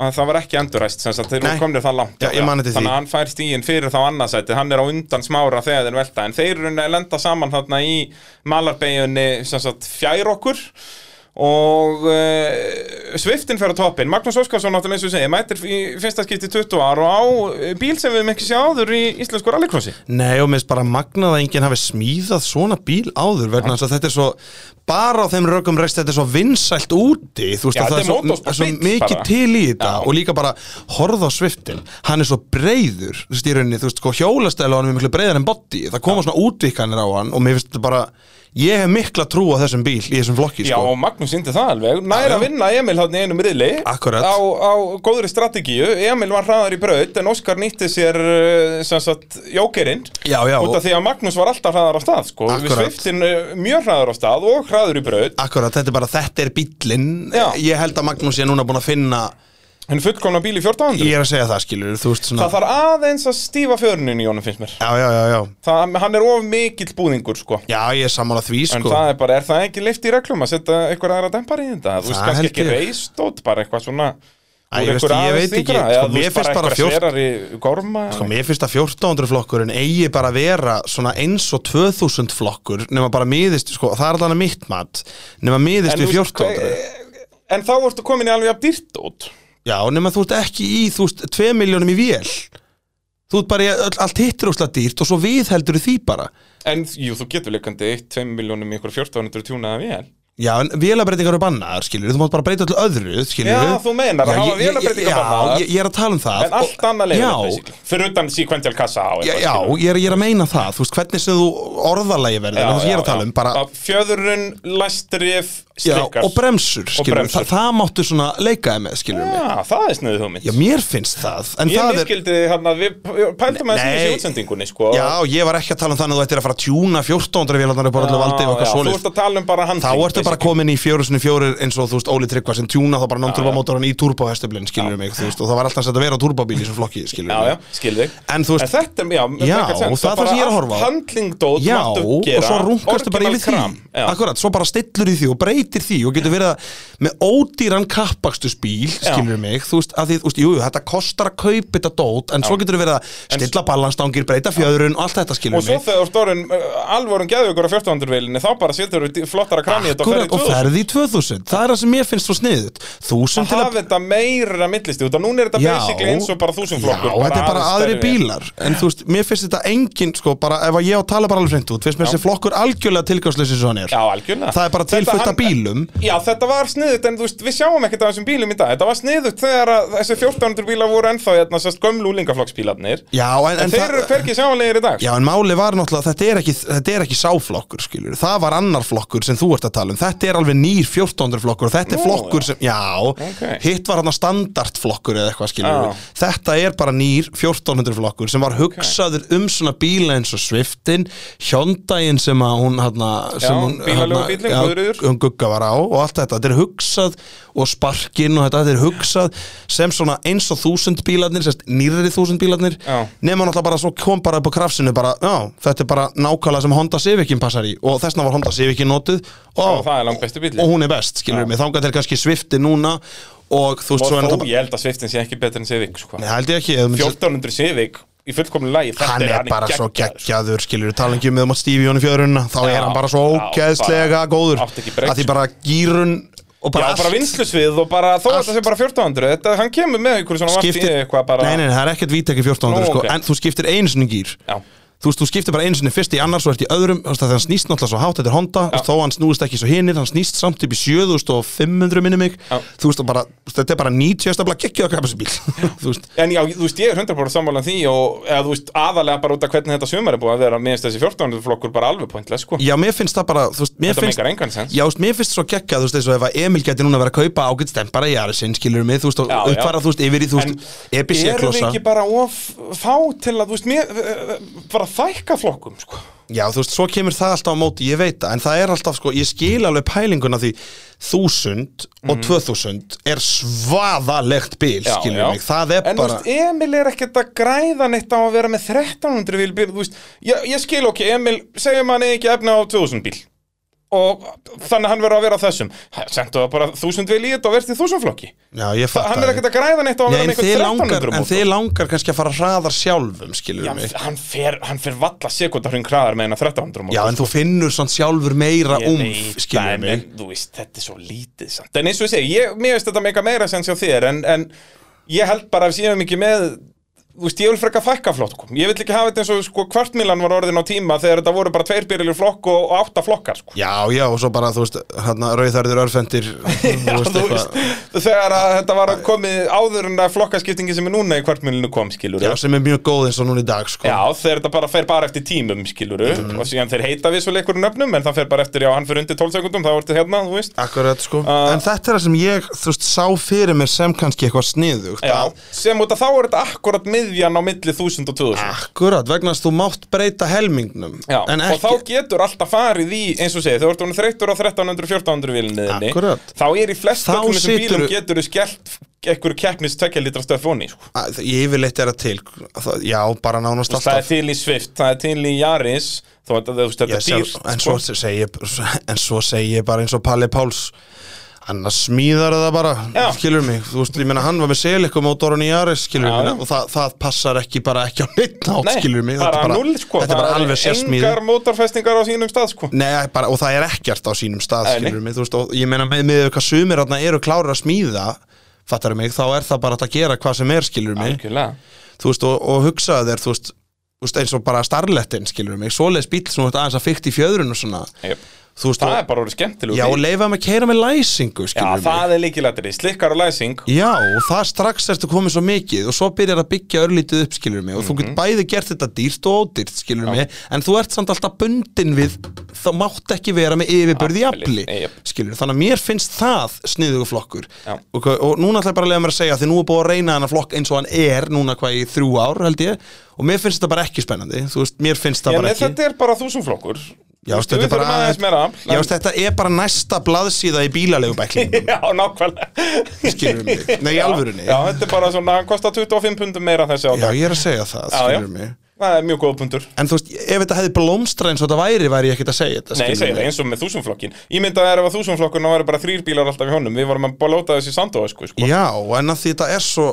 Speaker 1: og það var ekki endurræst sem sagt, þeir
Speaker 2: Nei.
Speaker 1: eru komnir það langt
Speaker 2: Já, ég man eftir því.
Speaker 1: þannig að hann fær stíin fyrir þá annarsæti hann er á undan smára þegar þeir velta en þeir eru að lenda saman þarna í malarbeginni sagt, fjær okkur og uh, sviftin fer á toppin Magnús Óskarsson náttúrulega eins og segja mætir í fyrsta skipti 20 ár og á eh, bíl sem við mikið sjáður í íslensku rallycrossi
Speaker 2: Nei, og mér finnst bara magnað að enginn hafi smíðað svona bíl áður vegna þess að þetta er svo bara á þeim rökum reist þetta er svo vinsælt úti þú veist
Speaker 1: Já,
Speaker 2: að það er
Speaker 1: þetta
Speaker 2: svo,
Speaker 1: er motorsport
Speaker 2: er svo
Speaker 1: bíll
Speaker 2: mikið
Speaker 1: bara.
Speaker 2: til í þetta
Speaker 1: Já.
Speaker 2: og líka bara horfð á sviftin hann er svo breyður, þú veist, í rauninni þú veist, sko, hjólastælu á hann er miklu breyðar en body það koma svona útvikkanir á hann og mér finnst þetta bara ég hef mikla trú á þessum bíl í þessum flokki,
Speaker 1: Já,
Speaker 2: sko
Speaker 1: og Magnús syndi það alveg
Speaker 2: Já,
Speaker 1: Nær
Speaker 2: já.
Speaker 1: að vinna Emil hann í einum riðli
Speaker 2: Akkúrat.
Speaker 1: á, á góðri strategíu Emil var hraðar í braut En Óskar nýtti sér uh, sem sagt, jókerinn
Speaker 2: Já, já,
Speaker 1: Út af
Speaker 2: og
Speaker 1: því að Magnús var alltaf hraðar á stað sko. Við
Speaker 2: Akkúrat.
Speaker 1: sveiftin mjög hraðar á stað Og hraður í braut
Speaker 2: akkurat, þetta er bara þetta er bíllinn
Speaker 1: Já.
Speaker 2: ég held að Magnús sé núna búin að finna
Speaker 1: En fullkomna bíl í 1400
Speaker 2: ég er að segja það, skilur, þú veist svona
Speaker 1: Það þarf aðeins að stífa fjörunin í honum finnst mér
Speaker 2: já, já, já, já,
Speaker 1: það, Hann er of mikill búðingur sko
Speaker 2: já, ég er sammála því,
Speaker 1: En
Speaker 2: sko
Speaker 1: það er bara, er það ekki leift í reglum að setja einhver aðra dempar í þetta? Þú veist
Speaker 2: Það
Speaker 1: kannski
Speaker 2: held
Speaker 1: ekki
Speaker 2: ég.
Speaker 1: reistótt, bara eitthvað svona
Speaker 2: Æ,
Speaker 1: úr
Speaker 2: ég veist-
Speaker 1: einhverju
Speaker 2: ég
Speaker 1: aðeins
Speaker 2: veit ekki,
Speaker 1: þyngra,
Speaker 2: sko,
Speaker 1: eða þú
Speaker 2: mér
Speaker 1: veist,
Speaker 2: finnst bara
Speaker 1: einhver
Speaker 2: 14
Speaker 1: sverari gorma
Speaker 2: Sko, mér finnst að 1400 flokkurinn eigi bara að vera svona eins og 2000 flokkur nema bara miðist, sko, það er allan að mitt mat nema miðist
Speaker 1: En
Speaker 2: við
Speaker 1: þú veist,
Speaker 2: 1400
Speaker 1: hve- En þá ertu komin í alveg jafn dýrt út
Speaker 2: Já, nema þú ert ekki í, þú veist, 2 miljónum í vél Þú ert bara, í öll, allt hittir óslega dýrt og svo viðheldur því bara
Speaker 1: En jú, þú getur leikandi 1-2 miljónum í ykkur 1400 tjúnaða vél
Speaker 2: Já, en vélabreitingar eru bannaðar, skilur þú mátt bara breyta allir öðru, skilur
Speaker 1: Já, þú meinar að hafa vélabreytingar bannaðar.
Speaker 2: Já, ég, ég er að tala um það
Speaker 1: En allt annað
Speaker 2: Já,
Speaker 1: leiðir Fyrir utan sequential kassa á
Speaker 2: já, já, ég er, ég er að meina það, þú veist, hvernig sem þú orðalagi verður, það er það sem ég er að tala um, bara
Speaker 1: Fjöðurinn, læstrif,
Speaker 2: Já,
Speaker 1: slikkar
Speaker 2: og bremsur, skilur,
Speaker 1: bremsur.
Speaker 2: Þa, það máttu svona leikaði með, skilur mig
Speaker 1: Já, það er sniðið hugmynd
Speaker 2: Já, mér finnst það, en
Speaker 1: Ég
Speaker 2: það er
Speaker 1: miskildi hann að við pæltum að þessi
Speaker 2: Nei.
Speaker 1: útsendingunni sko.
Speaker 2: Já, ég var ekki að tala um þannig að þú ættir að fara að tjúna 1400 vélarnar upp á öllu valdi og eitthvað
Speaker 1: já, Þú
Speaker 2: svoleið
Speaker 1: ert að tala um bara hann
Speaker 2: Þá ertu bara komin í fjóru sinni fjórir eins og þú veist Óli Tryggva sem tjúna þá bara non-turbomotoran í turbohestöflin, skilur mig, þú veist og það var alltaf sett að vera á turbobíl í þessum flokki, skilur
Speaker 1: Já, já,
Speaker 2: mig
Speaker 1: skil þig
Speaker 2: En þú veist,
Speaker 1: þetta, já, mér
Speaker 2: Já,
Speaker 1: makar sens.
Speaker 2: og það er það sem ég er að horfa á.
Speaker 1: bara Handlingdót
Speaker 2: já,
Speaker 1: máttu
Speaker 2: og
Speaker 1: gera,
Speaker 2: svo rungastu bara
Speaker 1: original
Speaker 2: yfir því
Speaker 1: kram, já.
Speaker 2: Akkurat, svo bara stillur í því og breytir því og getur verið að með ódýran kappakstusbíl, skilur mig þú veist, að því, þú veist, jú, jú, þetta kostar að kaupa þetta dót, en svo getur verið að stilla ballanstangir, breyta fjöðrun og allt þetta
Speaker 1: Og
Speaker 2: skilur
Speaker 1: svo
Speaker 2: mig
Speaker 1: þegar stórin alvorum geðu ykkur uh, á 1400 veilinni þá bara setur við flottara kram í þetta og
Speaker 2: Akkurat, og
Speaker 1: ferði
Speaker 2: ferði í 2000, það er það sem mér finnst svo sniðut 1000
Speaker 1: tvöðust
Speaker 2: til
Speaker 1: að
Speaker 2: að
Speaker 1: hafa þetta meira millisti út að núna er þetta basically eins og bara þúsundflokkur
Speaker 2: Já, þetta er bara aðri
Speaker 1: stærri.
Speaker 2: bílar En þú veist, mér finnst þetta engin sko, bara, Ef að ég á að tala bara alveg hreint út Finnst mér þessi flokkur algjörlega tilgangsleysi svo hann er
Speaker 1: Já, algjörlega
Speaker 2: Það er bara
Speaker 1: Þetta
Speaker 2: tilfullt af
Speaker 1: hann-
Speaker 2: bílum.
Speaker 1: Já, þetta var sniðut, en þú veist, við sjáum ekkert af þessum bílum í dag Þetta var sniðut þegar að þessi 1400 bílar voru ennþá hérna, sérst gömlu úlingaflokksbílarnir
Speaker 2: Já, en, en,
Speaker 1: En þeir
Speaker 2: það-
Speaker 1: eru hvergi sjáanlegir í dag sko.
Speaker 2: Já, en máli var náttúrulega að þetta er ekki, þetta er ekki sáflokkur, skilur. Það var annar flokkur sem þú ert að tala um. Þetta er alveg nýr 1400 flokkur og þetta er
Speaker 1: Nú,
Speaker 2: flokkur
Speaker 1: já.
Speaker 2: sem, já,
Speaker 1: Ok.
Speaker 2: hitt var hann að standardflokkur eða eitthvað, skilur.
Speaker 1: Já.
Speaker 2: Þetta er bara nýr 1400 flokkur sem var hugsaður um svona bíla eins og Swiftin, Hyundaiin sem að hún, hann, sem
Speaker 1: Já,
Speaker 2: hún,
Speaker 1: bílalegu
Speaker 2: þarna,
Speaker 1: bíllinn,
Speaker 2: já,
Speaker 1: Guðríður.
Speaker 2: hún um gugga var á og allt þetta. Þetta er hugsað og sparkin og þetta, þetta er hugsað sem svona eins og þúsund bílarnir, sérst, nýrri þúsund bílarnir,
Speaker 1: Já.
Speaker 2: nema náttúrulega bara svo kom bara upp á krafsinu bara, já, þetta er bara nákvæmlega sem Honda Civicin passar í og þessna var Honda Civicin notuð
Speaker 1: Og
Speaker 2: og,
Speaker 1: það er langt bestu bíli
Speaker 2: og hún er best, skilur mig, þangað til kannski svifti núna og þú veist svo
Speaker 1: Og þó,
Speaker 2: er náttúrulega
Speaker 1: ég held að Sviftin sé ekki betur en Sivik sko.
Speaker 2: Nei, held ég ekki, ef þú myndir-
Speaker 1: 1400 Sivik í fullkomlu lagi þetta
Speaker 2: hann er bara svo
Speaker 1: geggjaður. sko.
Speaker 2: geggjaður skilur, tala ekki um með um að stífi honum fjörunna þá
Speaker 1: Já,
Speaker 2: er hann bara svo
Speaker 1: já,
Speaker 2: ógeðslega
Speaker 1: bara-
Speaker 2: góður
Speaker 1: átti ekki breytt,
Speaker 2: að því
Speaker 1: sko.
Speaker 2: bara gýrun og bara
Speaker 1: Já, bara
Speaker 2: allt
Speaker 1: vinslusvið og bara, þó að þetta sé bara 1400 þetta, Hann kemur með ykkur svona vart í
Speaker 2: skiptir,
Speaker 1: eitthvað bara
Speaker 2: nei, nei, nei, það er ekkert vítekki 1400
Speaker 1: Nú,
Speaker 2: sko,
Speaker 1: ok.
Speaker 2: en þú skiptir einu sinni gýr
Speaker 1: Já,
Speaker 2: þú veist, þú skiptir bara einu sinni fyrst í annars og ert í öðrum, þú veist, að það snýst náttúrulega svo hátt þetta er Honda, þú veist, þó hann snúist ekki svo hinir hann snýst samt upp í 7500 minni mig
Speaker 1: Já.
Speaker 2: þú veist, og bara, þetta er bara 90 stafla geggjöð að kappa sér bíl þú veist,
Speaker 1: En já, þú veist, ég er 100% sammálan því og eða, þú veist, aðalega bara út af hvernig þetta sumar er búið að vera minnst þessi 14. flokkur bara alveg pointless, sko.
Speaker 2: já, mér finnst það bara þú veist, mér
Speaker 1: Þetta
Speaker 2: finnst,
Speaker 1: meikar engan sens.
Speaker 2: já, þú veist, mér finnst svo geggjað, þú veist, eins og ef að Emil geti núna verið að kaupa ágætt stempara í Arisinn, skilur mig, þú veist, og
Speaker 1: Já, já.
Speaker 2: uppfara, þú veist, yfir í, þú
Speaker 1: En
Speaker 2: veist,
Speaker 1: Erum við
Speaker 2: EBC-klossa
Speaker 1: ekki bara of fá til að, þú veist, mér, eh, bara að fækka flokkum sko.
Speaker 2: Já, þú veist, svo kemur það alltaf á móti, ég veit það, en það er alltaf, sko, ég skil alveg pælinguna því þúsund og tvö þúsund er svaðalegt bil,
Speaker 1: Mhm. Já,
Speaker 2: skilur
Speaker 1: já.
Speaker 2: mig, það er
Speaker 1: En þú
Speaker 2: bara,
Speaker 1: veist, Emil er ekkert að græða neitt á að vera með 1300 bíl, bíl þú veist, ég, ég skil ok, Emil segjum hann eigi ekki efna á 2000 bíl og þannig að hann verður að vera á þessum sendu það bara 1000 vil í þetta og verðst í 1000 flokki
Speaker 2: já, ég fatt
Speaker 1: hann er ekkert að græða neitt á að
Speaker 2: Nei,
Speaker 1: vera
Speaker 2: en
Speaker 1: með
Speaker 2: þið,
Speaker 1: eitthvað
Speaker 2: langar,
Speaker 1: 1300
Speaker 2: en
Speaker 1: mótor.
Speaker 2: þið langar kannski að fara hraðar sjálfum, skilur
Speaker 1: Já,
Speaker 2: já, mig
Speaker 1: hann fer, hann fer valla sekundarhring hraðar með hennar 1300 mótor.
Speaker 2: Já, en þú finnur svona sjálfur meira
Speaker 1: Ég
Speaker 2: umf,
Speaker 1: veit það,
Speaker 2: skilur
Speaker 1: en-
Speaker 2: mig
Speaker 1: en Þú veist, þetta er svo lítið samt En eins og ég segi, ég, mér veist þetta meika meira sem sjá þér En, en ég held bara að séum ekki með Þú veist, ég vil freka fækka flokkum Ég vil ekki hafa þetta eins og sko kvartmílan var orðin á tíma Þegar þetta voru bara tveir byrjulir flokk og, og átta flokkar sko.
Speaker 2: Já, já, og svo bara, þú veist, hann að rauðarður örfendir
Speaker 1: Já, þú veist, þegar að þetta var komið áður en að flokkaskiptingi sem er núna í kvartmílinu kom, skilur
Speaker 2: Já, sem er mjög góð eins og núna í dag, sko
Speaker 1: Já, þegar þetta bara fer bara eftir tímum, skilur
Speaker 2: Mhm.
Speaker 1: Og síðan þeir heita við svo leikur nöfnum En það fer bara eftir, já, hann fer undir 12 sekundum Það vorti hérna, þú veist
Speaker 2: Akkurat, sko
Speaker 1: Uh,
Speaker 2: En þetta er það sem ég, þú veist, sá fyrir mér sem kannski eitthvað sniðugt
Speaker 1: Já,
Speaker 2: að-
Speaker 1: sem út að þá er þetta akkurat miðjan á milli 1000 og 2000
Speaker 2: Akkurat, vegna þess að þú mátt breyta helmingnum
Speaker 1: Já,
Speaker 2: Ah. En
Speaker 1: og
Speaker 2: ekki
Speaker 1: þá getur alltaf farið í, eins og segið, þegar þú ert orðinn þreyttur á 1300-1400 vilinni þinni,
Speaker 2: Akkurat.
Speaker 1: Þá er í flest
Speaker 2: Þá
Speaker 1: öllum þessum
Speaker 2: situr-
Speaker 1: bílum getur þú skellt einhverju keppnis 2 litra stöfi onni sko.
Speaker 2: að, Ég yfirleitt er að til það, Já, bara nánast
Speaker 1: Það er
Speaker 2: alltaf
Speaker 1: til í Swift, það er til í Yaris Þó að þú veist, þetta
Speaker 2: Ég
Speaker 1: er
Speaker 2: sé-
Speaker 1: dýrt
Speaker 2: En
Speaker 1: sko.
Speaker 2: svo segi ég En svo segi ég bara eins og Palli Páls Annars smíðar það bara,
Speaker 1: Já.
Speaker 2: skilur mig Þú veist, ég meina hann var með selikumótorun í Jaris, skilur
Speaker 1: Já,
Speaker 2: mig
Speaker 1: já.
Speaker 2: Og það, það passar ekki bara ekki á neitt nátt,
Speaker 1: Nei,
Speaker 2: skilur mig
Speaker 1: bara,
Speaker 2: Þetta er
Speaker 1: null sko
Speaker 2: Þetta er bara alveg sérsmíði
Speaker 1: Engar mótorfestingar á sínum stað sko
Speaker 2: Nei, bara, og það er ekkert á sínum stað
Speaker 1: Nei, nei.
Speaker 2: skilur mig, þú veist, og ég meina með, með eitthvað sumir þarna eru klárir að smíða fattar mig, þá er það bara hægt að gera hvað sem er skilur mig,
Speaker 1: Algjörlega
Speaker 2: þú veist, og, og hugsaðu þér, þú veist, þú veist, eins og bara starlettin skilur mig, svoleiðis bíl sem þú veist aðeins að fykta í fjöðrun og svona,
Speaker 1: Jöp.
Speaker 2: þú veist
Speaker 1: Það
Speaker 2: og,
Speaker 1: er bara orðið skemmtilegu
Speaker 2: já, og leifa með að keira með læsingu
Speaker 1: Já,
Speaker 2: skilur mig,
Speaker 1: það er líkilættri, slikkar og læsing
Speaker 2: já, og það strax ertu komið svo mikið og svo byrjar að byggja örlítið upp skilur mig, og þú
Speaker 1: Mhm.
Speaker 2: getur bæði gert þetta dýrt og ódýrt skilur mig, en þú ert samt alltaf bundin við, þá mátt ekki vera með yfirbörði
Speaker 1: Afli,
Speaker 2: jafli,
Speaker 1: jöp.
Speaker 2: skilur, þannig að mér finnst það sniðugu flokkur
Speaker 1: Já.
Speaker 2: og, og núna ætla ég bara að lega mér að segja því nú er búið að reyna hennar flokk eins og hann er núna hvað í þrjú ár held ég og mér finnst þetta bara ekki spennandi þú veist, mér finnst það
Speaker 1: Já,
Speaker 2: bara
Speaker 1: nei,
Speaker 2: ekki
Speaker 1: þetta er bara þúsumflokkur
Speaker 2: Já, veist, þetta er bara
Speaker 1: aðeins meira afl,
Speaker 2: Já, veist, þetta er bara næsta blaðsíða í bílalegubæklingum
Speaker 1: en- Já, nákvæmlega
Speaker 2: skilur mig, nei í alvörunni
Speaker 1: Já, þetta er bara svona, hann kostar 25 pundum meira þessi á
Speaker 2: Já,
Speaker 1: dag
Speaker 2: ég er að segja það,
Speaker 1: Já, já.
Speaker 2: skilur mig
Speaker 1: Það er mjög góð pundur
Speaker 2: En þú veist, ef þetta hefði blómstra eins og þetta væri væri ég ekkert að segja þetta,
Speaker 1: Nei, ég
Speaker 2: skilurðu
Speaker 1: segi það eins og með þúsumflokkin Ég myndi að það er ef að þúsumflokkur Ná eru bara þrýr bílar alltaf í honum Við vorum að bólóta þessi sandóa sko, sko.
Speaker 2: Já, en að því þetta er svo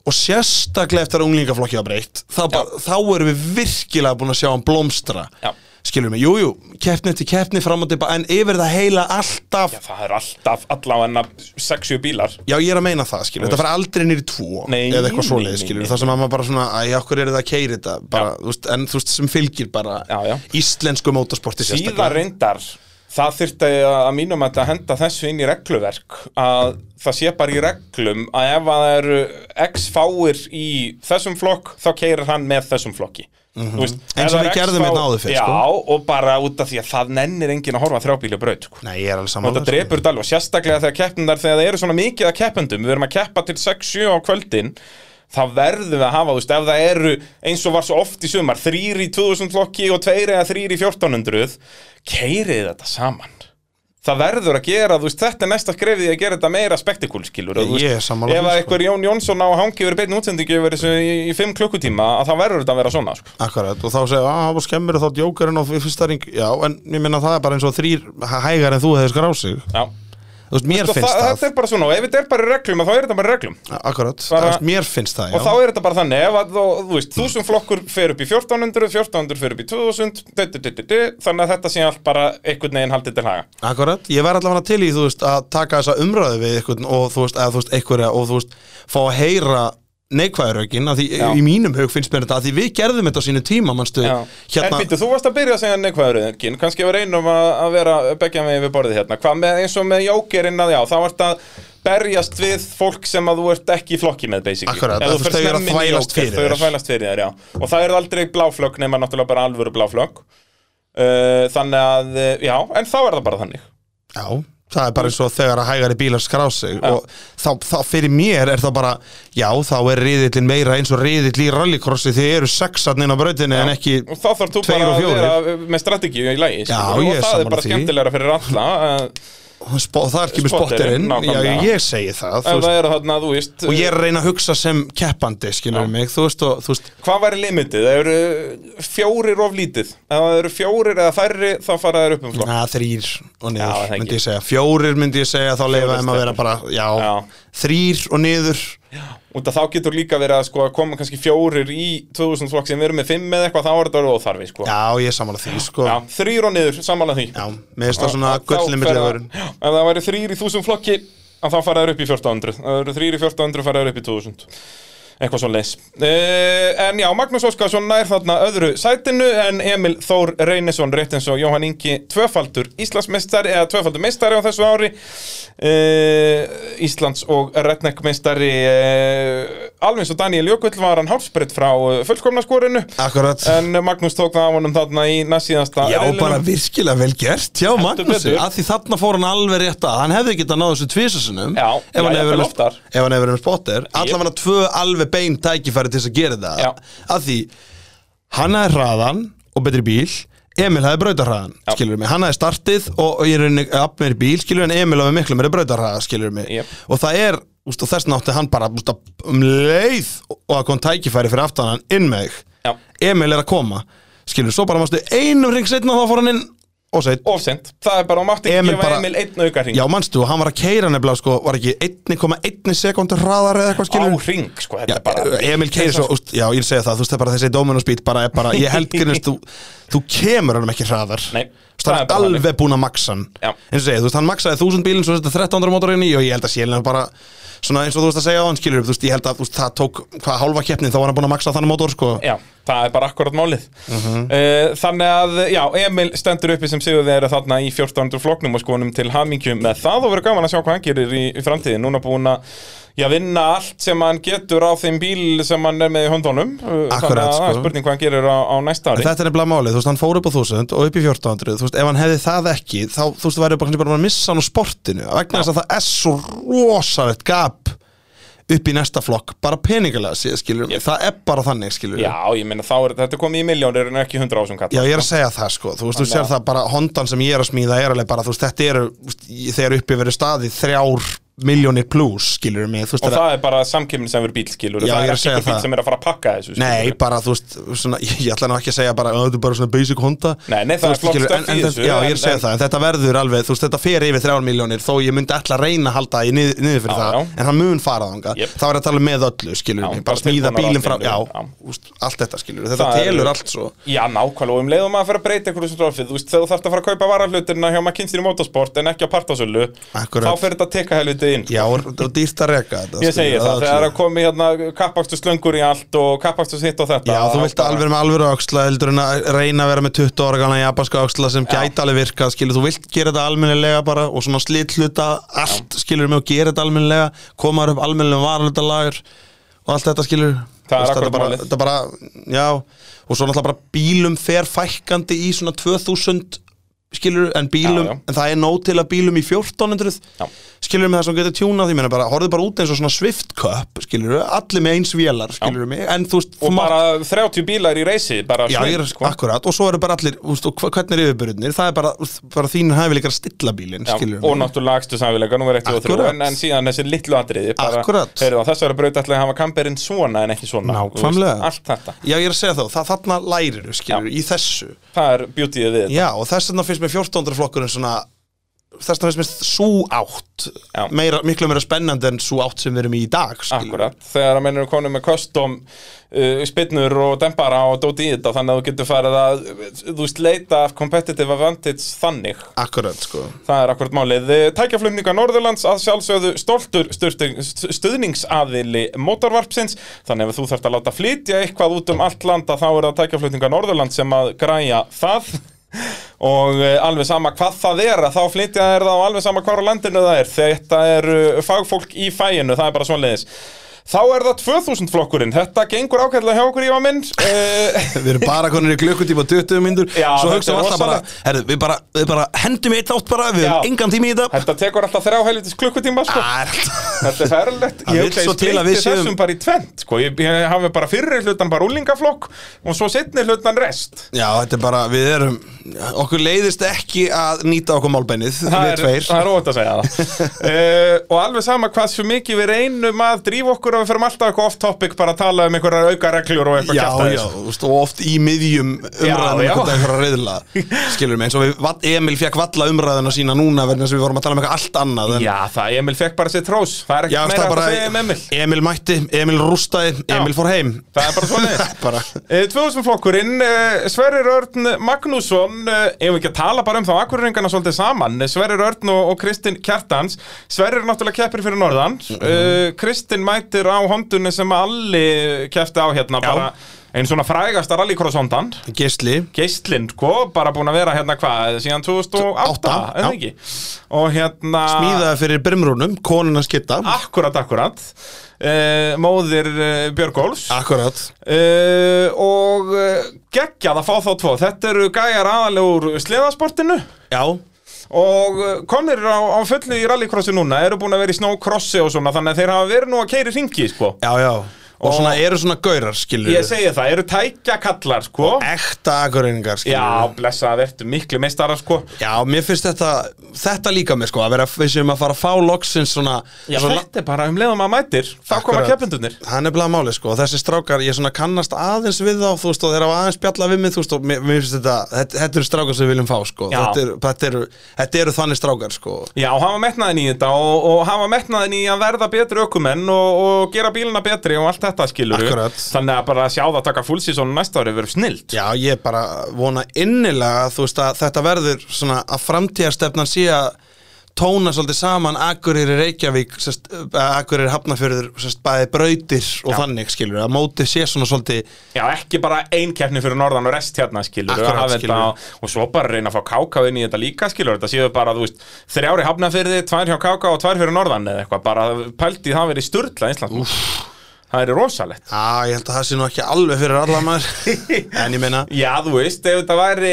Speaker 2: og sérstaklega eftir að unglingaflokki var breytt þá, bara, þá erum við virkilega búin að sjá hann blómstra
Speaker 1: Já.
Speaker 2: skilur mig, jújú, keppni til keppni fram og tilbaka en yfir það heila alltaf
Speaker 1: Já, það er alltaf allavega 60 bílar
Speaker 2: Já, ég er að meina það, skilur, þetta fara aldrei nýri tvo
Speaker 1: Nei,
Speaker 2: eða eitthvað
Speaker 1: nei,
Speaker 2: svoleið,
Speaker 1: nei,
Speaker 2: skilur,
Speaker 1: nei.
Speaker 2: það sem að maður bara svona æ, okkur er það að keiri þetta, bara, þú veist, en þú veist, sem fylgir bara
Speaker 1: Já, já.
Speaker 2: íslensku mótorsporti
Speaker 1: Síðan
Speaker 2: sérstaklega
Speaker 1: reyndar Það þyrfti að að mínum að henda þessu inn í regluverk að það sé bara í reglum að ef að það eru x fáir í þessum flokk þá keirir hann með þessum flokki mm -hmm.
Speaker 2: Mhm. Eins og við gerðum hérna áður fyrr,
Speaker 1: Já,
Speaker 2: sko.
Speaker 1: og bara út af því að það nennir enginn að horfa þrjábíli braut sko.
Speaker 2: Nei, ég er alveg
Speaker 1: og
Speaker 2: saman
Speaker 1: þetta drepur þetta alveg, sérstaklega þegar keppnundar þegar það eru svona mikið að keppendum, við erum að keppa til 6-7 á kvöldin þá verðum við að hafa, þú veist, ef það eru eins og var svo oft í sumar, þrýr í 2000 flokki og tveir eða þrýr í 1400 keirið þetta saman það verður að gera, þú veist, þetta er næsta skrefið í að gera þetta meira spektakulskilur
Speaker 2: Ég er sammála
Speaker 1: ef
Speaker 2: því,
Speaker 1: að
Speaker 2: sko.
Speaker 1: einhver Jón Jónsson á að hangi yfir beitin útsendingi yfir þessu í, í 5 klukkutíma að það verður þetta að vera svona sko.
Speaker 2: Akkurat, og þá segja, "Ah, að það var skemmur og þá djókarinn og fyrsta ring, já, en ég minna það er bara eins og þrýr hæ- hægar en þú hefur skráð sig
Speaker 1: Já.
Speaker 2: Þú veist, mér
Speaker 1: Og Sko, það,
Speaker 2: finnst það,
Speaker 1: þetta er bara svona, og ef þetta er bara í reglum þá er þetta bara í reglum
Speaker 2: akkurat, þú
Speaker 1: Bara-
Speaker 2: veist, mér finnst það,
Speaker 1: og þá
Speaker 2: já
Speaker 1: er þetta bara þannig ef að þú, þú veist, þúsund flokkur fer upp í 1400 1400 fer upp í 2000 du, du, du, du, du, þannig að þetta sé allt bara einhvern veginn haldið til haga
Speaker 2: Akkurat, ég verð allavega til í, þú veist, að taka þessa umræðu við einhvern og þú veist, eða þú veist, einhverja og þú veist, fá að heyra neikvæðurökin, að því
Speaker 1: Já.
Speaker 2: í mínum hug finnst mér þetta, að því við gerðum þetta á sínu tíma, manstu,
Speaker 1: Já.
Speaker 2: Hérna-
Speaker 1: en býttu, þú varst að byrja að segja neikvæðuröðin kannski við reynum að, að vera begja megin við borðið hérna hvað með eins og með jókerinn að já þá ert að berjast við fólk sem að þú ert ekki í flokki með basically
Speaker 2: Akkurat,
Speaker 1: Ef
Speaker 2: að
Speaker 1: þú
Speaker 2: þú
Speaker 1: ferð
Speaker 2: veist, þau eru að
Speaker 1: snemma inn í
Speaker 2: þvælast
Speaker 1: jóker,
Speaker 2: fyrir
Speaker 1: þau eru að
Speaker 2: þér.
Speaker 1: þvælast fyrir þér já. og það eru aldrei bláflögg nema náttúrulega bara alvöru bláflögg uh, þannig að, uh, já, en þá er það bara þannig
Speaker 2: já, það er bara eins og þegar að hægari bílar skrá sig og þá, þá fyrir mér er það bara já þá er riðillin meira eins og riðill í rallycrossi þið eru sexarn inn á brautinni en ekki
Speaker 1: og þá þarf þú
Speaker 2: tveir
Speaker 1: bara
Speaker 2: og
Speaker 1: að
Speaker 2: fjórir.
Speaker 1: vera eh, með strategíu í lagi skilurðu,
Speaker 2: ég
Speaker 1: og það er
Speaker 2: er sammála
Speaker 1: bara
Speaker 2: því.
Speaker 1: skemmtilegra fyrir alla að-
Speaker 2: Spo- það er ekki með
Speaker 1: Spotterinn,
Speaker 2: spotterinn já
Speaker 1: nákvæmlega.
Speaker 2: ég segi það, þú
Speaker 1: ef
Speaker 2: veist,
Speaker 1: það eru þarna, þú veist
Speaker 2: og ég er að reyna að hugsa sem keppandi skilur mig þú veist og þú veist
Speaker 1: eh, Hvað væri limitið? Það eru eh, fjórir of lítið Ef það eru fjórir eða færri þá fara þær upp um flokk
Speaker 2: Na, þrýr og
Speaker 1: Já,
Speaker 2: niður,
Speaker 1: það
Speaker 2: myndi
Speaker 1: ekki.
Speaker 2: ég segja Fjórir myndi ég segja, þá leifa þeim að vera bara Já,
Speaker 1: Já.
Speaker 2: þrýr og niður
Speaker 1: Út af þá getur líka verið að sko, koma kannski fjórir í 2000 flokk sem við erum með fimm eða eitthvað þá er þetta orðið óþarfi sko.
Speaker 2: Já, ég er sammála því, sko
Speaker 1: Já,
Speaker 2: Já,
Speaker 1: Þrýr og niður, samanlega því
Speaker 2: mér finnst það svona
Speaker 1: Þá fer það-
Speaker 2: gullnimitlefurinn
Speaker 1: Já, Ef það væri þrýr í 1000 flokki að þá fara þær upp í 1400 Ef Það eru þrýr í 1400 fara þær upp í 2000 Eitthvað svo leis En já, Magnús Óskarsson nær þarna öðru sætinu En Emil Þór Reynesson rétt eins og Jóhann Ingi Tvöfaldur Íslandsmeistari eða tvöfaldur meistari á þessu ári uh, Íslands og Redneckmeistari uh, Alveg eins og Daniel Jökull var hann hálfsbreytt frá eh, fullkomna skorinu
Speaker 2: Akkurat
Speaker 1: En Magnús tók það af honum þarna í næstsíðasta
Speaker 2: Já,
Speaker 1: riðlinum.
Speaker 2: bara virkilega vel gert Já, Magnúsi,
Speaker 1: betur.
Speaker 2: að því þarna fór hann alveg rétt að Hann hefði getað náð þessu tvisasunum
Speaker 1: Já,
Speaker 2: ef
Speaker 1: já,
Speaker 2: hann hefði verið
Speaker 1: jafnvel oftar.
Speaker 2: ef hann hefði verið með spotter Alla var tvö alveg bein tækifæri til þess að gera það
Speaker 1: Já.
Speaker 2: Að því, hann hefði hraðan og betri bíl Emil hefði brautarhraðan, skilur mig Hann hefði startið og, og ég er unni upp meiri bíl, skilur en Emil hefði miklu meiri brautarhraða, skilur mig
Speaker 1: Jep.
Speaker 2: Og það er, úst, og þess nátti hann bara úst, að- um leið og að kom tækifæri fyrir aftan hann inn með þig
Speaker 1: Já.
Speaker 2: Emil er að koma skilur, svo bara mástu einum ring setna og þá fór hann inn og seitt
Speaker 1: ofsend það er bara, og mátti ekki
Speaker 2: Emil
Speaker 1: gefa
Speaker 2: bara-
Speaker 1: Emil einn auka hring
Speaker 2: já, manstu, hann var að keira nefnilega sko, var ekki 1,1 sekundur hraðar eða eitthvað
Speaker 1: á
Speaker 2: skilur
Speaker 1: hring, sko, þetta
Speaker 2: Já,
Speaker 1: er bara
Speaker 2: Emil keiri svo, úst, já ég segi það, þú veist það er bara þessi Dominos beat bara, er bara ég held grunist, þú, þú kemur hann ekki hraðar
Speaker 1: Nei,
Speaker 2: Þú veist, hann
Speaker 1: það er
Speaker 2: er
Speaker 1: bara
Speaker 2: alveg búinn að maksa hann
Speaker 1: Já.
Speaker 2: eins og segja, þú veist, hann maksaði 1000 bílinn svo þetta 1300 mótorinn í og ég held að sélina bara svona eins og þú veist að segja á hann skilur þú veist, ég held að þú veist, það tók hvað hálfa keppni þá var hann búinn að maksa þannig mótor sko
Speaker 1: Já, það er bara akkurat málið
Speaker 2: Mhm.
Speaker 1: Eh, Þannig að, já, Emil stendur uppi sem sigur þeirra þarna í 1400 floknum og skoðunum til hamingjum með það og verður gaman að sjá hvað hann gerir í, í framtíðin Núna búin að, já, vinna allt sem hann getur á þeim bíl sem hann er með í höndunum Eh, Þannig
Speaker 2: Akkurat,
Speaker 1: að það er
Speaker 2: sko.
Speaker 1: spurning hvað hann gerir á, á næsta ári
Speaker 2: Þetta er nefnilega málið, þú veist, hann fór upp á 1000 og upp í 1400, þú veist, ef hann hefði það ekki þá, þú veist, væri bara kannski bara að missa hann á sportinu vegna þess að það er svo rosalegt gap upp í næsta flokk bara peningalega séð, skilur mig, það er bara þannig, skilur
Speaker 1: Já, ég meina, þá er þetta er komið í miljónir en ekki 100 ásum kall
Speaker 2: Já, ég er að segja það sko, þú veist, þú sér það bara hondan sem ég er að smíða er alveg bara, þú veist, þetta eru þú veist, í- þegar uppi verið staði þrjár miljónir pluss, skilur mig, þú veist,
Speaker 1: Og
Speaker 2: það,
Speaker 1: það er bara samkemmin sem verður bílskilur
Speaker 2: Já,
Speaker 1: Það er
Speaker 2: ég er að
Speaker 1: ekki
Speaker 2: segja
Speaker 1: einhver bíl
Speaker 2: það.
Speaker 1: sem er að fara að pakka þessu
Speaker 2: nei,
Speaker 1: skilurðu.
Speaker 2: bara, þú veist, svona, ég ætla nú ekki að segja bara, "Ó, þetta er bara svona basic honda
Speaker 1: Nei, nei, það
Speaker 2: Þú
Speaker 1: er
Speaker 2: veist,
Speaker 1: flott
Speaker 2: skilur,
Speaker 1: stöff
Speaker 2: en-
Speaker 1: í
Speaker 2: en
Speaker 1: þessu,
Speaker 2: þetta- Já, ég er
Speaker 1: en-
Speaker 2: að segja
Speaker 1: en-
Speaker 2: það, en þetta verður alveg, þú veist, þetta fer yfir þrjár miljónir þó ég myndi alltaf reyna að halda í niður, niður fyrir
Speaker 1: Já,
Speaker 2: það,
Speaker 1: já.
Speaker 2: en hann mun fara þanga
Speaker 1: Jep.
Speaker 2: það var að tala um með öllu, skilur
Speaker 1: Já, bara
Speaker 2: mig, bara smíða
Speaker 1: tilbúnar
Speaker 2: bílinn frá,
Speaker 1: aðstæður,
Speaker 2: já,
Speaker 1: já.
Speaker 2: úst, allt þetta, skilur, þetta
Speaker 1: Það er-
Speaker 2: telur allt svo
Speaker 1: Já, nákvæmlega, og um leiðum að fara að breyta einhverju sem rafið, þú veist, þegar þú þarft að fara að kaupa varaflutirna hjá McKinsey Motorsport en ekki á partasölu,
Speaker 2: Akkurat.
Speaker 1: þá fer þetta að teka helviti inn.
Speaker 2: Já, og og dýrt að reka þetta
Speaker 1: Ég segi
Speaker 2: skilur,
Speaker 1: það,
Speaker 2: öllu.
Speaker 1: þegar það komi hérna kappakstu slöngur í allt og kappakstu hitt og þetta.
Speaker 2: Já, þú
Speaker 1: þá
Speaker 2: vilt
Speaker 1: bara-
Speaker 2: alveg vera með alveg áksla heldur en að reyna að vera með 20 ára gana japanska áksla sem gæti alveg virkað, skilur, þú vilt gera þetta almennilega bara og svona slitt hluta allt, skilur, með og gera þetta almennilega koma þér upp almennilega varalutalagur og allt þetta,
Speaker 1: Það
Speaker 2: skilur
Speaker 1: er
Speaker 2: Þú veist,
Speaker 1: akkurat
Speaker 2: þetta bara,
Speaker 1: málið.
Speaker 2: þetta bara, já og svo náttúrulega bara bílum fer fækkandi í svona 2000 skilur, en
Speaker 1: Já,
Speaker 2: bílum,
Speaker 1: já.
Speaker 2: en það er nóg til að bílum í 1400
Speaker 1: Já.
Speaker 2: skilur með það sem getur tjúnað því, menna bara, horfðu bara út eins og svona Swift Cup, skilur, allir með eins vélar, skilur mig, en þú veist,
Speaker 1: Og
Speaker 2: þú mátt-
Speaker 1: bara 30 bílar í reysi, bara
Speaker 2: Já, ég er
Speaker 1: sko.
Speaker 2: akkurat, og svo eru bara allir, úst, og hva- hvernig er yfirburðinir, það er bara, úst, bara þín hæfi líka að stilla bílinn,
Speaker 1: Já,
Speaker 2: skilur
Speaker 1: og náttúrulega akstu samfélaga, nú er eitt og þrjú
Speaker 2: Akkurat.
Speaker 1: en, en síðan þessi litlu atriði bara,
Speaker 2: Akkurat.
Speaker 1: heyrðu, Þessari braut ætlaði að hafa kamperinn svona en ekki svona þú veist,
Speaker 2: Nákvæmlega.
Speaker 1: Allt þetta,
Speaker 2: Já, ég er að segja þá, það þarna lærir þú, skilur, í þessu
Speaker 1: það er beautyið við þetta.
Speaker 2: Já, og þess vegna finnst mér 1400 flokkurinn svona þess vegna finnst mér sú átt
Speaker 1: Já.
Speaker 2: meira, miklu meira spennandi en sú átt sem við erum í í dag, skilur
Speaker 1: Akkurat, þegar að mennur konum með custom uh, spinnur og dempara og dóti í þetta þannig að þú getur farið að uh, þú veist leita af competitive advantage þannig
Speaker 2: Akkurat, sko
Speaker 1: Það er akkurat málið. Tækjaflutninga Norðurlands að sjálfsögðu stoltur sturting- stu- stuðningsaðili mótorvarpsins. Þannig ef þú þarft að láta flytja eitthvað út um allt landa þá er það tækjaflutninga Norðurlands sem að græja það. Og eh, alveg sama hvað það er að þá flytja þær það og alveg sama hvar á landinu það er. Þetta er fagfólk í fæinu, það er bara svonleiðis. Þá er það 2000 flokkurinn, þetta gengur ákveðlega hjá okkur í á minn uh,
Speaker 2: Við erum bara konir í klukkutíma og 20 myndur
Speaker 1: Já,
Speaker 2: Svo
Speaker 1: þetta
Speaker 2: hugsaum
Speaker 1: er
Speaker 2: við alltaf bara,
Speaker 1: rosalegt.
Speaker 2: herðu, við bara, við bara hendum eitt átt bara Við
Speaker 1: Já.
Speaker 2: hefum engan tími í þetta
Speaker 1: Þetta tekur alltaf þrjá helvitis klukkutíma sko.
Speaker 2: Það er alltaf-
Speaker 1: Þetta er ferlegt
Speaker 2: Það
Speaker 1: Ég
Speaker 2: vill
Speaker 1: hugsa
Speaker 2: svo
Speaker 1: ég
Speaker 2: til að
Speaker 1: splitti
Speaker 2: við séum-
Speaker 1: þessum bara í tvent sko. ég, ég hafi bara fyrri hlutan bara úlingaflokk og svo setni hlutan rest
Speaker 2: Já, þetta er bara, við erum Okkur leiðist ekki að nýta okkur málbeinið
Speaker 1: Það
Speaker 2: Við
Speaker 1: er,
Speaker 2: tveir
Speaker 1: það er óvægt að segja það uh, Og alveg sama hvað svo mikið við reynum að drífa okkur og við ferum alltaf eitthvað off-topic bara að tala um einhverjar auka reglur og eitthvað
Speaker 2: Já,
Speaker 1: kjaftaðis.
Speaker 2: já, þú veist, og oft í miðjum umræðanum
Speaker 1: já.
Speaker 2: eitthvað eitthvað reyðla Skilur mig, eins og við, Vall- Emil fekk valla umræðuna sína núna vegna sem við vorum að tala um eitthvað allt annað en,
Speaker 1: Já, það Emil fekk bara sitt hrós Það er
Speaker 2: Já,
Speaker 1: ekkert meira
Speaker 2: það
Speaker 1: að
Speaker 2: bara,
Speaker 1: það segja um Emil
Speaker 2: Emil mætti, Emil rústaði, Emil fór heim
Speaker 1: Það er bara svona
Speaker 2: Bara,
Speaker 1: 2000 flokkurinn, eh, Sverrir Örn Magnússon, eh, ef við ekki að tala bara um þá akkurringana svolítið saman, eh, Sverrir Örn og, og Kristinn Kjartans, Sverrir náttúrulega keppir fyrir Norðan, eh, Kristinn mætir á hondunni sem allir keppti á hérna, bara einn svona frægasta rallycross hondan,
Speaker 2: Gisli
Speaker 1: Geislinn, sko, bara búin að vera hérna hvað, síðan 2008,
Speaker 2: Átta,
Speaker 1: en
Speaker 2: já.
Speaker 1: ekki, og hérna...
Speaker 2: Smíðaði fyrir brimrúnum, konuna skitta
Speaker 1: Akkurat, akkurat uh, Móðir uh, Björgólfs uh,
Speaker 2: Akkurat
Speaker 1: Og uh, geggjað að fá þá tvo Þetta eru gæjar aðalega úr sleðasportinu
Speaker 2: Já,
Speaker 1: Og eh, komnir á, á fullu í rallycrossi núna Eru búin að vera í snókrossi og svona Þannig að þeir hafa verið nú að keiri ringi sko.
Speaker 2: já, já Og svona eru svona gaurar, skilur
Speaker 1: Ég segi það, eru tækjakallar sko.
Speaker 2: Ekta akureyningar, skilur
Speaker 1: Já, blessaða vertu miklu meistara sko.
Speaker 2: Já, mér finnst þetta, þetta líka mér sko, að vera, við séum að fara að fá loksins svona
Speaker 1: Já,
Speaker 2: svona,
Speaker 1: Þetta er bara um leiðum að mætir Þá koma
Speaker 2: Akkurat.
Speaker 1: keppendurnir
Speaker 2: Það er nefnilega málið sko, og þessi strákar, ég svona kannast aðeins við þá, þú veist, og þeir hafa aðeins bjalla við mig, þú veist, og mér, mér finnst þetta, þetta, þetta eru strákar sem við viljum fá sko,
Speaker 1: Já.
Speaker 2: þetta eru, þetta, eru, þetta eru þannig strákar sko.
Speaker 1: Já, hafa metnaðin í þetta og, og hafa metnaðin í að verða betri ökumenn og, og gera bílina betri og allt þetta skilur
Speaker 2: Akkurat.
Speaker 1: Þannig að bara sjá það taka fullsísónu næsta ári verður snilt
Speaker 2: Já, ég bara vona innilega, að, þú veist, að þetta verður svona að framtíðarstefnan sé að tóna svolítið saman Akureyri Reykjavík, sest, eh, Akureyri Hafnafjörður, sest, bæði brautir og þannig skilur, að mótið sé svona svolítið
Speaker 1: Já, ekki bara ein keppni fyrir norðan og rest hérna skilur
Speaker 2: Akkurat, skilurðu.
Speaker 1: Og svo bara reyna að fá káka inn í þetta líka skilur Þetta séu bara, þú veist, þrjári hafnafyrði, tvær hjá káka og tvær fyrir norðan eða eitthvað Bara pæltið það verið sturla einslant Það er rosalegt
Speaker 2: Já, ég held að það sé nú ekki alveg fyrir alla maður En ég meina
Speaker 1: Já, þú veist, ef þetta væri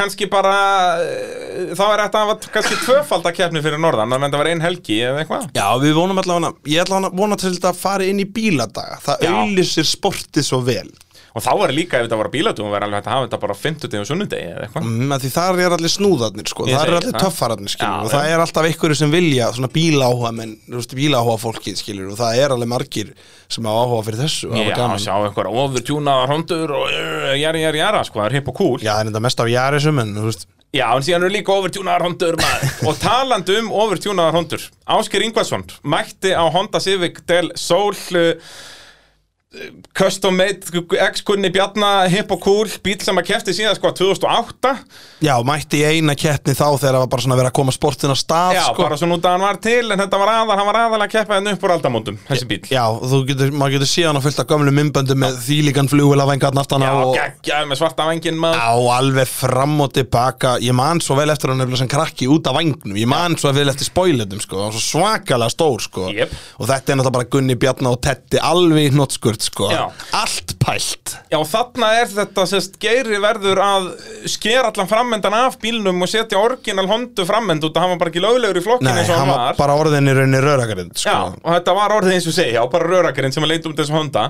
Speaker 1: kannski bara, eh, þá er þetta hafa kannski tvöfalda keppni fyrir norðan, þannig að þetta var ein helgi eða eitthvað.
Speaker 2: Já, við vonum allavega Ég ætla hana vona til þetta að fara inn í bíladaga Það
Speaker 1: Já.
Speaker 2: auðlýsir sportið svo vel
Speaker 1: Og þá var líka, ef þetta var bílatum, var alveg hægt að hafa þetta bara á 50 og sunnudegi eða eitthvað.
Speaker 2: mm, af Því þar er allir snúðarnir sko
Speaker 1: Ég
Speaker 2: Það
Speaker 1: segi
Speaker 2: er allir
Speaker 1: það.
Speaker 2: töffararnir skilur
Speaker 1: Já,
Speaker 2: Og það er alltaf einhverju sem vilja Svona bíláhuga menn þú veist, Bíláhuga fólkið skilur Og það er alveg margir sem hafa áhuga fyrir þessu og hafa
Speaker 1: Já,
Speaker 2: Mm, gaman.
Speaker 1: sjá einhverja ofurtjúnaðar hondur og eh, jari, jari, jara, sko, það er hipp og cool.
Speaker 2: Já, það er þetta mest af Jarisum En þú veist
Speaker 1: Já, en síðan eru líka overtjúnaðar hondur maður. Og talandi um overtjúnaðar hondur Ásker Ingvarsson mætti á Honda Civic Del Sol uh, Custom made X-kunni Bjarna Hip og cool Bíl sem að kefti síðan sko 2008
Speaker 2: Já, mætti í eina keppni þá þegar það var bara svona verið að koma sportin á stað
Speaker 1: Já,
Speaker 2: sko.
Speaker 1: bara svona út að hann var til En þetta var aðal, hann var aðal að keppa henni upp úr aldamótum Þessi bíl
Speaker 2: Já, þú getur, maður getur síðan á fullt af gömlu myndböndum með þýlíkan flugvélavengarn aftan
Speaker 1: Já,
Speaker 2: á og,
Speaker 1: geggjaði með svarta vengin maður
Speaker 2: á alveg fram og tilbaka ég man svo vel eftir hann nefnilega sem krakki út af vangnum ég man svo vel eftir spoilertum sko hann var svo svakalega stór sko
Speaker 1: Jep.
Speaker 2: og þetta er náttúrulega bara Gunni Bjarna og Tetti alveg í hnottskurt sko
Speaker 1: Já.
Speaker 2: allt pælt
Speaker 1: Já, þarna er þetta sérst geiri verður að skera allan frammendan af bílnum og setja orginal hondu frammend út að hann var bara ekki löglegur í flokkinu
Speaker 2: Nei,
Speaker 1: eins og
Speaker 2: hann var bara orðin í rauninni raurakarind sko.
Speaker 1: Já, og þetta var orðið eins og segja, já, bara rörakarinn sem að leita um þessu honda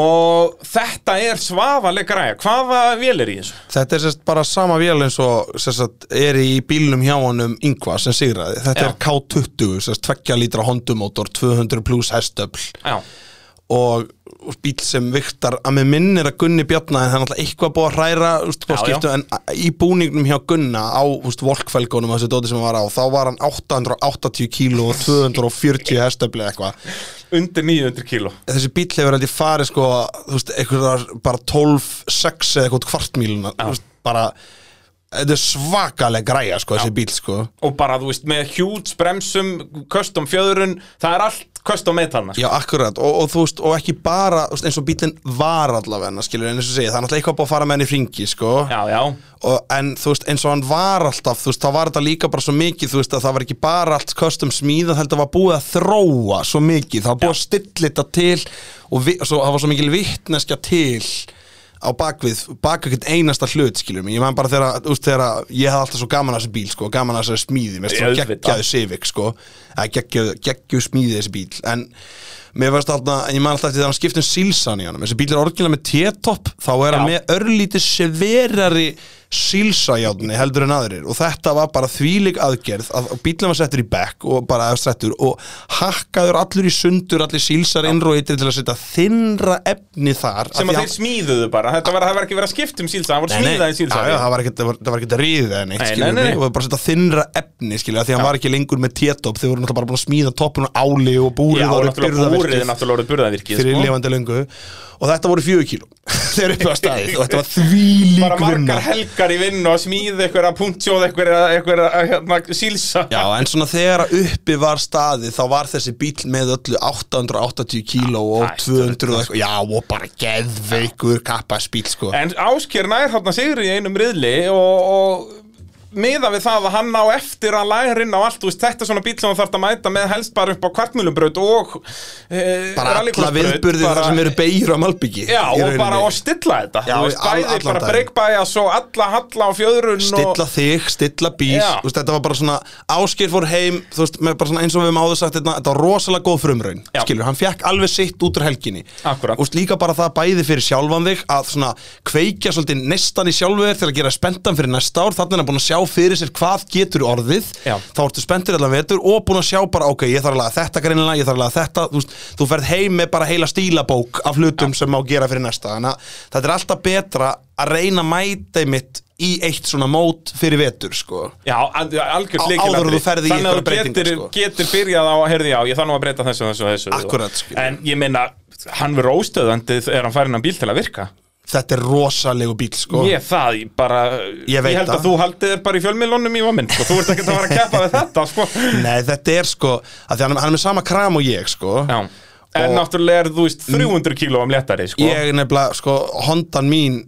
Speaker 1: og þetta er svafaleg græja, hvaða vél er í þessu?
Speaker 2: þetta er sérst bara sama vél eins og sérst er í bílnum hjá honum yngva sem sigraði, þetta
Speaker 1: Já.
Speaker 2: er K20 sérst 2 lítra hondumótor 200 pluss hestöfl
Speaker 1: Já,
Speaker 2: og og bíl sem viktar að með minn er að Gunni Bjarna en það er náttúrulega eitthvað búið að hræra úst, búið að
Speaker 1: Já,
Speaker 2: skiptu, en í búningnum hjá Gunna á úst, volkfælgónum þessu dóti sem hann var á þá var hann 880 kíló og 240 hestöfli eitthvað
Speaker 1: undir 900 kíló
Speaker 2: þessi bíl hefur aldrei farið sko þú veist, einhverjar bara 12, 6 eða eitthvað kvartmíluna bara þetta er svakaleg græja sko, þessi bíl sko
Speaker 1: og bara, þú veist, með hjúts, bremsum, custom fjöðurinn, það er allt custom made þarna, sko.
Speaker 2: Já, akkurat, og, og þú veist, og ekki bara þú veist, eins og bílinn var allavega skilur, en eins og segja, það er náttúrulega eitthvað búið að fara með henni í fringi sko,
Speaker 1: Já, já,
Speaker 2: og, en þú veist, eins og hann var alltaf, þú veist, þá var þetta líka bara svo mikið, þú veist, að það var ekki bara allt custom smíðað, heldur var búið að þróa svo mikið, það var búið að stilla þetta til og vi, svo, það var svo mikil vitneskja til á bakvið, baka ekkert einasta hlut skilur mig, ég man bara þegar, þú veist, þegar ég hafði alltaf svo gaman að þessi bíl, sko, gaman að þessi smíði, mér
Speaker 1: Ég
Speaker 2: finnst svo
Speaker 1: veit
Speaker 2: geggjaði Civic, sko, eða geggjuð geggju smíði þessi bíl, en mér finnst alltaf, en ég man alltaf eftir þegar hann skiptum sílsan í honum, þessi bíl er orginlega með T-top þá er hann
Speaker 1: Já.
Speaker 2: með örlítið severari sílsajárni heldur en aðrir og þetta var bara þvílig aðgerð að bílum var settur í bekk og bara settur og hakkaður allur í sundur allir sílsar innróitir til að setja þinnra efni þar
Speaker 1: sem
Speaker 2: af því
Speaker 1: að þeir smíðuðu bara, þetta var, það var ekki verið að skipta um sílsa, það voru
Speaker 2: Nei, nei,
Speaker 1: smíðaði sílsa
Speaker 2: já, já, það var ekkert- það var- það var ekkert að ríða eða neitt
Speaker 1: Nei,
Speaker 2: skilur
Speaker 1: nei, nei.
Speaker 2: mig, og bara að setja þinnra efni skilur, því að hann var ekki lengur með tétop þau voru náttúrulega bara búin að smíða toppun og áli og búrið
Speaker 1: Já,
Speaker 2: var
Speaker 1: náttúrulega búrið er náttúrulega orðið burðavirkið
Speaker 2: fyrir
Speaker 1: sko.
Speaker 2: lifandi löngu og þetta voru fjögur kíló þegar uppi var staðið og þetta var þvílík
Speaker 1: bara
Speaker 2: vinna
Speaker 1: margar helgar í vinn og smíði eitthvað að punktsjóð eitthvað eitthvað hérna, sílsa
Speaker 2: Já, en svona þegar að uppi var staðið þá var þessi bíl með öllu 880 kíló og
Speaker 1: hættu
Speaker 2: 200 og eitthvað, já og bara geðveikur kappaðsbíl sko
Speaker 1: en Ásker nær þarna sigur í einum riðli og, og miða við það að hann á eftir að læra inn á allt þú veist, þetta er svona bíl sem hann þarf að mæta með helst bara upp á kvartmjölubraut og e,
Speaker 2: bara alla viðburðir þar sem eru beigir á Malbyggi
Speaker 1: Já, og bara og stilla þetta
Speaker 2: Já,
Speaker 1: Þú veist,
Speaker 2: all-
Speaker 1: bæði
Speaker 2: allan
Speaker 1: bara
Speaker 2: daginn.
Speaker 1: breykbæja svo alla halla á fjöðrun
Speaker 2: stilla
Speaker 1: og,
Speaker 2: þig, stilla bíl
Speaker 1: Já.
Speaker 2: þú veist, þetta var bara svona, Áskir fór heim þú veist, með bara svona eins og við höfum áður sagt þetta, þetta var rosalega góð frumraun,
Speaker 1: Já.
Speaker 2: skilur, hann fekk alveg sitt út úr helginni
Speaker 1: Akkúrat.
Speaker 2: og veist, líka bara það bæði fyrir sjálfan þig að svona kveikja svolítið nestan í sjálfu þér til að gera spenntan fyrir næsta ár þannig að hann búin að sjá fyrir sér hvað getur orðið
Speaker 1: Já.
Speaker 2: þá ertu spenntur allan vetur og búin að sjá bara ok, ég þarf að laga þetta greinilega, ég þarf að laga þetta þú, veist, þú ferð heim með bara heila stílabók af hlutum sem má gera fyrir næsta þannig að þetta er alltaf betra að reyna að mæta mitt í eitt svona mót fyrir vetur sko
Speaker 1: Já, al- algjört
Speaker 2: Á-
Speaker 1: lykilatriði.
Speaker 2: áður en þú ferð í
Speaker 1: Þannig að
Speaker 2: einhverjar
Speaker 1: þú getur,
Speaker 2: breytingar, sko.
Speaker 1: getur byrjað á að heyrði já, ég þarf nú að breyta þessu, þessu, þessu
Speaker 2: Akkúrat, skilur.
Speaker 1: En ég meina, hann verður óstöðandi er hann færin að bíl til að virka
Speaker 2: þetta er rosalegu bíl sko
Speaker 1: Ég það, ég bara
Speaker 2: Ég veit
Speaker 1: held að
Speaker 2: það.
Speaker 1: þú haldið þér bara í fjölmiðlunum í vaminn og þú ert ekkert að fara að keppa við þetta, sko
Speaker 2: Nei, þetta er sko, að því hann, hann er með sama kram og ég sko
Speaker 1: Já, en
Speaker 2: Og- Mm.
Speaker 1: náttúrulega er þú veist 300 kílóum léttari, sko
Speaker 2: ég nefnilega, sko, hondan mín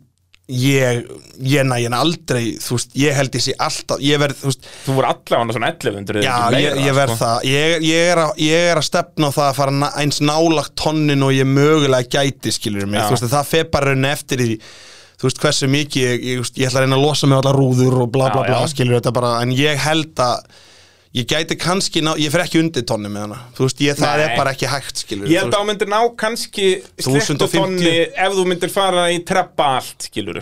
Speaker 2: ég, ég næ henni aldrei þú veist, ég held ég sé alltaf ég verð, þú veist,
Speaker 1: Þú voru allavega svona 1100 ef
Speaker 2: já,
Speaker 1: ekki meira, sko.
Speaker 2: ég, ég verð það ég, ég, er að, ég er að stefna á það að fara na- eins nálagt tonnin og ég mögulega gæti, skilur mig,
Speaker 1: Já.
Speaker 2: þú veist, það fer bara raun eftir í þú veist, hversu mikið, ég, ég, þú veist, ég ætla að reyna að losa mig allar rúður og bla bla
Speaker 1: Já,
Speaker 2: bla,
Speaker 1: já.
Speaker 2: skilur þetta bara, en ég held að ég gæti kannski, ná, ég fer ekki undir tonni með hana, þú veist, ég, það
Speaker 1: Nei.
Speaker 2: er bara ekki hægt, skilur
Speaker 1: Ég held að hún myndir ná kannski
Speaker 2: 1050.
Speaker 1: slettu tonni ef þú myndir fara í treppa allt, skiluru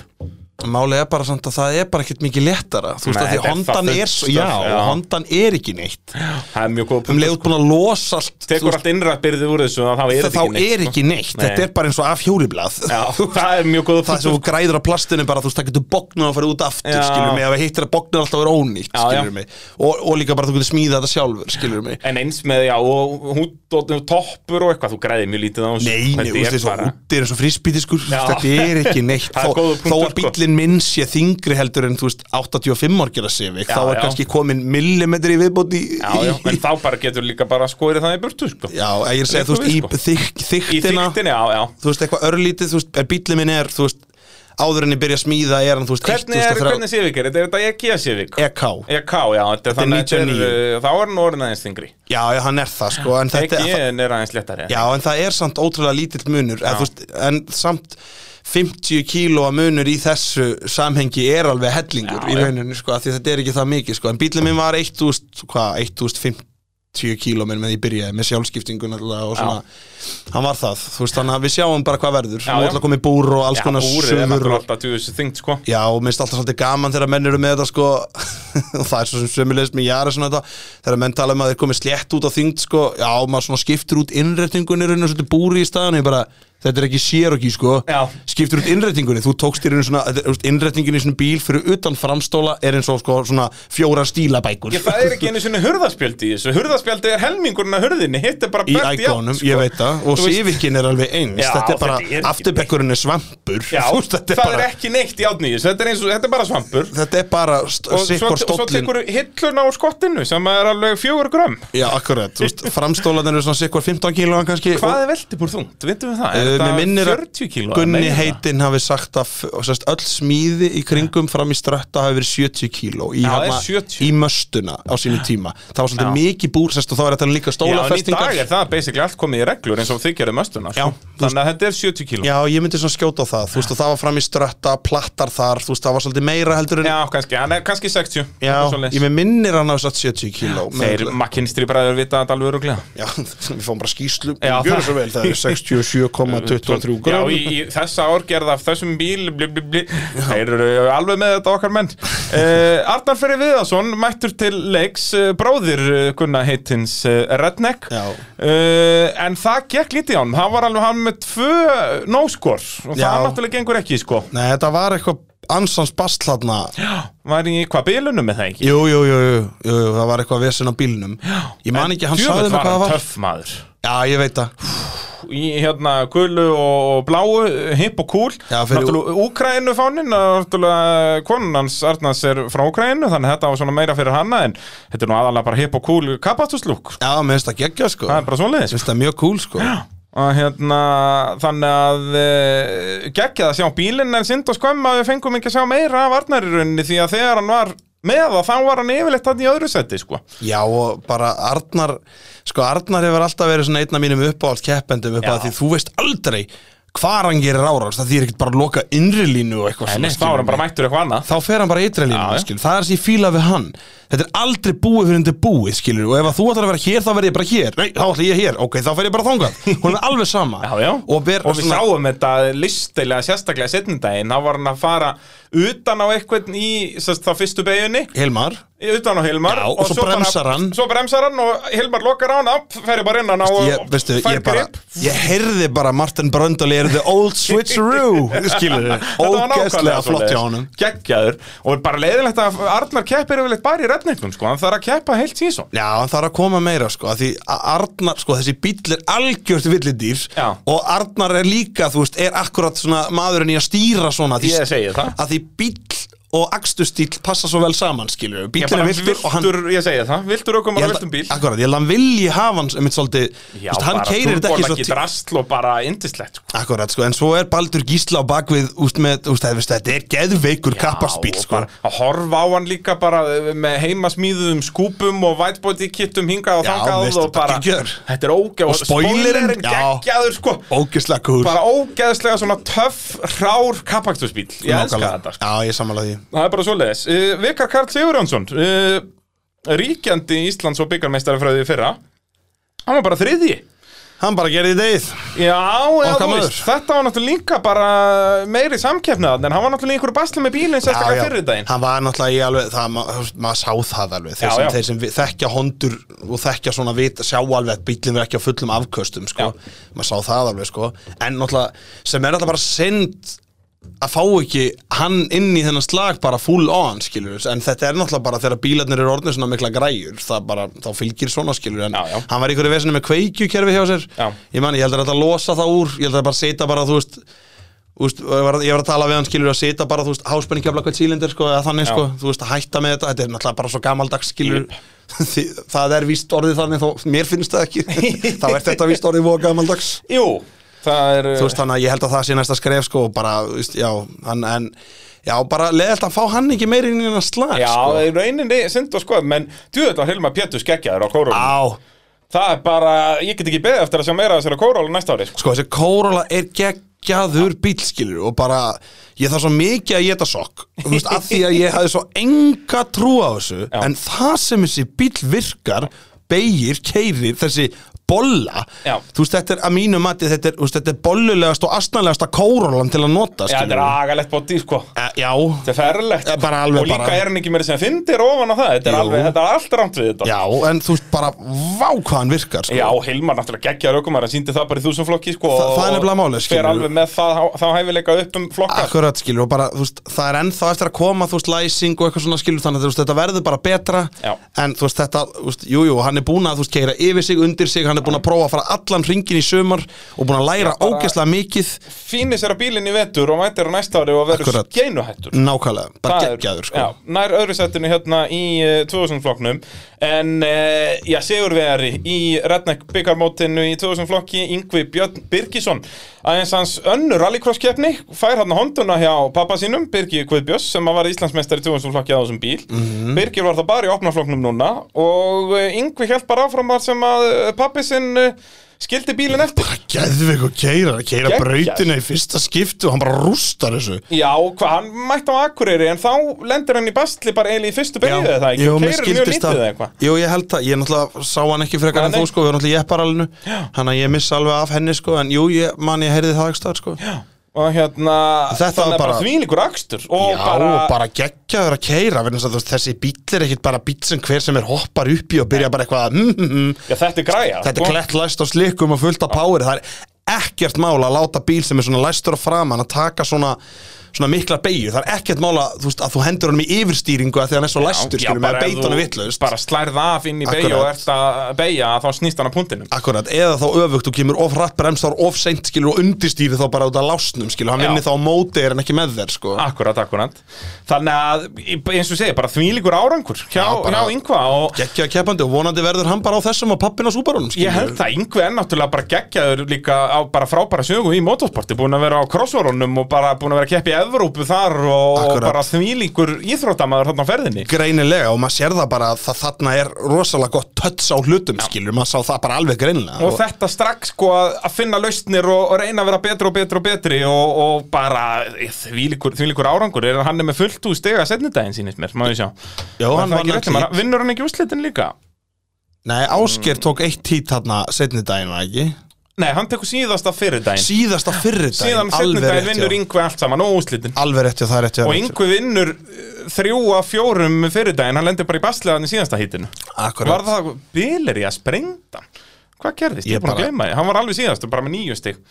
Speaker 2: Málið er bara samt að það er bara ekkert mikið léttara Þú veist
Speaker 1: Nei,
Speaker 2: að því
Speaker 1: þetta er
Speaker 2: hondan
Speaker 1: það
Speaker 2: er
Speaker 1: fullt
Speaker 2: svo,
Speaker 1: stöf,
Speaker 2: já,
Speaker 1: já.
Speaker 2: hondan er ekki neitt
Speaker 1: Það er mjög góð
Speaker 2: Um leiðut búin að losa allt þú
Speaker 1: tekur
Speaker 2: veist,
Speaker 1: allt innrættbyrði úr þessu þá er
Speaker 2: það,
Speaker 1: þetta
Speaker 2: Þá
Speaker 1: ekki neitt sko.
Speaker 2: er ekki neitt, þetta er bara eins og af hjóliblað
Speaker 1: Já, það er mjög góð
Speaker 2: Það sem þú græður á plastinu bara, þú veist, það getur bognað og farið út aftur,
Speaker 1: Já.
Speaker 2: skilur mig Ef að hittir að bognað alltaf er ónýtt,
Speaker 1: Já, já.
Speaker 2: skilur mig og, og líka bara þú getur smíðað þetta sjálfur, skilur mig
Speaker 1: En eins með, já, og hút og toppur og eitthvað, þú græðir mjög lítið á þessu
Speaker 2: Nei, nei,
Speaker 1: Þetta
Speaker 2: þú veist,
Speaker 1: er
Speaker 2: þessu
Speaker 1: bara-
Speaker 2: úti er eins og fríspítiskur
Speaker 1: Já.
Speaker 2: Þetta er ekki neitt
Speaker 1: Það er
Speaker 2: Þó,
Speaker 1: góður
Speaker 2: þó
Speaker 1: punktur,
Speaker 2: að
Speaker 1: sko.
Speaker 2: bíllinn minn sé þingri heldur en, þú veist, 85 orgjara Civic
Speaker 1: Já,
Speaker 2: Þá er
Speaker 1: já.
Speaker 2: kannski komin millimetri í viðbót í,
Speaker 1: Já, já, en þá bara getur líka bara skorið það í burtu, sko
Speaker 2: Já, en ég er að segja, þú
Speaker 1: Liggur
Speaker 2: veist, í
Speaker 1: við, sko.
Speaker 2: þyk,
Speaker 1: Í
Speaker 2: þyktina
Speaker 1: þyktinni, já, já
Speaker 2: Þú veist, eitthvað örlítið, þú veist, er bíllinn minn er, þú veist Áður en ég byrja að smíða er hann, þú veist,
Speaker 1: Hvernig er,
Speaker 2: 1003
Speaker 1: hvernig sivik er þetta? Er þetta E EG sivik?
Speaker 2: EK
Speaker 1: EK, E já, þetta er
Speaker 2: Þetta er
Speaker 1: þannig að þetta
Speaker 2: 99.
Speaker 1: er, uh, þá er hann orðin aðeins þingri
Speaker 2: Já, já, hann er það, sko En þetta,
Speaker 1: EG er aðeins léttari
Speaker 2: Já, en það er samt ótrúlega lítill munur eð,
Speaker 1: Já.
Speaker 2: veist, En samt 50 kílóa munur í þessu samhengi er alveg hellingur
Speaker 1: Já,
Speaker 2: í
Speaker 1: já.
Speaker 2: rauninu, sko, af því þetta er ekki það mikið, sko En bílum minn var 1000, hvað, 1050 kíló minn með ég byrjaði með sjálfskiptingun alltaf og svona Hann var það, þú veist, þannig að við sjáum bara hvað verður
Speaker 1: Já,
Speaker 2: Nú
Speaker 1: já.
Speaker 2: ætla að koma í búr og alls
Speaker 1: Já,
Speaker 2: konar
Speaker 1: búrið er
Speaker 2: sögur
Speaker 1: náttúrulega
Speaker 2: og...
Speaker 1: alltaf tjúðis þingt, sko
Speaker 2: Já, og minnst alltaf svolítið gaman þegar menn eru með þetta sko og það er svo sem sömulegist með Jara svona þetta þegar menn tala um að þeir komið slétt út á þyngd sko já, maður svona skiptir út innretningunir og svolítið búri í staðan og ég bara, þetta er ekki sér og ekki sko
Speaker 1: Já.
Speaker 2: skiptur út innrettingunni, þú tókst í raun svona þetta er, þú veist, innrettingin í svona bíl fyrir utan framstóla er eins og sko svona fjóra stílabækur sko.
Speaker 1: Ég, það er ekki einu svona hurðaspjald í þessu Hurðaspjaldi er helmingurinn að hurðinni Hitt er bara
Speaker 2: í
Speaker 1: bert
Speaker 2: ægónum,
Speaker 1: sko.
Speaker 2: ég veit það og
Speaker 1: Þú veist-
Speaker 2: sífikin er alveg eins,
Speaker 1: Já,
Speaker 2: þetta er bara
Speaker 1: þetta er ekki-
Speaker 2: afturbekkurinn er svampur
Speaker 1: Já,
Speaker 2: Þú veist, þetta,
Speaker 1: það
Speaker 2: er bara,
Speaker 1: er ekki neitt í átni Þetta er, eins og, þetta er bara svampur
Speaker 2: þetta er bara st-
Speaker 1: Og svo,
Speaker 2: sikkur
Speaker 1: og svo
Speaker 2: stóllin
Speaker 1: tekur hilluna úr skottinu Sem er alveg fjögur grömm
Speaker 2: já, akkurat, þú veist, framstólan eru svona sikkur 15 kílóan kannski
Speaker 1: Hvað er veltibúr þungt? Veitum við það? Er
Speaker 2: Uh, mér minnir
Speaker 1: þetta
Speaker 2: að
Speaker 1: 40 kíló?
Speaker 2: Gunni
Speaker 1: Meira?
Speaker 2: heitinn hafi sagt að f- og sest, öll smíði í kringum fram í strötta hafi verið 70 kíló í,
Speaker 1: Já,
Speaker 2: hana-
Speaker 1: er 70.
Speaker 2: í möstuna á sínu tíma það var svolítið
Speaker 1: Já.
Speaker 2: mikið búr sest, og þá er þetta
Speaker 1: Já,
Speaker 2: líka
Speaker 1: en í dag
Speaker 2: stólafestingar
Speaker 1: er það basically allt komið í reglur eins og þið gerum östuna sko.
Speaker 2: Já, þú
Speaker 1: Þannig að þetta er 70 kíló
Speaker 2: Já, ég myndi svona skjóta á það, þú veist, og það var fram í strötta, plattar þar, þú veist, það var svolítið meira heldur en
Speaker 1: Já, kannski, hann er kannski 60
Speaker 2: Já,
Speaker 1: eitthvað svoleiðis.
Speaker 2: ég með minnir hann hafi satt 70 kíló
Speaker 1: Þeir
Speaker 2: mögulega.
Speaker 1: McKinstry bræður vita þetta alveg öruglega
Speaker 2: Já, við fáum bara skýslu,
Speaker 1: Já,
Speaker 2: gjörum
Speaker 1: það-
Speaker 2: svo vel, það er 67,23
Speaker 1: Já,
Speaker 2: gram
Speaker 1: í, í þessa árgerð af þessum bíl bli, bli, bli. Þeir eru alveg með þetta okkar menn uh, Arnar Ferri Viðarsson mættur til leiks uh, bróðir uh, Gunna heitins uh, Redneck
Speaker 2: Já.
Speaker 1: uh, En það gekk lítið á hann Hann var alveg hann með tvö nóskor Og
Speaker 2: Já.
Speaker 1: það náttúrulega gengur ekki sko
Speaker 2: Nei, þetta var eitthvað ansans bastlatna
Speaker 1: Var í hvað bilunum með það ekki?
Speaker 2: Jú, jú, jú, jú, jú, jú, það var eitthvað vesen á bílnum Ég man ekki, hann
Speaker 1: Djöfull
Speaker 2: sagði mig hvað það var
Speaker 1: töff maður
Speaker 2: Já, ég veit það
Speaker 1: Í hérna gulu og og bláu, hipp og cool
Speaker 2: Já, fyrir-
Speaker 1: Náttúrulega Úkrænu fánin Náttúrulega konun hans Arnars er frá Úkrænu Þannig að þetta var svona meira fyrir hanna En þetta er nú aðalega bara hipp og cool kapastuslúk
Speaker 2: Já, mér finnst það geggja, sko
Speaker 1: Það er bara
Speaker 2: Mér
Speaker 1: svoleiðis
Speaker 2: finnst það mjög cool, sko
Speaker 1: Og hérna, þannig að e, geggjað að sjá bílinn en synd og skömm að við fengum ekki að sjá meira af Arnar í rauninni því að þegar hann var með það þá var hann yfirleitt hann í öðru seti sko.
Speaker 2: Já, og bara Arnar Sko, Arnar hefur alltaf verið svona einn af mínum uppáhald keppendum upp
Speaker 1: Já.
Speaker 2: að því þú veist aldrei hvar hann gerir árás það því er ekkert bara að loka innri línu og eitthvað
Speaker 1: þá var
Speaker 2: svona,
Speaker 1: hann
Speaker 2: skilur
Speaker 1: bara
Speaker 2: mig.
Speaker 1: mættur eitthvað annað
Speaker 2: þá fer hann bara ytri
Speaker 1: Já, já.
Speaker 2: línu, skil, það er sem ég fíla við hann þetta er aldrei búið fyrir undir búið, skilur og ef að þú ætlar að vera hér, þá verð ég bara hér nei, þá ætla ég hér, ok, þá fer ég bara þangað hún er alveg sama
Speaker 1: Já, já.
Speaker 2: og, ber,
Speaker 1: við sáum þetta listilega sérstaklega setnindaginn, þá var hann að fara utan á eitthvað í sérst, þá fyrstu beigunni,
Speaker 2: Hilmar,
Speaker 1: utan á Hilmar
Speaker 2: Já, og svo bremsar
Speaker 1: bara,
Speaker 2: hann.
Speaker 1: Svo bremsar hann og Hilmar lokar á hann upp, fer bara innan á
Speaker 2: ég, veistu, ég bara
Speaker 1: grip
Speaker 2: ég heyrði bara Martin Bröndal er the old switcheroo skilur þið,
Speaker 1: Þetta var nákvæmlega
Speaker 2: ógeðslega flott hjá
Speaker 1: svoleiðis.
Speaker 2: honum
Speaker 1: Geggjaður Og bara leiðilegt að Arnar keppir yfirleitt bara í redningum sko. Hann þarf að keppa heilt síðan
Speaker 2: Já, hann þarf að koma meira sko að Því að Arnar, sko, þessi bíll er algjört villidýr
Speaker 1: Já.
Speaker 2: Og Arnar er líka, þú veist, er akkurat svona maðurinn í að stýra svona því,
Speaker 1: Ég segi það.
Speaker 2: Að því bíll og akstustíll passa svo vel saman, skilur við
Speaker 1: Ég
Speaker 2: Bíllinn
Speaker 1: bara
Speaker 2: er viltur og hann
Speaker 1: viltur, ég segi það Viltur okkur
Speaker 2: Ég
Speaker 1: bara
Speaker 2: held
Speaker 1: viltum bíl
Speaker 2: að- Akkurat, ég held að hann vilji hafa hans, einmitt svolítið þú
Speaker 1: Já,
Speaker 2: veist, Hann
Speaker 1: bara
Speaker 2: keirir þetta ekki
Speaker 1: turbolaggi
Speaker 2: svo
Speaker 1: drasl og bara indislegt sko.
Speaker 2: Akkurat, sko, en svo er Baldur Gísla á bakvið, úst, með, úst, það, veist, þetta er geðveikur kapparspíl,
Speaker 1: Já, og
Speaker 2: sko.
Speaker 1: bara að horfa á hann líka bara eh, með heimasmíðum skúpum og whitebody kittum hingað og
Speaker 2: Já,
Speaker 1: þangað
Speaker 2: veistu,
Speaker 1: og bara,
Speaker 2: geggjör.
Speaker 1: þetta er ógæð
Speaker 2: Og spoilerinn, já.
Speaker 1: geggjaður sko
Speaker 2: Ógislega kúl.
Speaker 1: bara ógæðslega svona töff, hrár kappaktusbíl, ég elska
Speaker 2: Nákvæmlega.
Speaker 1: þetta sko.
Speaker 2: Já, ég sammála því.
Speaker 1: það er bara svoleiðis uh, Vikar Karl Sigurjónsson uh, ríkjandi Íslands og byggarmeistarafröði fyrra hann var bara þriðji
Speaker 2: Hann bara gerði í degið.
Speaker 1: Já, já,
Speaker 2: Okkar
Speaker 1: þú
Speaker 2: maður.
Speaker 1: veist, þetta var náttúrulega líka bara meiri samkeppnað en hann var náttúrulega í einhverju basla með bílinn sérstaklega fyrir daginn
Speaker 2: hann var náttúrulega í alveg, það, ma- þú veist, maður sá það alveg. Þeir,
Speaker 1: Já,
Speaker 2: sem,
Speaker 1: já.
Speaker 2: þeir sem vi- þekkja hondur og þekkja svona vita, sjá alveg að bílinn verð ekki á fullum afköstum, sko.
Speaker 1: Já.
Speaker 2: Maður sá það alveg, sko. En náttúrulega, sem er náttúrulega bara synd að fá ekki hann inn í þennan slag bara full on, skilur við. En þetta er náttúrulega bara þegar bílarnir eru orðin svona mikla græjur, það bara, þá fylgir svona, skilur við. En
Speaker 1: Já, já.
Speaker 2: hann var í einhverju vesinu með kveikjukerfi hjá sér
Speaker 1: Já.
Speaker 2: ég man, ég heldur að þetta losa það úr ég heldur að bara setja bara, þú veist Úst, ég, var, ég var að tala við hann skilur að setja bara þú veist, háspenningafla hvað sílindir sko, eða þannig
Speaker 1: Já.
Speaker 2: sko, þú veist að hætta með þetta þetta er náttúrulega bara svo gamaldags skilur yep. það er víst orðið þannig þó, mér finnst það ekki þá er þetta víst orðið og gamaldags
Speaker 1: Jú, það er
Speaker 2: þú veist þannig að ég held að það sé næsta skref sko og bara, þú veist, já, hann, en já, bara leðalt að fá hann ekki meir inn í hennar slag
Speaker 1: Já,
Speaker 2: sko.
Speaker 1: það er rauninni synd og skoð, menn djúðvöld að Hilma Pétur skeggjaður á kórólu
Speaker 2: á,
Speaker 1: Það er bara, ég get ekki beðið eftir að sjá meira af þessari kórólu næsta ári sko.
Speaker 2: sko þessi Corolla er geggjaður bílskilur og bara ég þarf svo mikið að geta sokk þú veist, af því að ég hafði svo enga trú á þessu en það sem þessi bíl virkar beigir, keirir, þessi bolla
Speaker 1: Já.
Speaker 2: þú veist, þetta er að mínu mati þetta er, þú veist, þetta er bollulegast og astnalegasta kórólan til að nota
Speaker 1: Já, þetta er
Speaker 2: skilurðu.
Speaker 1: agalegt bóti, sko
Speaker 2: Eh, já,
Speaker 1: Þetta er ferlegt
Speaker 2: Eh, bara alveg
Speaker 1: Og líka
Speaker 2: bara.
Speaker 1: er hann ekki meira sem fyndir ofan á það Þetta er,
Speaker 2: Jú.
Speaker 1: alveg, þetta er allt rámt við þetta
Speaker 2: já, en þú veist bara vá hvað hann virkar sko.
Speaker 1: Já, Hilmar náttúrulega geggjaður ökumar hann síndi það bara í þúsum flokki sko,
Speaker 2: Þa- það er
Speaker 1: og-
Speaker 2: nefnilega málið, Ah.
Speaker 1: Fer
Speaker 2: skilurðu.
Speaker 1: alveg með það, þá hæfileika upp um flokka sko.
Speaker 2: Akkurat, skilur, og bara, þú veist, það er ennþá eftir að koma, þú veist, læsing og eitthvað svona, skilur, þannig að þú veist, þetta verður bara betra
Speaker 1: Já.
Speaker 2: En, þú veist, þetta, þú veist, jú, jú, hann er búin að, þú veist, keira yfir sig, undir sig, hann er búin að prófa að fara allan ringin í sömar Og búin að læra
Speaker 1: bara-
Speaker 2: ógeðslega mikið,
Speaker 1: Fínir sér að bílinn í vetur og mætir á næsta ári og verður
Speaker 2: Akkurat.
Speaker 1: skeinuhættur
Speaker 2: nákvæmlega, bara
Speaker 1: Það er-
Speaker 2: geggjaður, sko
Speaker 1: já, Nær öðru settinu hérna í uh, 2000 flokknum En, uh, já, Sigurvegari í Redneck byggarmótinu í 2000 flokki Yngvi Björn Birgisson Aðeins hans önnur rallycross keppni Fær hann hónduna hjá pappa sínum, Birgi Guðbjörs Sem að var Íslandsmeistar í 2000 flokki á þessum bíl
Speaker 2: Mhm.
Speaker 1: Birgir var það bara í opnaflokknum núna Og uh, Yngvi held bara áfram þar sem að uh, pappi sinn uh, skildi bílinn eftir
Speaker 2: Geðveik og keira, keira
Speaker 1: Geggjaður.
Speaker 2: brautina í fyrsta skiptu og hann bara rústar þessu
Speaker 1: Já, hva, hann mætti á Akureyri en þá lendir hann í bastli bara eiginlega í fyrstu byrjuð eða það ekki
Speaker 2: Jú,
Speaker 1: Hún
Speaker 2: mér
Speaker 1: keyrir mjög
Speaker 2: skildist
Speaker 1: lítið
Speaker 2: það
Speaker 1: eða eitthvað
Speaker 2: Jú, ég held það, ég náttúrulega sá hann ekki frekar
Speaker 1: Nei,
Speaker 2: en þú
Speaker 1: nei.
Speaker 2: sko, við erum náttúrulega í epparalinu Þannig að ég missa alveg af henni sko, en jú, ég, man, ég heyrði það ekki stöðar sko Já,
Speaker 1: og hérna
Speaker 2: Þetta
Speaker 1: þannig
Speaker 2: var
Speaker 1: að bara
Speaker 2: bara-
Speaker 1: þvílíkur akstur og
Speaker 2: Já,
Speaker 1: bara,
Speaker 2: bara, bara geggjaður að keira vegna þess að þú veist, þessi bíll er ekkit bara bíll sem hver sem er hoppar upp í og byrja bara eitthvað að, mm, mm, mm,
Speaker 1: já, þetta er græja
Speaker 2: þetta er klett læst á slikum og fullt á power það er ekkert mála að láta bíl sem er svona læstur á framan að taka svona svona mikla beigju, það er ekkert mála þú veist, að þú hendur honum í yfirstýringu að því að hann er svo læstur skilur með að beita honum vitlaust
Speaker 1: bara slærð af inn í beigja og
Speaker 2: Akkurat.
Speaker 1: ert að beigja þá snýst hann að puntinum
Speaker 2: Akkurat, eða þá öfugt, þú kemur of rætt brems þá er of seint skilur og undistýri þá bara út af lásnum skilur, hann
Speaker 1: Já. Ah.
Speaker 2: vinnir þá á móti er en ekki með þér sko
Speaker 1: Akkurat, akkurat Þannig að, í- eins og ég segi, bara þvílíkur árangur hjá,
Speaker 2: Já, bara-
Speaker 1: hjá yngva og
Speaker 2: geggja keppandi og vonandi verður hann bara á þessum og pappin á súbarunum
Speaker 1: Ég held það, yngvi er náttúrulega bara geggjaður líka á bara frábæra sögu í motorsporti búin að vera á crossvarunum og bara búin að vera að keppa í Evrópu þar og, og
Speaker 2: Akkurat.
Speaker 1: bara þvílíkur íþróttamaður þarna á ferðinni
Speaker 2: greinilega og maður sér það bara að það, þarna er rosalega gott tötts á hlutum skilur, maður sá það bara alveg greinilega
Speaker 1: og þetta strax sko að að finna lausnir og, og reyna að vera betri og betri og betri og, og bara þvílíkur, þvílíkur árangur er að hann er með fullt úr stega setnudaginn sínist mér, maður sjá
Speaker 2: Já,
Speaker 1: Var það
Speaker 2: hann
Speaker 1: ekki
Speaker 2: vann öll
Speaker 1: rétt hjá
Speaker 2: hít.
Speaker 1: mér? vinnur hann ekki úrslitin líka
Speaker 2: Nei, Ásker tók eitt hít þarna setni daginn, var það ekki?
Speaker 1: nei, hann tekur síðasta fyrir daginn
Speaker 2: Síðasta fyrri daginn,
Speaker 1: síðan
Speaker 2: alveg
Speaker 1: setnudaginn
Speaker 2: rétt,
Speaker 1: vinnur
Speaker 2: já.
Speaker 1: yngvi allt saman og úrslitin
Speaker 2: Alveg rétt, já, það er rétt, já,
Speaker 1: og
Speaker 2: rétt,
Speaker 1: yngvi vinnur eh, þrjú af fjórum fyrir daginn hann lendir bara í baslegaðan í síðasta hítinu
Speaker 2: já. Akkurat
Speaker 1: var það bilir í að sprengta hvað gerðist, ég
Speaker 2: Ég
Speaker 1: er búin að
Speaker 2: bara-
Speaker 1: gleyma því hann var alveg síðast, bara með nýju stig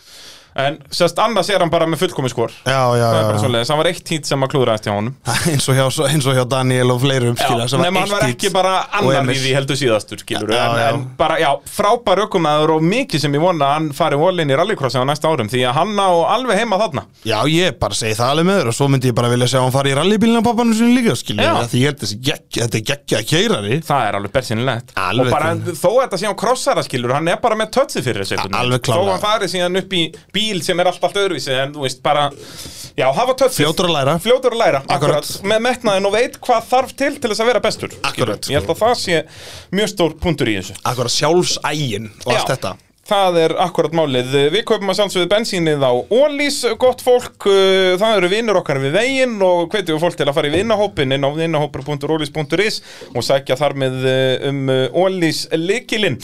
Speaker 1: en sérst annars er hann bara með fullkomi skor
Speaker 2: Já,
Speaker 1: það
Speaker 2: já,
Speaker 1: er bara
Speaker 2: já, já.
Speaker 1: svoleiðis, hann var eitt hít sem að klúðraðist hjá honum
Speaker 2: Eins, og hjá, svo- eins og hjá Daniel og fleirum skilur, sem
Speaker 1: nema hann var
Speaker 2: eitt
Speaker 1: ekki
Speaker 2: hít
Speaker 1: bara
Speaker 2: og
Speaker 1: annar í
Speaker 2: Emil.
Speaker 1: því heldur síðastur skilur,
Speaker 2: Já,
Speaker 1: en,
Speaker 2: já.
Speaker 1: en bara, já, frábær ökumæður og mikið sem ég vona að hann fari volin í rallycrossi á næsta árum, því að hann á alveg heima þarna
Speaker 2: Já, ég bara segi það alveg með þér og svo myndi ég bara vilja sjá hann fara í rallybílina pappanum sinni líka, skilur,
Speaker 1: Já.
Speaker 2: já. því ég held þessi gegg, þetta er geggja keirari
Speaker 1: það er alveg bersinilegt
Speaker 2: Alveg
Speaker 1: og bara
Speaker 2: þannig.
Speaker 1: þó að þetta sé á krossara skilur hann er bara með tötsi fyrir þessu einhvern
Speaker 2: A- alveg
Speaker 1: veginn.
Speaker 2: klárlega.
Speaker 1: þó að hann fari síðan upp í bíl sem er allt allt öðruvísi en þú veist bara já hafa tötsi
Speaker 2: Fljótur að læra.
Speaker 1: fljótur að læra akkurat.
Speaker 2: Akkurat.
Speaker 1: með metnaðin og veit hvað þarf til til þess að vera bestur skilurðu.
Speaker 2: Akkurat.
Speaker 1: ég held að það sé mjög stór punktur í þessu
Speaker 2: Akkurat sjálfsægin og allt
Speaker 1: Já,
Speaker 2: þetta
Speaker 1: Það er akkurat málið. Við kaupum að sjálfsögðu bensínið á Ólís, gott fólk, uh, það eru vinnur okkar við veginn og hvetjum fólk til að fara í vinnahópin inn á vinnahópur.ólís.is og sækja þar með uh, um Ólís likilinn.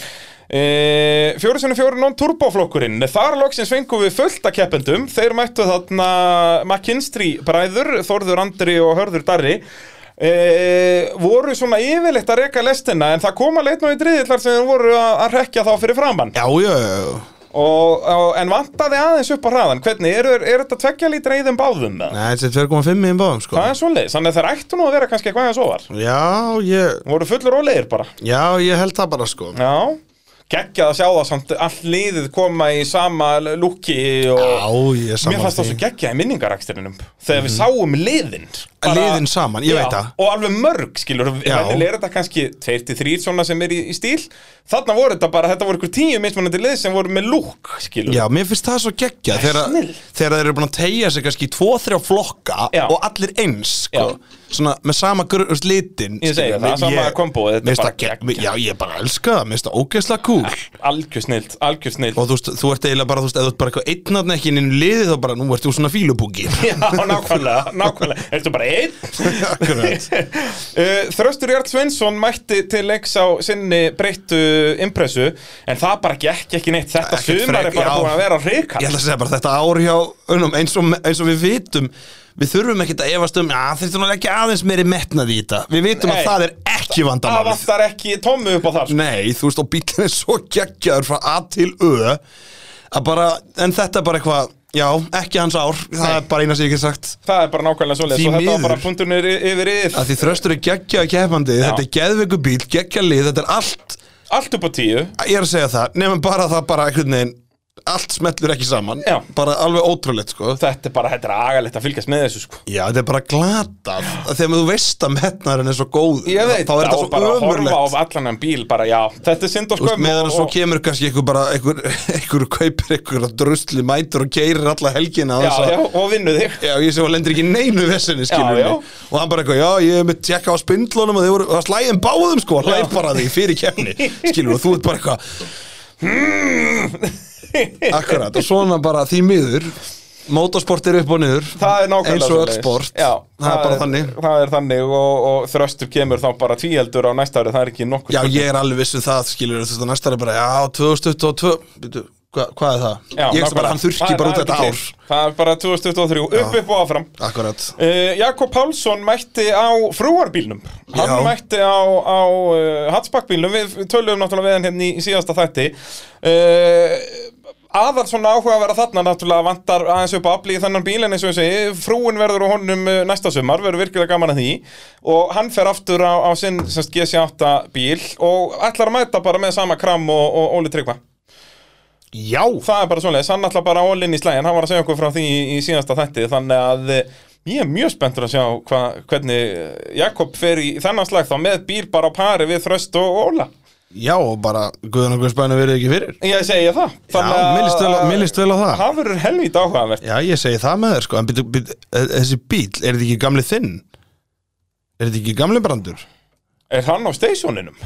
Speaker 1: E, 4x4 non-turboflokkurinn Þar loksins fengum við fullt að keppendum Þeir mættu þarna McKinstry bræður, Þorður Andri og Hörður Darri e, voru svona yfirleitt að reka lestina en það koma leitt nú í driðillar sem þeir voru að, að rekja þá fyrir framann
Speaker 2: Já, já, já, já.
Speaker 1: og, og, en vantaði aðeins upp á hraðan hvernig, eru er þetta tveggja lítra í þeim báðum með?
Speaker 2: Nei, þetta er 2,5 í einn báðum sko
Speaker 1: það er svoleiðis, þannig að þeir ættu nú að vera kannski eitthvað að svo var
Speaker 2: Já, ég,
Speaker 1: voru fullur ólegir bara
Speaker 2: já, ég held það bara sko
Speaker 1: já, geggjað að sjá það samt allt liðið koma í sama lúki
Speaker 2: Já,
Speaker 1: og
Speaker 2: ég er
Speaker 1: mér
Speaker 2: saman
Speaker 1: fannst það svo geggjað í minningarakstinunum þegar við sáum liðin
Speaker 2: Liðin saman, ég veit það.
Speaker 1: og alveg mörg skilur,
Speaker 2: Já.
Speaker 1: vennilega er þetta kannski 2-3 svona sem er í, í stíl þarna voru þetta bara, þetta voru ykkur tíu mismunandi lið sem voru með lúk skilur
Speaker 2: Já, mér finnst það svo geggja þegar,
Speaker 1: snillt.
Speaker 2: þegar þeir eru búin að tegja sig kannski í 2-3 flokka
Speaker 1: Já.
Speaker 2: og allir eins sko.
Speaker 1: Já.
Speaker 2: svona, með sama grunn, litin
Speaker 1: Ég segi
Speaker 2: skilur,
Speaker 1: það, sama kombo, þetta er
Speaker 2: mér finnst
Speaker 1: bara
Speaker 2: það gegn- Já, ég bara elska það, mér finnst það ógeðslega cool
Speaker 1: Algjör snilt, algjör snilt
Speaker 2: Og þú veist, þú ert eiginlega bara, þú veist, ef þú ert bara eitthvað einnarn ekki inn í liði þá bara, nú ert þú svona fílubúki
Speaker 1: Já, nákvæmlega, nákvæmlega Ertu bara einn?
Speaker 2: Akkurat.
Speaker 1: Uh, Þröstur Jart Sveinsson mætti til leiks á sinni breyttu impressu En það bara gekk ekki neitt Þetta
Speaker 2: Ekkert
Speaker 1: sumar er
Speaker 2: frek-
Speaker 1: bara
Speaker 2: já.
Speaker 1: búin að vera
Speaker 2: Ég
Speaker 1: hreikall
Speaker 2: ætla að segja bara þetta ár hjá unum, eins, og, eins og við vitum Við þurfum ekkert að efast um Já, þeir þurfum ekki aðeins meiri metnað í þetta Við vitum
Speaker 1: Nei.
Speaker 2: að það er ekki
Speaker 1: Það
Speaker 2: vandamálið
Speaker 1: vantar ekki tómmu upp á það sko.
Speaker 2: Nei, þú veist, og bílinn er svo geggjaður frá A til Ö að bara, en þetta er bara eitthvað já, ekki hans ár, það
Speaker 1: Nei.
Speaker 2: er bara eina sem ég get sagt
Speaker 1: Það er bara nákvæmlega svoleiðs
Speaker 2: Því
Speaker 1: Og þetta var
Speaker 2: miður.
Speaker 1: bara punktunir yfir yfir
Speaker 2: að því þröstur er geggjaður keppandi þetta er geðveiku bíl, geggjaður lið þetta er allt,
Speaker 1: Allt upp á tíu
Speaker 2: ég er að segja það nefnum bara það bara einhvern veginn allt smellur ekki saman,
Speaker 1: Já.
Speaker 2: bara alveg ótrúlegt sko.
Speaker 1: Þetta er bara, þetta er agalegt að fylgjast með þessu sko
Speaker 2: já, þetta er bara glatað að þegar þú veist að metnaðurinn er svo góð
Speaker 1: Ég veit,
Speaker 2: þá
Speaker 1: og
Speaker 2: er
Speaker 1: bara
Speaker 2: þetta svo
Speaker 1: að horfa
Speaker 2: ömurlegt
Speaker 1: á allan en bíl bara, já, þetta er synd og
Speaker 2: Þú veist,
Speaker 1: skömm
Speaker 2: meðan
Speaker 1: og-
Speaker 2: svo
Speaker 1: og-
Speaker 2: kemur kannski einhver bara einhver, einhver kaupir einhver drusli mætur og keirir alla helgina á
Speaker 1: Já,
Speaker 2: þess að-
Speaker 1: já, og vinnu þig
Speaker 2: Já, ég sé hún lendir ekki í neinu vesenni, skilur
Speaker 1: já.
Speaker 2: við Og hann bara eitthvað, já, ég hef með tjekka á spindlunum og þau voru, það slæðum báðum sko, hlæð bara því fyrir kefni Skilur við, og þú ert bara eitthvað hmm. Akkurat, og svona bara því miður Motorsport er upp og niður
Speaker 1: Það er nákvæmlega
Speaker 2: Eins og öll
Speaker 1: svoleiðis.
Speaker 2: sport
Speaker 1: Já,
Speaker 2: Það er bara þannig
Speaker 1: Það er þannig og, og þröstur kemur þá bara tvíeldur á næsta ári Það er ekki nokkuð
Speaker 2: Já, ég er alveg vissu það, skilur við, þú veist að næsta er bara, já, 2022 Býtu, hva, hvað er það?
Speaker 1: Já,
Speaker 2: ég veist
Speaker 1: nákvæmlega.
Speaker 2: bara, hann þurrki
Speaker 1: Það-
Speaker 2: bara út
Speaker 1: það er
Speaker 2: þetta
Speaker 1: ekki
Speaker 2: ár
Speaker 1: til. Það er bara 2023, upp upp og áfram
Speaker 2: Akkurat
Speaker 1: Uh, Jakob Pálsson mætti á frúarbílnum Hann
Speaker 2: Já.
Speaker 1: mætti á, á uh, hatsbakkbílnum Við töluðum náttúrulega við hann hérna í, í síðasta þætti uh, Aðal svona áhuga að vera þarna Náttúrulega vantar aðeins upp að afli í þennan bíl En eins og ég segi, frúin verður á honum uh, næsta sumar Verður virkilega gaman að því Og hann fer aftur á, á sinn semst, GC8 bíl Og ætlar að mæta bara með sama kram og, og Óli Tryggva
Speaker 2: Já,
Speaker 1: það er bara svoleiðis, hann ætla bara all in í slægin hann var að segja okkur frá því í, í síðasta þætti þannig að eh, ég er mjög spenntur að sjá hva, hvernig eh, Jakob fer í þennan slag þá með bíl bara á pari við Þröst og Óla
Speaker 2: já, og bara, guðan og guðspæðinu verið ekki fyrir
Speaker 1: ég segi það
Speaker 2: Já, mér líst vel á- mér líst vel á það.
Speaker 1: það verður helvít áhugavert
Speaker 2: Já, ég segi það með þér sko, en byrju, byrju, þessi bíl, er þetta ekki gamli þinn? Er þetta ekki gamli brandur?
Speaker 1: er hann á stationinum?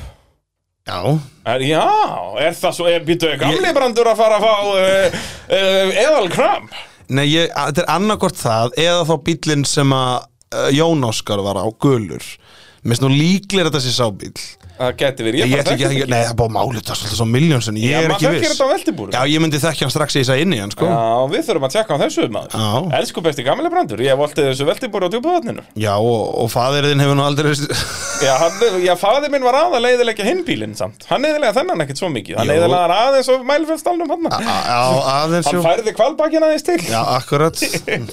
Speaker 2: Já,
Speaker 1: Er, já, er það svo, er, býtu, er gamli brandur að fara að fá uh, uh, eðal kram?
Speaker 2: nei, ég, að- þetta er annarkvort það, eða þá bílinn sem að uh, Jón Óskar var á, gulur Mér finnst nú líklega þetta sé sá bíl
Speaker 1: Það geti verið,
Speaker 2: Ég
Speaker 1: ég
Speaker 2: ætla ekki að, nei, það er bara málið, það er svolítið svo miljón sem ég
Speaker 1: Já,
Speaker 2: er
Speaker 1: maður
Speaker 2: ekki
Speaker 1: þekkir
Speaker 2: viss
Speaker 1: þetta á veltibúri.
Speaker 2: Já, ég myndi þekki hann strax í þess að inn í hann, sko Já,
Speaker 1: Já, við þurfum að tjekka á þessu maður
Speaker 2: Já.
Speaker 1: Elsku besti gamli brandur, ég volti þessu veltibúru á djúpaðatninu
Speaker 2: og, og faðirðin hefur nú aldrei
Speaker 1: Já, hann, já faðir minn var aða leiðilega hinn bílinn samt Hann leiðilega þennan ekkert svo mikið Hann
Speaker 2: Jú.
Speaker 1: leiðilega hann aðeins og mælfjöfstálnum hann
Speaker 2: Á, á, aðeins,
Speaker 1: Hann
Speaker 2: jú
Speaker 1: færði kvalbakinn aðeins til
Speaker 2: Já, akkurat,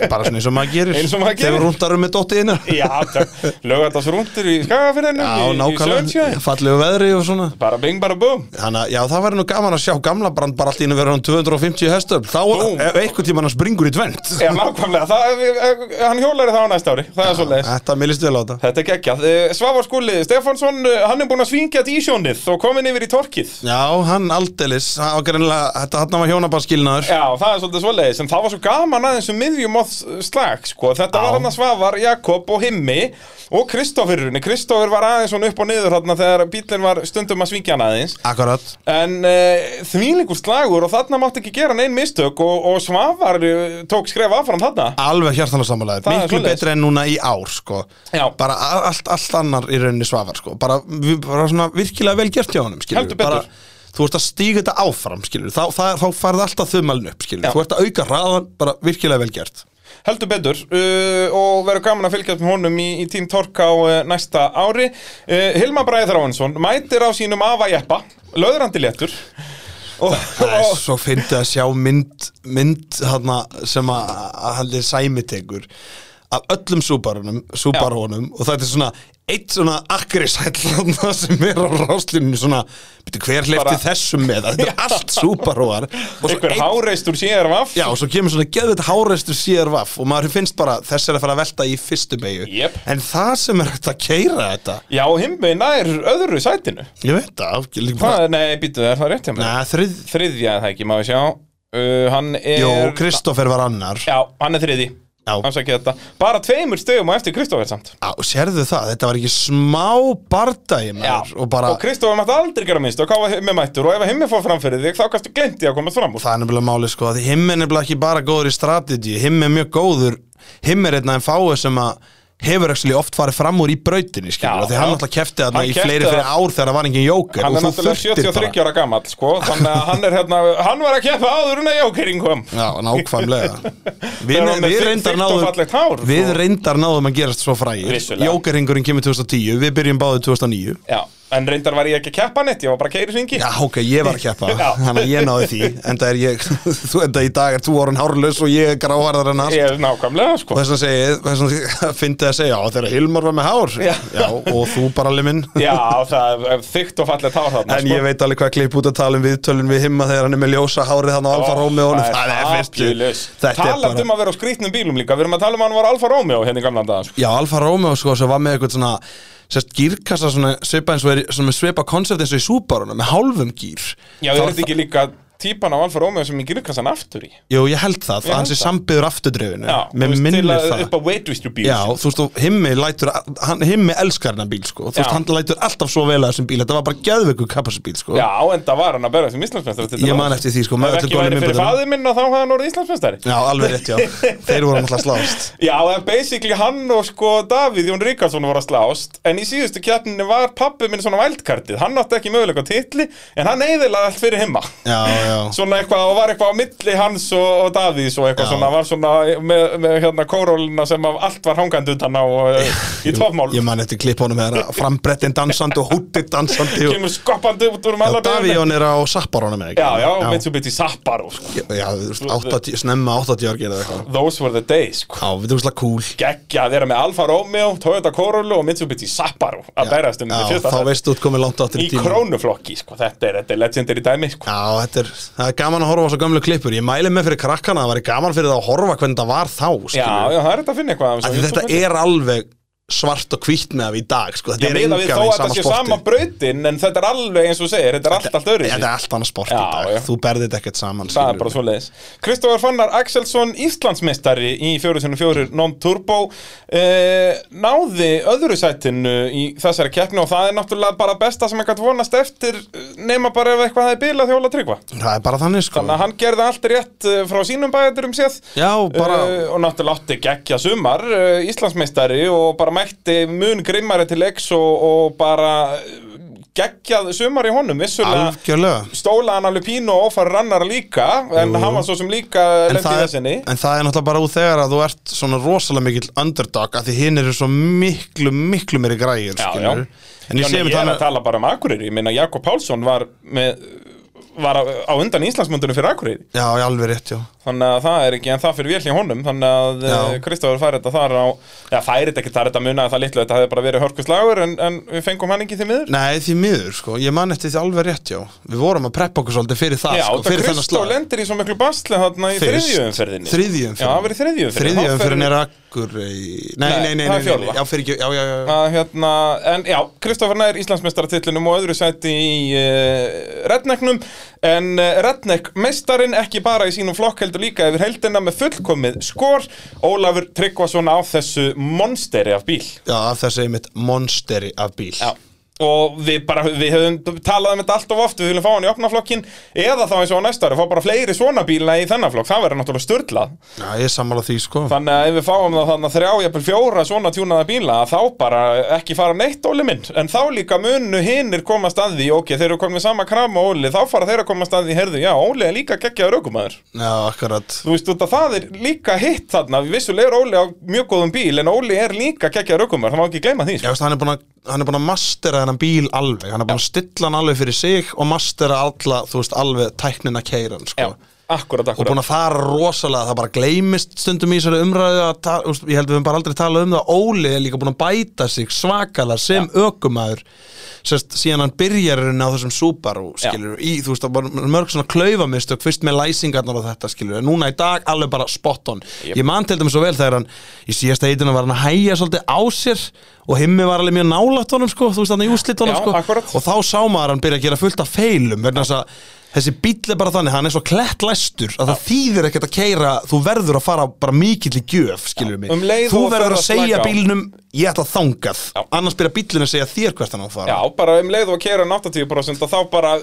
Speaker 2: bara svona eins og maður gerir
Speaker 1: Eins og maður gerir.
Speaker 2: Þegar rúndarum með dottiðinu
Speaker 1: Já, lögatast rúndur í skagafyrðinu
Speaker 2: Já, nákvæmlega,
Speaker 1: Sjönsjöð
Speaker 2: fallegu veðri og svona
Speaker 1: Bara bing, bara búm
Speaker 2: Þannig að, já, það væri nú gaman að sjá gamla brand bara allt í einu verður hann 250 hestöfl Þá,
Speaker 1: Búm.
Speaker 2: ef einhvern tímann hann springur í tvent
Speaker 1: Já, nákvæmlega, það, eh, hann hjólari það á næsta ári Það er svo leiðis
Speaker 2: Þetta millist vel á þetta
Speaker 1: Þetta er geggjað Eh, Svavar Skúli, Stefánsson, eh, hann er búinn að svingja dísjónið og komin yfir í torkið
Speaker 2: Já, hann aldeilis, það var greinlega, þetta hann var hjónabarskilnaður
Speaker 1: Já, það er svolítið svoleiðis, en það var svo gaman aðeins um miðjum og slag, sko, þetta
Speaker 2: Já.
Speaker 1: var hann að Svavar, Jakob og Himmi og Kristofferunni, Kristoffer var aðeins svona upp og niður þarna þegar bílinn var stundum að svíkja hann aðeins,
Speaker 2: Akkurat
Speaker 1: en uh, þvílingur slagur og þarna mátti ekki gera neinn mistök og, og Svavar eh, tók skref affram þarna.
Speaker 2: Alveg hjartanlega samanlega,
Speaker 1: Það er
Speaker 2: miklu
Speaker 1: svoleiðis.
Speaker 2: betri en núna í ár, sko
Speaker 1: Já.
Speaker 2: Bara a- allt, allt annar í rauninni svafar, sko Bara, við, bara svona virkilega vel gert hjá honum, skilur
Speaker 1: Heldur betur.
Speaker 2: bara, Þú ert að stíga þetta áfram, skilur Þá, það, þá færði alltaf þumalinn upp, skilur
Speaker 1: Já.
Speaker 2: Þú ert að auka hraðan, bara virkilega vel gert
Speaker 1: heldur betur uh, og verður gaman að fylgjast með honum í, í Team Tork á uh, næsta ári uh, Hilma Bræði Þráinsson mætir á sínum afa jeppa löðrandi léttur og,
Speaker 2: Það er
Speaker 1: og,
Speaker 2: svo fyndið að sjá mynd, mynd hana, sem að að hann er sæmitekur af öllum súbarunum, súbarunum og þetta er svona eitt svona akrisæll sem er á ráslinu svona, beti, hver hleyfti
Speaker 1: Bara-
Speaker 2: þessum með þetta er allt súbarúar og svo
Speaker 1: einhver
Speaker 2: einn-
Speaker 1: háreistur sér vaff
Speaker 2: Já, og svo kemur svona geðvitt háreistur síðar vaff og maður finnst bara þess er að fara að velta í fyrstu beigju
Speaker 1: Jep.
Speaker 2: en það sem er hægt að keira þetta
Speaker 1: Já, himmi nær öðru sætinu
Speaker 2: ég veit það, ég líka bara
Speaker 1: Hvað, nei, býtu, er það rétt hjá mér?
Speaker 2: Nei, þrið,
Speaker 1: Þriðja er það ekki, má við sjá uh, Hann er
Speaker 2: Jó, Kristoffer var annar
Speaker 1: Já, hann er þriði
Speaker 2: Já.
Speaker 1: afsakið þetta bara tveimur stöðum og eftir Kristoffer samt
Speaker 2: Á, sérðu það, þetta var ekki smá bardagi maður og bara,
Speaker 1: og Kristoffer mætti aldrei gera minnst og hvað var himmi mættur og ef himmi fór fram fyrir þig þá kannstu glemti að komast fram úr
Speaker 2: það er nefnilega máli sko að himm er nefnilega ekki bara góður í strategi himm er mjög góður, himm er einna en fáið sem að hefur ekki oft farið fram úr í brautinni
Speaker 1: Já,
Speaker 2: skilur, því
Speaker 1: já.
Speaker 2: hann alltaf kefti þarna
Speaker 1: Hann
Speaker 2: í
Speaker 1: keppti
Speaker 2: fleiri
Speaker 1: það-
Speaker 2: fyrir ár þegar það var engin jóker
Speaker 1: hann er
Speaker 2: og þú
Speaker 1: náttúrulega
Speaker 2: þurftir
Speaker 1: 73 ára gamall sko þannig að hann er hérna hann var að keppa áður en að jókerinn kom
Speaker 2: Já, nákvæmlega Við,
Speaker 1: Þegar hann er
Speaker 2: við,
Speaker 1: þykkt-
Speaker 2: reyndar
Speaker 1: þykkt og fallegt hár,
Speaker 2: náðum, við
Speaker 1: svo-
Speaker 2: reyndar náðum að gerast svo frægir
Speaker 1: Vissulega.
Speaker 2: Jókerringurinn kemur 2010, við byrjum báðið 2009
Speaker 1: já en reyndar var ég ekki að keppa neitt ég var bara að keiri hringi
Speaker 2: Já, ok, ég var að keppa,
Speaker 1: Já.
Speaker 2: þannig að ég náði því Enda er ég, þú enda í dag er þú orðin hárlaus og ég er gráharðar en allt
Speaker 1: ég er nákvæmlega
Speaker 2: Og
Speaker 1: sko
Speaker 2: þess að segja, þess að fyndi að segja, já þegar Hilmar var með hár
Speaker 1: Já.
Speaker 2: og þú bara alveg minn
Speaker 1: já það er þygt og fallegt hár þarna
Speaker 2: En
Speaker 1: sko.
Speaker 2: ég veit alveg hvað klipp út að tala um viðtölun við himma þegar hann er með ljósa hárið þannig á Alfa Romeo
Speaker 1: Það er fyrstjulus Taland um að vera á skrýtnum bílum líka Við erum að tala um að hann var Alfa Romeo hérna í gamla daga sko.
Speaker 2: Já, Alfa Romeo sko sem var með eitthvað svona sérst gírkassa svona svipa eins og er svona svipa koncept eins og í Subaru með hálfum gír
Speaker 1: Já,
Speaker 2: Þá
Speaker 1: er
Speaker 2: er
Speaker 1: þetta ekki líka típan á Alfa Romeo sem ég gilur kassan aftur í
Speaker 2: Jú, ég held það,
Speaker 1: Ég
Speaker 2: það hans
Speaker 1: held
Speaker 2: er
Speaker 1: það.
Speaker 2: sambiður afturdrefinu
Speaker 1: Já,
Speaker 2: Mér
Speaker 1: þú veist,
Speaker 2: minnir
Speaker 1: til að-
Speaker 2: það
Speaker 1: Upp á weight
Speaker 2: Já,
Speaker 1: distribution
Speaker 2: þú veist, og himmi lætur hann, himmi elskar hennar bíl sko Þú
Speaker 1: Já.
Speaker 2: veist, hann lætur alltaf svo vel að þessum bíl Þetta var bara geðveiku kappasabíl sko
Speaker 1: Já, en það var hann að um berja sem Íslandsmestari
Speaker 2: Ég man eftir því sko með
Speaker 1: Ef
Speaker 2: öllu
Speaker 1: ekki væri
Speaker 2: góðum
Speaker 1: fyrir
Speaker 2: innbyrðum.
Speaker 1: faðið minna þá hafði hann orðið Íslandsmestari
Speaker 2: Já, alveg rétt, já Þeir voru náttúrulega slást
Speaker 1: Já, en basically hann og sko Davíð Jón Ríkarsson voru að slást En í síðustu kjarninni var pappi minn svona vældkartið Hann átti ekki möguleika á titli En hann eiðilaði allt fyrir himma
Speaker 2: Já, já
Speaker 1: svona eitthvað, og var eitthvað á milli hans og, og Davís og eitthvað
Speaker 2: Já.
Speaker 1: svona, var svona með, með hérna kórólina sem af allt var hangandi utan á og, eh, í tofmál,
Speaker 2: Ég man eftir klipp honum með það frambrettin dansandi og húttið dansandi og...
Speaker 1: kemur skoppandi út úr um alla
Speaker 2: Davíón er á Sapparónum eða ekki?
Speaker 1: Já, já, já. Mitsubishi Sapparo sko.
Speaker 2: Já, já, þú veist, 80, snemma 80 ár eða eitthvað
Speaker 1: Those were the days sko.
Speaker 2: Já, við erum slag cool
Speaker 1: Gekkja að vera með Alfa Romeo, Toyota Corolla og Mitsubishi Sapparo að berast um í
Speaker 2: Já,
Speaker 1: fyrsta
Speaker 2: þá
Speaker 1: sæti.
Speaker 2: veistu út komið langt áttir
Speaker 1: í krónuflokki sko. þetta, er, þetta er legendary dæmi sko.
Speaker 2: Já, þetta er, það er gaman að horfa á svo gamlu klippur Ég mæli með fyrir krakkana, það væri gaman fyrir það að horfa hvernig það var þá
Speaker 1: Já,
Speaker 2: skilurðu.
Speaker 1: já, það er þetta að finna eitthvað
Speaker 2: Af því Þetta er alveg svart og hvitt með af í dag sko. Þetta
Speaker 1: Ég
Speaker 2: er
Speaker 1: meina
Speaker 2: engan
Speaker 1: við þó að
Speaker 2: veginn
Speaker 1: þetta
Speaker 2: sama
Speaker 1: sé
Speaker 2: sporti
Speaker 1: sama brautin en þetta er alveg eins og þú segir, þetta er allt allt öðru
Speaker 2: Þetta er allt annað sport í
Speaker 1: Já,
Speaker 2: dag
Speaker 1: já.
Speaker 2: Þú berðið þetta ekkert
Speaker 1: Það
Speaker 2: saman
Speaker 1: er
Speaker 2: skilurðu.
Speaker 1: bara svo leiðis Kristofar Fannar Axelsson, Íslandsmeistari í 404 non-turbo eh, náði öðru sætinu í þessari keppni og það er náttúrulega bara besta sem eitthvað vonast eftir eh, nema bara ef eitthvað hefði bilað hjóla tryggva
Speaker 2: Það er bara þannig sko
Speaker 1: Þannig að hann gerði allt rétt eh, frá sínum bæðurum séð
Speaker 2: Já, bara
Speaker 1: Eh, og náttúrulega átti geggja sumar uh, Íslandsmeistari og bara mætti mun grimmari til leiks og, og bara eh, geggjað sumar í honum vissulega
Speaker 2: algjörlega
Speaker 1: stóla hann alveg pínu og ofar rannar líka en hann var svo sem líka
Speaker 2: en
Speaker 1: lendið
Speaker 2: það,
Speaker 1: þessinni
Speaker 2: er, en það er náttúrulega bara úr þegar að þú ert svona rosalega mikill underdog að því hinn eru svo miklu, miklu meiri grægir
Speaker 1: Já,
Speaker 2: skilur. en ég
Speaker 1: Jóni,
Speaker 2: sé
Speaker 1: ég er
Speaker 2: mér
Speaker 1: að
Speaker 2: þannig
Speaker 1: tala bara um Akureyri ég meina Jakob Pálsson var, með, var á, á undan Íslandsmundunum fyrir Akureyri
Speaker 2: já, já, alveg rétt, já
Speaker 1: þannig að það er ekki en það fyrir vél í honum þannig að
Speaker 2: Já.
Speaker 1: eh, Kristofur fær þetta þar á já, fær þetta ekki þar þetta munaði það litlu þetta hefði bara verið hörkuslagur en, en við fengum hann ekki því miður
Speaker 2: nei, því miður, sko, ég man eftir því alveg rétt, já við vorum að preppa okkur svolítið fyrir það,
Speaker 1: Já,
Speaker 2: sko,
Speaker 1: það
Speaker 2: fyrir þennan
Speaker 1: Kristó
Speaker 2: slag
Speaker 1: lendir í svo miklu basli þarna í
Speaker 2: Fyrst,
Speaker 1: þriðjöumferðinni
Speaker 2: þriðju umferðinni.
Speaker 1: Já, það verið þriðjöumferðinni
Speaker 2: þriðjöfyrin er akkur nei, nei,
Speaker 1: Nei, það er
Speaker 2: nei, nei, nei, nei,
Speaker 1: fjórða.
Speaker 2: já, fyrir ekki, já, já, já, já.
Speaker 1: að hérna, en já, Kristoffer Nær Íslandsmeistaratitlinum og öðru sæti í uh, Rednecknum en uh, Redneck meistarin ekki bara í sínum flokk heldur líka yfir heldina með fullkomið skor Ólafur Tryggvason á þessu monsteri af bíl
Speaker 2: Já, af þessi einmitt monsteri af bíl
Speaker 1: Já Og við bara, við höfum talað um þetta allt of oft, við viljum fá hann í opnaflokkin eða þá eins og á næstari, fá bara fleiri svona bíla í þennan flokk, það verður náttúrulega störlað
Speaker 2: Já, ég er sammála því, sko
Speaker 1: Þannig að ef við fáum það þannig að þrjá, jafnvel fjóra svona tjúnaða bíla, þá bara ekki fara neitt Óli minn. En þá líka munu hinnir koma að því, ok, þeir eru komið sama kram á Óli, þá fara þeir að koma að því, herðu, já, Óli er líka geggjaður aukumæður.
Speaker 2: Já, akkurat
Speaker 1: Þú veist, út að það er líka hitt þarna, vissulega er Óli á mjög góðum bíl, en Óli er líka geggjaður aukumæður, það má ekki gleyma því,
Speaker 2: Já,
Speaker 1: sko.
Speaker 2: veist, hann er búinn að, hann er búin að mastera þennan bíl alveg, hann er búinn að stilla hann alveg fyrir sig og mastera alla, þú veist, alveg tæknina keiran, sko.
Speaker 1: Já, akkurat,
Speaker 2: Og
Speaker 1: akkurat.
Speaker 2: búinn að fara rosalega, það bara gleymist stundum í þessari umræðu að, ta- þú veist, ég held við höfum bara aldrei talað um það, Óli er líka búinn að bæta sig svakalega sem ja. ökumæður, sérst, síðan hann byrjar í rauninni á þessum Subaru,
Speaker 1: Já.
Speaker 2: skilur, í, þú veist, það var mörg svona klaufamistök, fyrst með læsingarnar og þetta, skilur, en núna í dag alveg bara spot on.
Speaker 1: Jep.
Speaker 2: Ég man til dæmis svo vel þegar hann í síðasta heitina var hann að hæja svolítið á sér og himmi var alveg mjög nálægt honum sko, þú veist þannig í úrslitunum
Speaker 1: Já,
Speaker 2: sko
Speaker 1: akkúrat.
Speaker 2: og þá sá maður hann byrja að gera fullt af feilum vegna þess að þessi bíll er bara þannig, hann er svo klettlæstur að það þýðir ekkert að keira, þú verður að fara bara mikill í gjöf, skilur mig
Speaker 1: Um leið
Speaker 2: þú
Speaker 1: og
Speaker 2: verður
Speaker 1: ferð
Speaker 2: að
Speaker 1: að
Speaker 2: segja
Speaker 1: slaka á.
Speaker 2: bílnum ég ætla þangað,
Speaker 1: Já.
Speaker 2: annars byrja bíllinn að segja þér hvert hann á að fara
Speaker 1: Já, bara um leið og að keira en 80% og þá bara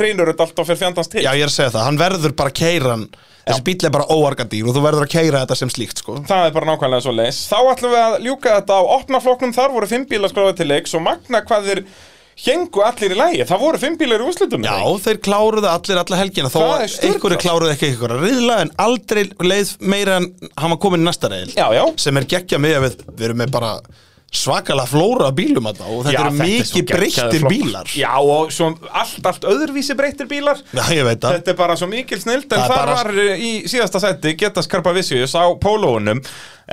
Speaker 1: reynur þetta allt og fyrir fjandans til
Speaker 2: Já, ég er að segja það, hann verður bara að keira hann þessi bíll er bara óargadýr og þú verður að keira þetta sem slíkt, sko
Speaker 1: Það er bara nákvæmlega svo leis Þá ætlum við að ljúka þetta á opnafloknum Þar voru fimm bílar skráði til leiks og magna hvað þeir hengu allir í lægi Það voru fimm bílar í úslutum
Speaker 2: Já, þeir kláruðu allir alla helgina þó
Speaker 1: Það
Speaker 2: að
Speaker 1: er sko. sturlað.
Speaker 2: einhverju kláruðu ekki einhverju riðla en aldrei leið meira en hann var komin í næsta reil
Speaker 1: Já, já.
Speaker 2: sem er geggja með að við, við erum með bara svakalega flóra af bílum að þá og þetta
Speaker 1: Já,
Speaker 2: eru
Speaker 1: er svo
Speaker 2: mikið
Speaker 1: geggjaður
Speaker 2: breyttir
Speaker 1: flokkur.
Speaker 2: bílar
Speaker 1: Já, og svo allt, allt öðruvísi breyttir bílar
Speaker 2: Já, ég veit það
Speaker 1: Þetta er bara svo mikil snild en
Speaker 2: Það er
Speaker 1: það
Speaker 2: bara-
Speaker 1: var eh, í síðasta seti geta skarpa vissjus á pólóunum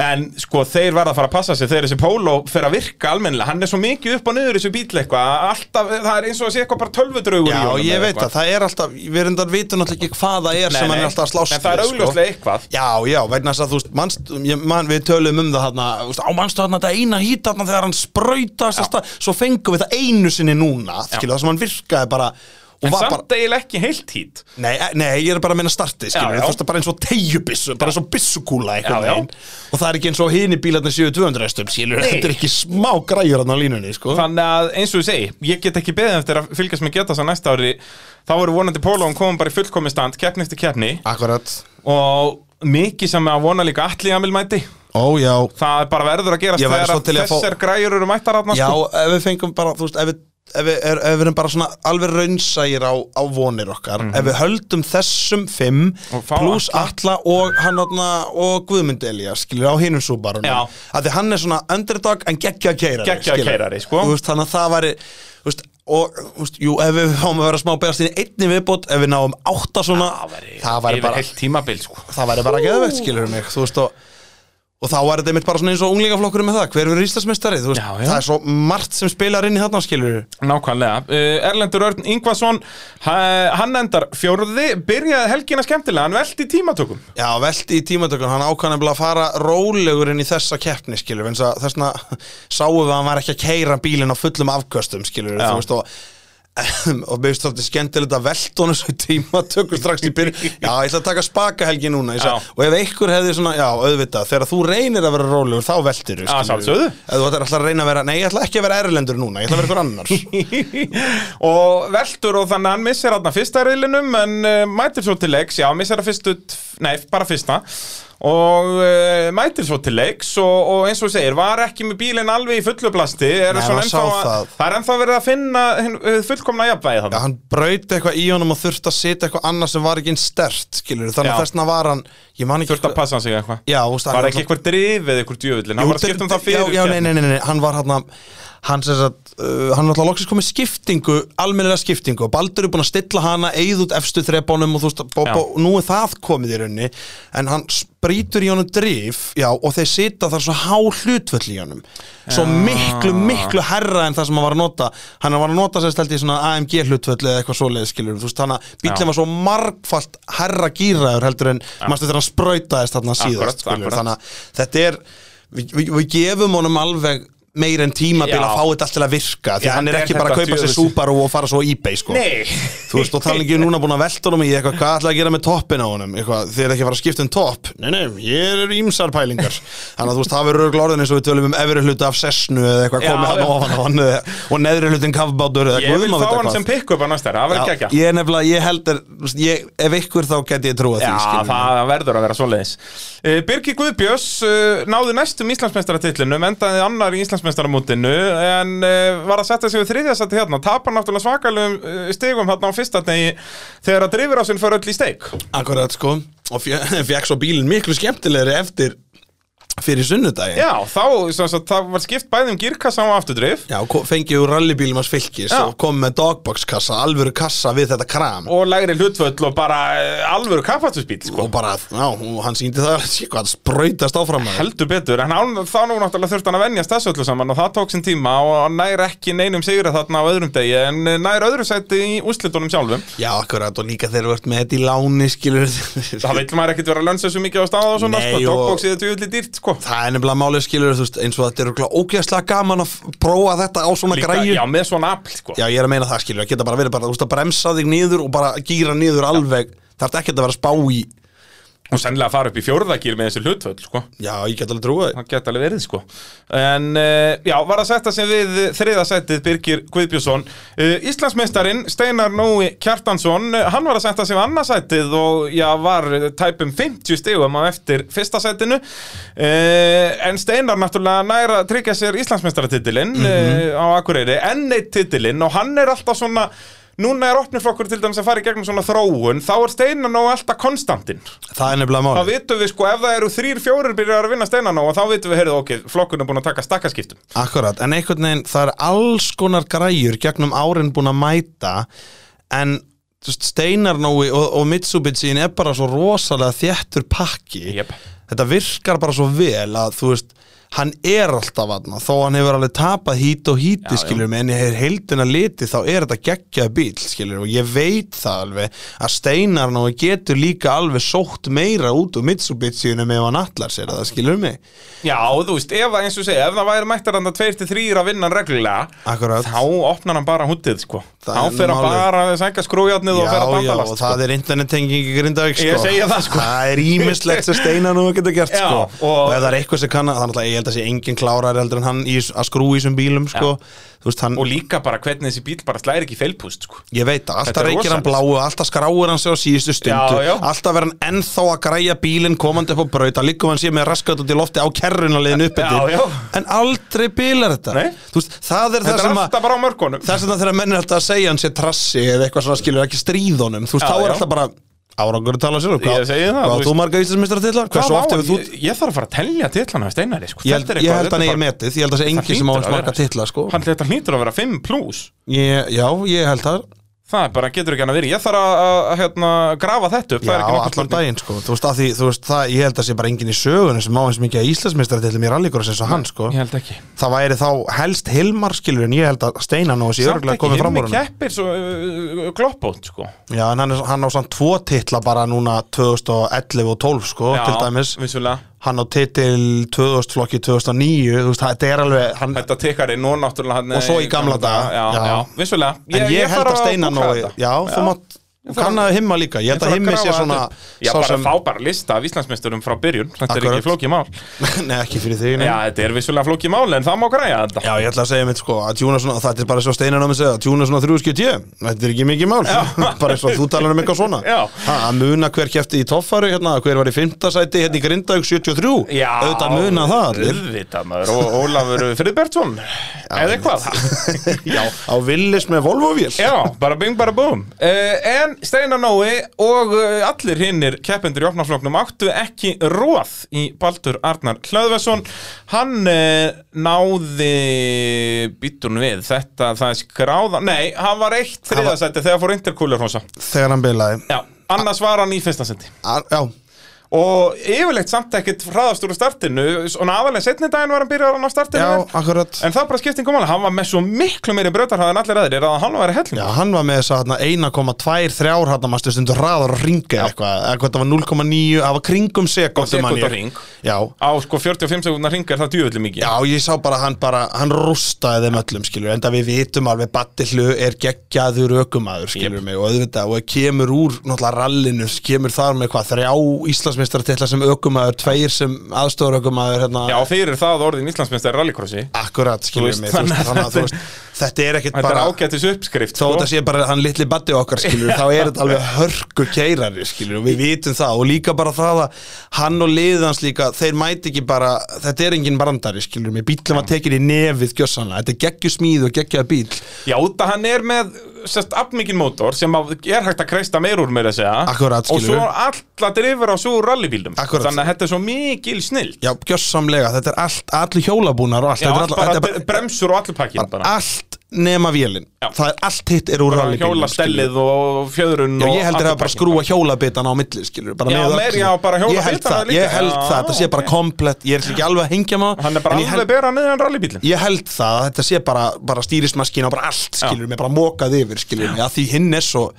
Speaker 1: en sko þeir verða að fara að passa sig þegar þessi póló fer að virka almennilega hann er svo mikið upp og niður í þessu bíl eitthvað alltaf, það er eins og að sé eitthvað bara tölvudraugur
Speaker 2: Já,
Speaker 1: í honum
Speaker 2: ég
Speaker 1: eða
Speaker 2: veit
Speaker 1: eitthvað.
Speaker 2: það, það er alltaf, við erum þar vitum náttúrulega ekki hvað það er
Speaker 1: Nei,
Speaker 2: sem hann
Speaker 1: nei,
Speaker 2: er alltaf að slást
Speaker 1: en það er
Speaker 2: við, sko.
Speaker 1: augljóslega eitthvað.
Speaker 2: Já, já, vegna þess að þú veist, manst, ég, man, við töluðum um það hann á manstu hann þetta eina hít hann þegar hann sprautast þess að svo fengum við það einu sinni núna skilu, það sem hann virkaði bara og
Speaker 1: en
Speaker 2: var
Speaker 1: samt
Speaker 2: bara,
Speaker 1: eiginlega ekki heilt hít
Speaker 2: nei, eh, nei, ég er bara að minna starti
Speaker 1: Já,
Speaker 2: skilu,
Speaker 1: já.
Speaker 2: þú veist, það er bara eins og tegjubissu bara eins og bissukúla
Speaker 1: Já,
Speaker 2: einhvern
Speaker 1: já.
Speaker 2: veginn og það er ekki eins og hini bílarnir 7200 stum, skilu,
Speaker 1: Nei.
Speaker 2: þetta er ekki smá græjur hann á línunni, sko
Speaker 1: Þannig að eins og ég segi, ég get ekki beðið eftir að fylgjast með geta þess næsta ári Þá voru vonandi pólóum komum bara í fullkomi stand, keppni eftir keppni
Speaker 2: Akkurat,
Speaker 1: Og mikið sem að vona líka allir Amil mæti
Speaker 2: ó já
Speaker 1: Það er bara verður að gerast
Speaker 2: Ég væri
Speaker 1: þegar
Speaker 2: svo
Speaker 1: að
Speaker 2: til í að fá-
Speaker 1: þessar græjur eru mættar sko. aðna
Speaker 2: Já, ef við fengum bara, þú veist, ef við, ef við, er, ef við erum bara svona alveg raunsægir á, á vonir okkar Ef við höldum þessum fimm
Speaker 1: Mhm. Og fá
Speaker 2: pluss Atla og hann þarna og Guðmund Elía, skilur, á hinum súbarunum
Speaker 1: Já.
Speaker 2: Að því hann er svona underdog en geggja keirari
Speaker 1: Geggjaður
Speaker 2: skilurðu.
Speaker 1: keyrari, sko.
Speaker 2: Þú veist, þannig að það væri, þú veist, og, þú veist, jú, ef við fáum að vera smá beðast í einni viðbót Ef við náum átta svona Það væri bara,
Speaker 1: heilt tímabil sko.
Speaker 2: það væri bara geðvegt, skilur mig, þú veist, og Og þá er þetta mitt bara svona eins og unglingaflokkurinn með það, hver verður Íslandsmeistari, þú veist,
Speaker 1: Já, já.
Speaker 2: það er svo margt sem spilar inn í þarna, skilur
Speaker 1: Nákvæmlega uh, Erlendur Örn Ingvason ha- Hann endar fjórði Byrjaði helgina skemmtilega, hann velti tímatökum
Speaker 2: Já, velti í tímatökun, hann ákvæðan nefnilega að fara rólegur inn í þessa keppni, skilur eins að þessna sáum við að hann var ekki að keira bílinn á fullum afköstum, skilur
Speaker 1: Já.
Speaker 2: þú veist, og og mér finnst þetta skemmtilegt að velta honum svo í tímatöku strax í byrjun já, ég ætla að taka spaka helgi núna ég sagði,
Speaker 1: Já.
Speaker 2: og ef einhver hefði svona, já, auðvitað þegar þú reynir að vera rólegur, þá veltir
Speaker 1: Já, sjálfsögðu.
Speaker 2: ef þú ætlar alltaf að reyna að vera nei, ég ætla ekki að vera erlendur núna, ég ætla að vera ykkur annars
Speaker 1: og veltur og þannig að hann missir hann fyrsta reylinum en uh, mætir svo til leiks, já, missir að fyrstu tf- nei, bara fyrsta og uh, mætir svo til leiks og, og eins og þú segir, var ekki með bílinn alveg í fullu plasti, er
Speaker 2: Nei,
Speaker 1: svona
Speaker 2: maður sá
Speaker 1: ennþá að,
Speaker 2: það.
Speaker 1: það er ennþá verið að finna hin, eh, fullkomna jafnvægi
Speaker 2: Já,
Speaker 1: þannig
Speaker 2: hann braut eitthvað í honum og þurfti að setja eitthvað annað sem var ekki eins stert, skilur þannig
Speaker 1: Já.
Speaker 2: að þessna var hann, ég man ekki
Speaker 1: þurft að passa sig eitthvað
Speaker 2: Já, þú veist, hann
Speaker 1: var ekki eitthvað drifið eitthvað djöfullin, hann var að skipta um það fyrir
Speaker 2: Já, já, nei, nei, nei, nei, hann var hann hann sem sagt, uh, hann náttúrulega loksist komið skiptingu, almennilega skiptingu og Baldur er búin að stilla hana, eigð út efstu þrepunum og þú veist, bo,
Speaker 1: Já.
Speaker 2: bo, nú er það komið í raunni, en hann sprítur í honum drif, já, og þeir sita þar svo há hlutvöll í honum svo miklu, miklu herra en það sem hann var að nota, hann var að nota sér stelt í svona AMG hlutvöll eða eitthvað svoleiðis skilur, þú veist, hann að
Speaker 1: Já.
Speaker 2: bíllinn var svo margfalt herra gýraður heldur en, mannstu þegar hann sprautaðist þarna síðast,
Speaker 1: Akkurat,
Speaker 2: skilur,
Speaker 1: akkurat.
Speaker 2: þannig að hérna, þetta er við, við, við gefum honum alveg meir en tímabil
Speaker 1: Já.
Speaker 2: að fá þetta allt til að virka því
Speaker 1: Já,
Speaker 2: hann er
Speaker 1: þetta er
Speaker 2: ekki bara að
Speaker 1: þetta
Speaker 2: kaupa sér
Speaker 1: djöfulsins.
Speaker 2: Subaru og fara svo á Ebay sko.
Speaker 1: nei
Speaker 2: þú veist og um talingi núna búin að velta honum í eitthvað hvað ætlaði að gera með toppin á honum eitthvað, þið er ekki að fara að skipta um topp nei nei, ég er ímsar pælingar þannig að þú veist það verður örugglega orðin eins og við tölum um efri hluti af sessnu eða eitthvað
Speaker 1: Já,
Speaker 2: komið hann
Speaker 1: já.
Speaker 2: ofan á hann eða- og neðri hlutin kafbátur eða
Speaker 1: ég
Speaker 2: guð
Speaker 1: vil
Speaker 2: má
Speaker 1: fá
Speaker 2: vita
Speaker 1: hann
Speaker 2: hvað.
Speaker 1: sem pick-up á næsta ári, það verður
Speaker 2: Já,
Speaker 1: ekki
Speaker 2: ég er nefnilega, ég heldur ef ykkur þá get ég trúa því
Speaker 1: Já,
Speaker 2: skilurðu.
Speaker 1: það verður að vera svoleiðis uh, Birgir Guðbjörns uh, náði næstum Íslandsmeistaratitlinum, endaði annar í Íslandsmeistaramótinu en uh, var að setja sig við þriðjasætti hérna, tapar náttúrulega svakalum uh, stigum hérna á fyrsta degi þegar að drifir á sinn fyrir öll í steik
Speaker 2: Akkurat sko og fekk svo bílinn miklu skemmtilegri eftir fyrir sunnudaginn
Speaker 1: Já, þá, sem sagt, það var skipt bæði um girkassa og afturdrif
Speaker 2: Já, ko- fengið úr rallybílum hans fylkis
Speaker 1: Já.
Speaker 2: og kom með dogboxkassa, alvöru kassa við þetta kram og,
Speaker 1: og lægri hlutvöll og bara uh, alvöru kapatusbíl, sko
Speaker 2: bara, já, og hann síndi það sé hvað hann sprautast áfram maður.
Speaker 1: Heldur betur, en hann, þá nú náttúrulega þurfti hann að venjast þessu öllu saman og það tók sinn tíma og nær ekki neinum sigra þarna á öðrum degi en eh, nær öðru sæti í úslitunum sjálfum
Speaker 2: Já, akkurat, og líka þegar þú ert með þetta í láni skilur
Speaker 1: Það vill maður ekkert vera að lönsa svo mikið á staða og svona,
Speaker 2: Nei,
Speaker 1: sko,
Speaker 2: og-
Speaker 1: dogboxið er tjóðli dýrt, sko sko
Speaker 2: Það er nefnilega málið skilur þú veist, eins og þetta er örugglega ógeðslega gaman að f- prófa þetta á svona
Speaker 1: Líka,
Speaker 2: græju
Speaker 1: Já, með svona afl sko
Speaker 2: Já, ég er að meina það skilur, að geta bara verið bara, þú veist, að bremsa þig niður og bara gýra niður alveg Það ert ekkert að vera að spá í
Speaker 1: Og sennilega að fara upp í fjórðagýr með þessi hlutföll sko
Speaker 2: Já, ég get alveg trúið
Speaker 1: Það geta alveg verið sko En uh, já, var að setja sem við þriðasættið Birgir Guðbjörnsson uh, Íslandsmeistarin Steinar Nói Kjartansson eh, Hann var að setja sem annarsættið og já, var eh, tæpum 50 stigum á eftir fyrsta sættinu uh, En Steinar náttúrulega næra að tryggja sér Íslandsmeistaratitilinn mm á Akureyri Enn eitt titilinn og hann er alltaf svona Núna er opniflokkur til dæmis að fara í gegnum svona þróun Þá er Steinar Nói alltaf konstantinn
Speaker 2: Það er nefnilega
Speaker 1: þá
Speaker 2: málið
Speaker 1: vitum við sko ef það eru þrýr fjórir byrjar að vinna steinan á og þá vitum við, heyrðu, ok, flokkun er búin að taka stakkaskiptum
Speaker 2: Akkurat, en einhvern veginn, það er alls konar græjur gegnum árin búin að mæta en þú veist, Steinarnói og, og Mitsubishi er bara svo rosalega þéttur pakki
Speaker 1: Jep.
Speaker 2: þetta virkar bara svo vel að þú veist, hann er alltaf aðna þó hann hefur alveg tapað hít og
Speaker 1: Já,
Speaker 2: híti
Speaker 1: já.
Speaker 2: skilur mig, en ég hefur heildina liti þá er þetta geggjaði bíl skilur og ég veit það alveg að Steinarnói getur líka alveg sótt meira út úr Mitsubishi ef hann allar sér það skilur mig
Speaker 1: Já, þú veist, ef það eins og segja, ef það væri mættar hann að tveir til þrýr að vinna hann reglulega
Speaker 2: Akkurat
Speaker 1: þá opnar hann bara húttið, sko
Speaker 2: Það
Speaker 1: þá
Speaker 2: er
Speaker 1: fer hann
Speaker 2: málið.
Speaker 1: bara að sænka skrújarnið og fer að sko. bandalast,
Speaker 2: og það er internettenging í Grindavík sko.
Speaker 1: Ég segi það, sko.
Speaker 2: Það er ímislegt sem Steinar nú geta gert
Speaker 1: Já,
Speaker 2: sko.
Speaker 1: og-
Speaker 2: og, ef það er eitthvað sem kann að, þannig að ég held að sé engin klárar heldur en hann í, að skrú í þessum bílum sko. þú veist hann,
Speaker 1: og líka bara hvernig þessi bíl bara slæri ekki feilpúst, sko
Speaker 2: ég veit það,
Speaker 1: Þetta er
Speaker 2: alltaf reykir hann
Speaker 1: rosalegt.
Speaker 2: bláu alltaf skráur hann sig á síðustu stundu
Speaker 1: Já, já.
Speaker 2: alltaf verður hann ennþá að græja bílinn komandi upp á braut, hann líkum hann sé með raskat út í lofti á
Speaker 1: Já,
Speaker 2: kerrunaliðin
Speaker 1: já.
Speaker 2: uppið en aldrei bílar þetta
Speaker 1: Nei.
Speaker 2: Þú veist, það er það
Speaker 1: Þetta er
Speaker 2: sem að
Speaker 1: alltaf bara á mörkunum
Speaker 2: þess vegna þegar menn er alltaf að segja hann sé trassi eða eitthvað svona skilur ekki stríðunum þú
Speaker 1: Já,
Speaker 2: veist, þá er
Speaker 1: já.
Speaker 2: alltaf bara árangur að tala sér um
Speaker 1: Ég segi það,
Speaker 2: hvað
Speaker 1: þú
Speaker 2: átt
Speaker 1: veist.
Speaker 2: þú marga íslensmistra til hvað
Speaker 1: Hvað
Speaker 2: svo
Speaker 1: á
Speaker 2: oft
Speaker 1: hann?
Speaker 2: hefur þú
Speaker 1: Ég, ég þarf að fara að telja titlana af Steinari, sko
Speaker 2: ég held,
Speaker 1: Þetta er
Speaker 2: ég
Speaker 1: eitthvað-
Speaker 2: held
Speaker 1: þetta
Speaker 2: hann eigi
Speaker 1: bara-
Speaker 2: metið, ég held að það sé engin sem á
Speaker 1: hlýtur
Speaker 2: hans
Speaker 1: að
Speaker 2: marga
Speaker 1: vera.
Speaker 2: titla sko.
Speaker 1: Hann- Þetta hlýtur að vera 5 plus
Speaker 2: ég, já, ég held það
Speaker 1: Það er bara, getur ekki hann að vera Ég þarf að, að, að hérna, grafa þetta upp það
Speaker 2: já,
Speaker 1: er ekki nokkur
Speaker 2: allan
Speaker 1: spurning.
Speaker 2: daginn sko. þú veist, að því, þú veist, það, ég held að sé bara engin í sögunum sem á hans mikið að íslensmistra til mér allir eins og hann sko.
Speaker 1: Ég held ekki
Speaker 2: það væri þá helst Hilmar skilur en ég held að Steina nú þessi
Speaker 1: Samt
Speaker 2: örgulega
Speaker 1: ekki,
Speaker 2: komið fram
Speaker 1: himmi
Speaker 2: úr hann
Speaker 1: keppir svo uh, gloppótt sko
Speaker 2: já, en hann, er- hann á samt tvo titla bara núna 2011 og 12 sko, til dæmis
Speaker 1: vissulega
Speaker 2: hann á titil 2000 flokki 2009 þú veist, það þetta er alveg hann,
Speaker 1: Þetta tekar inn og náttúrulega hann eh,
Speaker 2: Og svo í gamla daga,
Speaker 1: Já, já,
Speaker 2: já.
Speaker 1: vissulega
Speaker 2: en ég, held
Speaker 1: þarf
Speaker 2: að steina
Speaker 1: búkla
Speaker 2: nógu
Speaker 1: þetta.
Speaker 2: já, þú mátt
Speaker 1: Ég þarf
Speaker 2: kannaðu himma líka
Speaker 1: Ég
Speaker 2: ég held
Speaker 1: þarf
Speaker 2: að himmi
Speaker 1: grafa
Speaker 2: sé
Speaker 1: þetta
Speaker 2: svona
Speaker 1: upp. Já,
Speaker 2: sá
Speaker 1: bara
Speaker 2: sem-
Speaker 1: fá bara lista af Íslandsmeisturum frá byrjun Þetta er
Speaker 2: Akkurat.
Speaker 1: ekki flókið mál
Speaker 2: nei, ekki fyrir því nei.
Speaker 1: Já, þetta er vissulega flókið mál en það má græja þetta
Speaker 2: já, ég ætla að segja mitt sko að tjúna svona þetta er bara svo steina nógu segja að tjúna svona 370 þetta er ekki mikið mál bara eins og þú talar um eitthvað svona
Speaker 1: Já.
Speaker 2: Ha, að muna hver kæfti í toffaru hérna, hver var í 5. sæti hérna í Grindavík 73
Speaker 1: Já,
Speaker 2: auðvitað muna það allir
Speaker 1: Auðvitað maður, og Ólafur Friðbertsson Eða eitthvað
Speaker 2: já, á Willis með Volvo-vél
Speaker 1: Já, bara bing, bara búm uh, En Steinar Nói og uh, allir hinnir keppendur í opnafloknum áttu ekki róð í Baldur Arnar Hlöðvesson Hann uh, náði býtun við þetta, það er skráða Nei, hann var eitt þriðasætti þegar fór interkúlur hósa
Speaker 2: þegar hann bilaði
Speaker 1: Já, annars var hann í fyrsta seti
Speaker 2: Ar- já,
Speaker 1: Og yfirleitt samt ekkert hraðast úr startinu Og aðalega setni daginn var hann byrjar hann á startinu
Speaker 2: já,
Speaker 1: vel.
Speaker 2: akkurat
Speaker 1: En það bara skiptingum alveg, hann var með svo miklu meiri brötarhraði en allir aðrir að hann var hellingur
Speaker 2: Já, hann var með þess að 1,2 þrjár hann að maður stundur hraðar og ringa eitthvað, eitthvað það var 0,9, það var kringum sekundum
Speaker 1: Sekúnda hring.
Speaker 2: Já,
Speaker 1: á sko 45 sekundar ringar það djöfulli mikið
Speaker 2: já, ég sá bara að hann bara, hann rústaði þeim öllum skilur, enda við vitum alveg Battillu er geggjaður ökumæður skilur mig og auðvitað, og kemur úr náttúrulega rallinu, kemur þar með hvað þrjá Íslandsmeistartitla sem ökumæður tveir sem aðstofur ökumæður hérna,
Speaker 1: Já, fyrir það orðin Íslandsmeistar rallycrossi
Speaker 2: akkurat
Speaker 1: Þú
Speaker 2: skilur
Speaker 1: veist,
Speaker 2: mig, þú veist, þannig að þú veist þetta er ekkit
Speaker 1: Þetta
Speaker 2: bara
Speaker 1: er ágætis uppskrift sko.
Speaker 2: þó þetta sé bara hann litli baddi okkar skilur þá er þetta alveg hörku keirari skilur og við vitum það og líka bara það að hann og liðið hans líka þeir mæti ekki bara, þetta er engin brandari skilur mér, bílum að tekið í nefið gjössanlega, þetta er geggju smíð og geggjaða bíl
Speaker 1: Já, þetta hann er með sérst afmikinn mótor sem að- er hægt að kreista meir úr meira að segja
Speaker 2: Akkúrat,
Speaker 1: Og
Speaker 2: skilur
Speaker 1: svo
Speaker 2: við.
Speaker 1: alla drifur á svo rallybílum
Speaker 2: Akkúrat.
Speaker 1: Þannig að þetta er svo mikil snill
Speaker 2: já, gjössamlega, Sko, þetta er allt, allir hjólabúnar og allt,
Speaker 1: Já,
Speaker 2: þetta er
Speaker 1: allt
Speaker 2: all,
Speaker 1: bara
Speaker 2: þetta er bara,
Speaker 1: bremsur og allir pakkin bara
Speaker 2: allt nema vélin,
Speaker 1: Já.
Speaker 2: það er allt hitt er úr
Speaker 1: Bara
Speaker 2: rallybílum
Speaker 1: Hjólastellið og fjöðrun
Speaker 2: Já,
Speaker 1: og
Speaker 2: ég heldur
Speaker 1: allur
Speaker 2: að bara
Speaker 1: pakkinn.
Speaker 2: skrúa hjólabitan á milli, skilur bara
Speaker 1: Já,
Speaker 2: með
Speaker 1: meir-
Speaker 2: öllu.
Speaker 1: já, bara
Speaker 2: Ég held
Speaker 1: hjólabitana
Speaker 2: það,
Speaker 1: líka.
Speaker 2: ég held
Speaker 1: Já,
Speaker 2: það, þetta sé bara
Speaker 1: ok.
Speaker 2: komplett Ég er ekki alveg að hengja maður
Speaker 1: Hann er bara
Speaker 2: en ég held-
Speaker 1: alveg bera niður en rallybílin
Speaker 2: Ég held það að þetta sé bara, bara stýrismaskin og bara allt skilur mig, bara mókað yfir skilur mig að því hinn er svo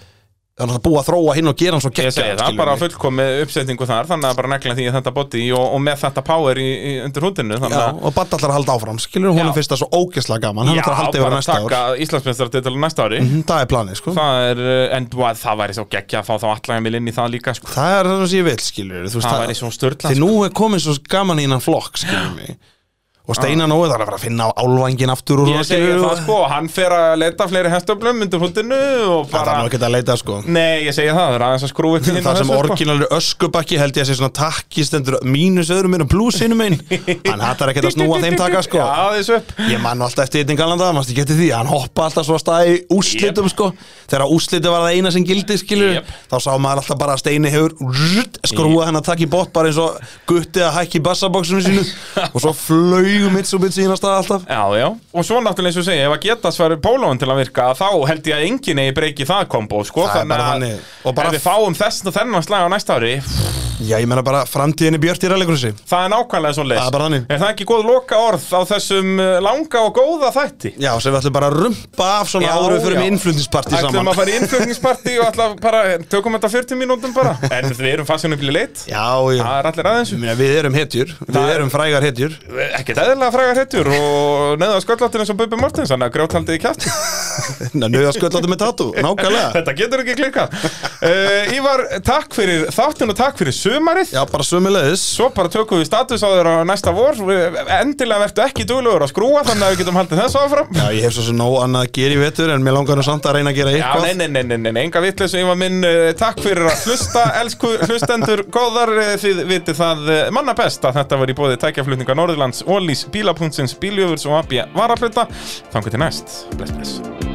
Speaker 2: þannig að búa að þróa hinn og gera hann svo
Speaker 1: Ég
Speaker 2: geggja
Speaker 1: segi það, bara fullkomið uppsetningu þar þannig að bara negla því að þetta body og, og með þetta power í, í, undir húndinu þannig
Speaker 2: Já,
Speaker 1: að
Speaker 2: og Badda ætlar að halda áfram, skilur hún
Speaker 1: Já.
Speaker 2: finnst það svo ógeðslega gaman, hann ætlar að halda yfir
Speaker 1: bara
Speaker 2: næsta ár
Speaker 1: taka Íslandsmeistaratitil næsta ári
Speaker 2: Mhm, Það er planið, sko Það,
Speaker 1: það er, eh, en wow, það væri svo geggja að fá þá allan Emil inn í það líka sko.
Speaker 2: er það sem ég vil, skilur þú veist,
Speaker 1: það væri svo sko. störtla
Speaker 2: Því nú er komið svo gaman í hennan flokk, skilur mig Og Steinar Nói þarf að fara að finna álvangin aftur úr
Speaker 1: ég segi það sko, hann fer að leita fleiri hestöflum undir húndinu og
Speaker 2: Það
Speaker 1: bara
Speaker 2: er nú ekkert að leita, sko
Speaker 1: nei, ég segi það, það er aðeins að skrúi upp
Speaker 2: Það sem orginalur öskubakki held ég að sé svona takki stendur mínus öðrum minn og blúsinu minn Hann hattar ekkert að snúa þeim taka sko
Speaker 1: já, þessu upp
Speaker 2: Ég man nú alltaf eftir einnig galanda, mannstu getið því Hann hoppa alltaf svo að staði úrslitum sko Þegar úrsliti var það eina sem gildi skilur
Speaker 1: Jep.
Speaker 2: Þá sá maður alltaf bara að steini hefur rrrt, Skrúa hennar takk í bótt bara eins og Gutti að hækki í bassaboksunum sínu Og svo flaugum mitt svo mitt sína stað alltaf
Speaker 1: Já, já, og svo náttúrulega eins og segja, ef að geta svar pólóin til að virka, þá held ég að enginn eigi breyki það kombo, sko,
Speaker 2: Það er bara þannig. Og
Speaker 1: og
Speaker 2: bara-
Speaker 1: bara ef við fáum þess og þennan slag á næsta ári, pff,
Speaker 2: Já ég meina bara framtíðinni björt í ræðleikursi
Speaker 1: það er nákvæmlega svo leys.
Speaker 2: Það er bara þannig.
Speaker 1: Er það ekki góð loka orð á þessum eh, langa og góða þætti?
Speaker 2: Já sem við ætlum bara að rumpa af svona
Speaker 1: Já,
Speaker 2: áður en við fyrir
Speaker 1: já.
Speaker 2: með innflutningsparti
Speaker 1: Ætlum
Speaker 2: saman
Speaker 1: að fara í innflutningsparti og alltaf bara, eh, tökum þetta 40 mínútum bara, en við erum fastsjónu bíli leitt,
Speaker 2: Já, já.
Speaker 1: það er allir aðeins,
Speaker 2: Ég meina, Við erum hetjur, við
Speaker 1: Það-
Speaker 2: erum frægar hetjur
Speaker 1: ekkert eðlilega frægar hettur og neða skölláttin eins og Bubi Mortens, þannig að grjóthaldið í kjátt.
Speaker 2: Nauða sköllandi Hérna, með tattu, nákvæmlega
Speaker 1: Þetta getur ekki klikkað uh, Ívar, takk fyrir þáttin og takk fyrir sumarið
Speaker 2: Já, bara sömulegis
Speaker 1: Svo bara tökum við status á þér á næsta vor Endilega vertu ekki duglegur að skrúa Þannig að við getum haldið þessu áfram
Speaker 2: Já, ég hef svo sem nóg annað að gera í vetur En mér langar nú samt að reyna að gera
Speaker 1: Já, nei,
Speaker 2: eitthvað
Speaker 1: nei, nei, nei, nei, enga vitleysu Ívar minn, uh, takk fyrir að hlusta Elsku hlustendur, góðar uh, Þið vitið það uh, manna best að þetta var í bóði Tækjaflutninga Norðurlands, Ólís, Bíla.sins Bíljöfurs og AB Varafluta Þangu til næst, bless, bless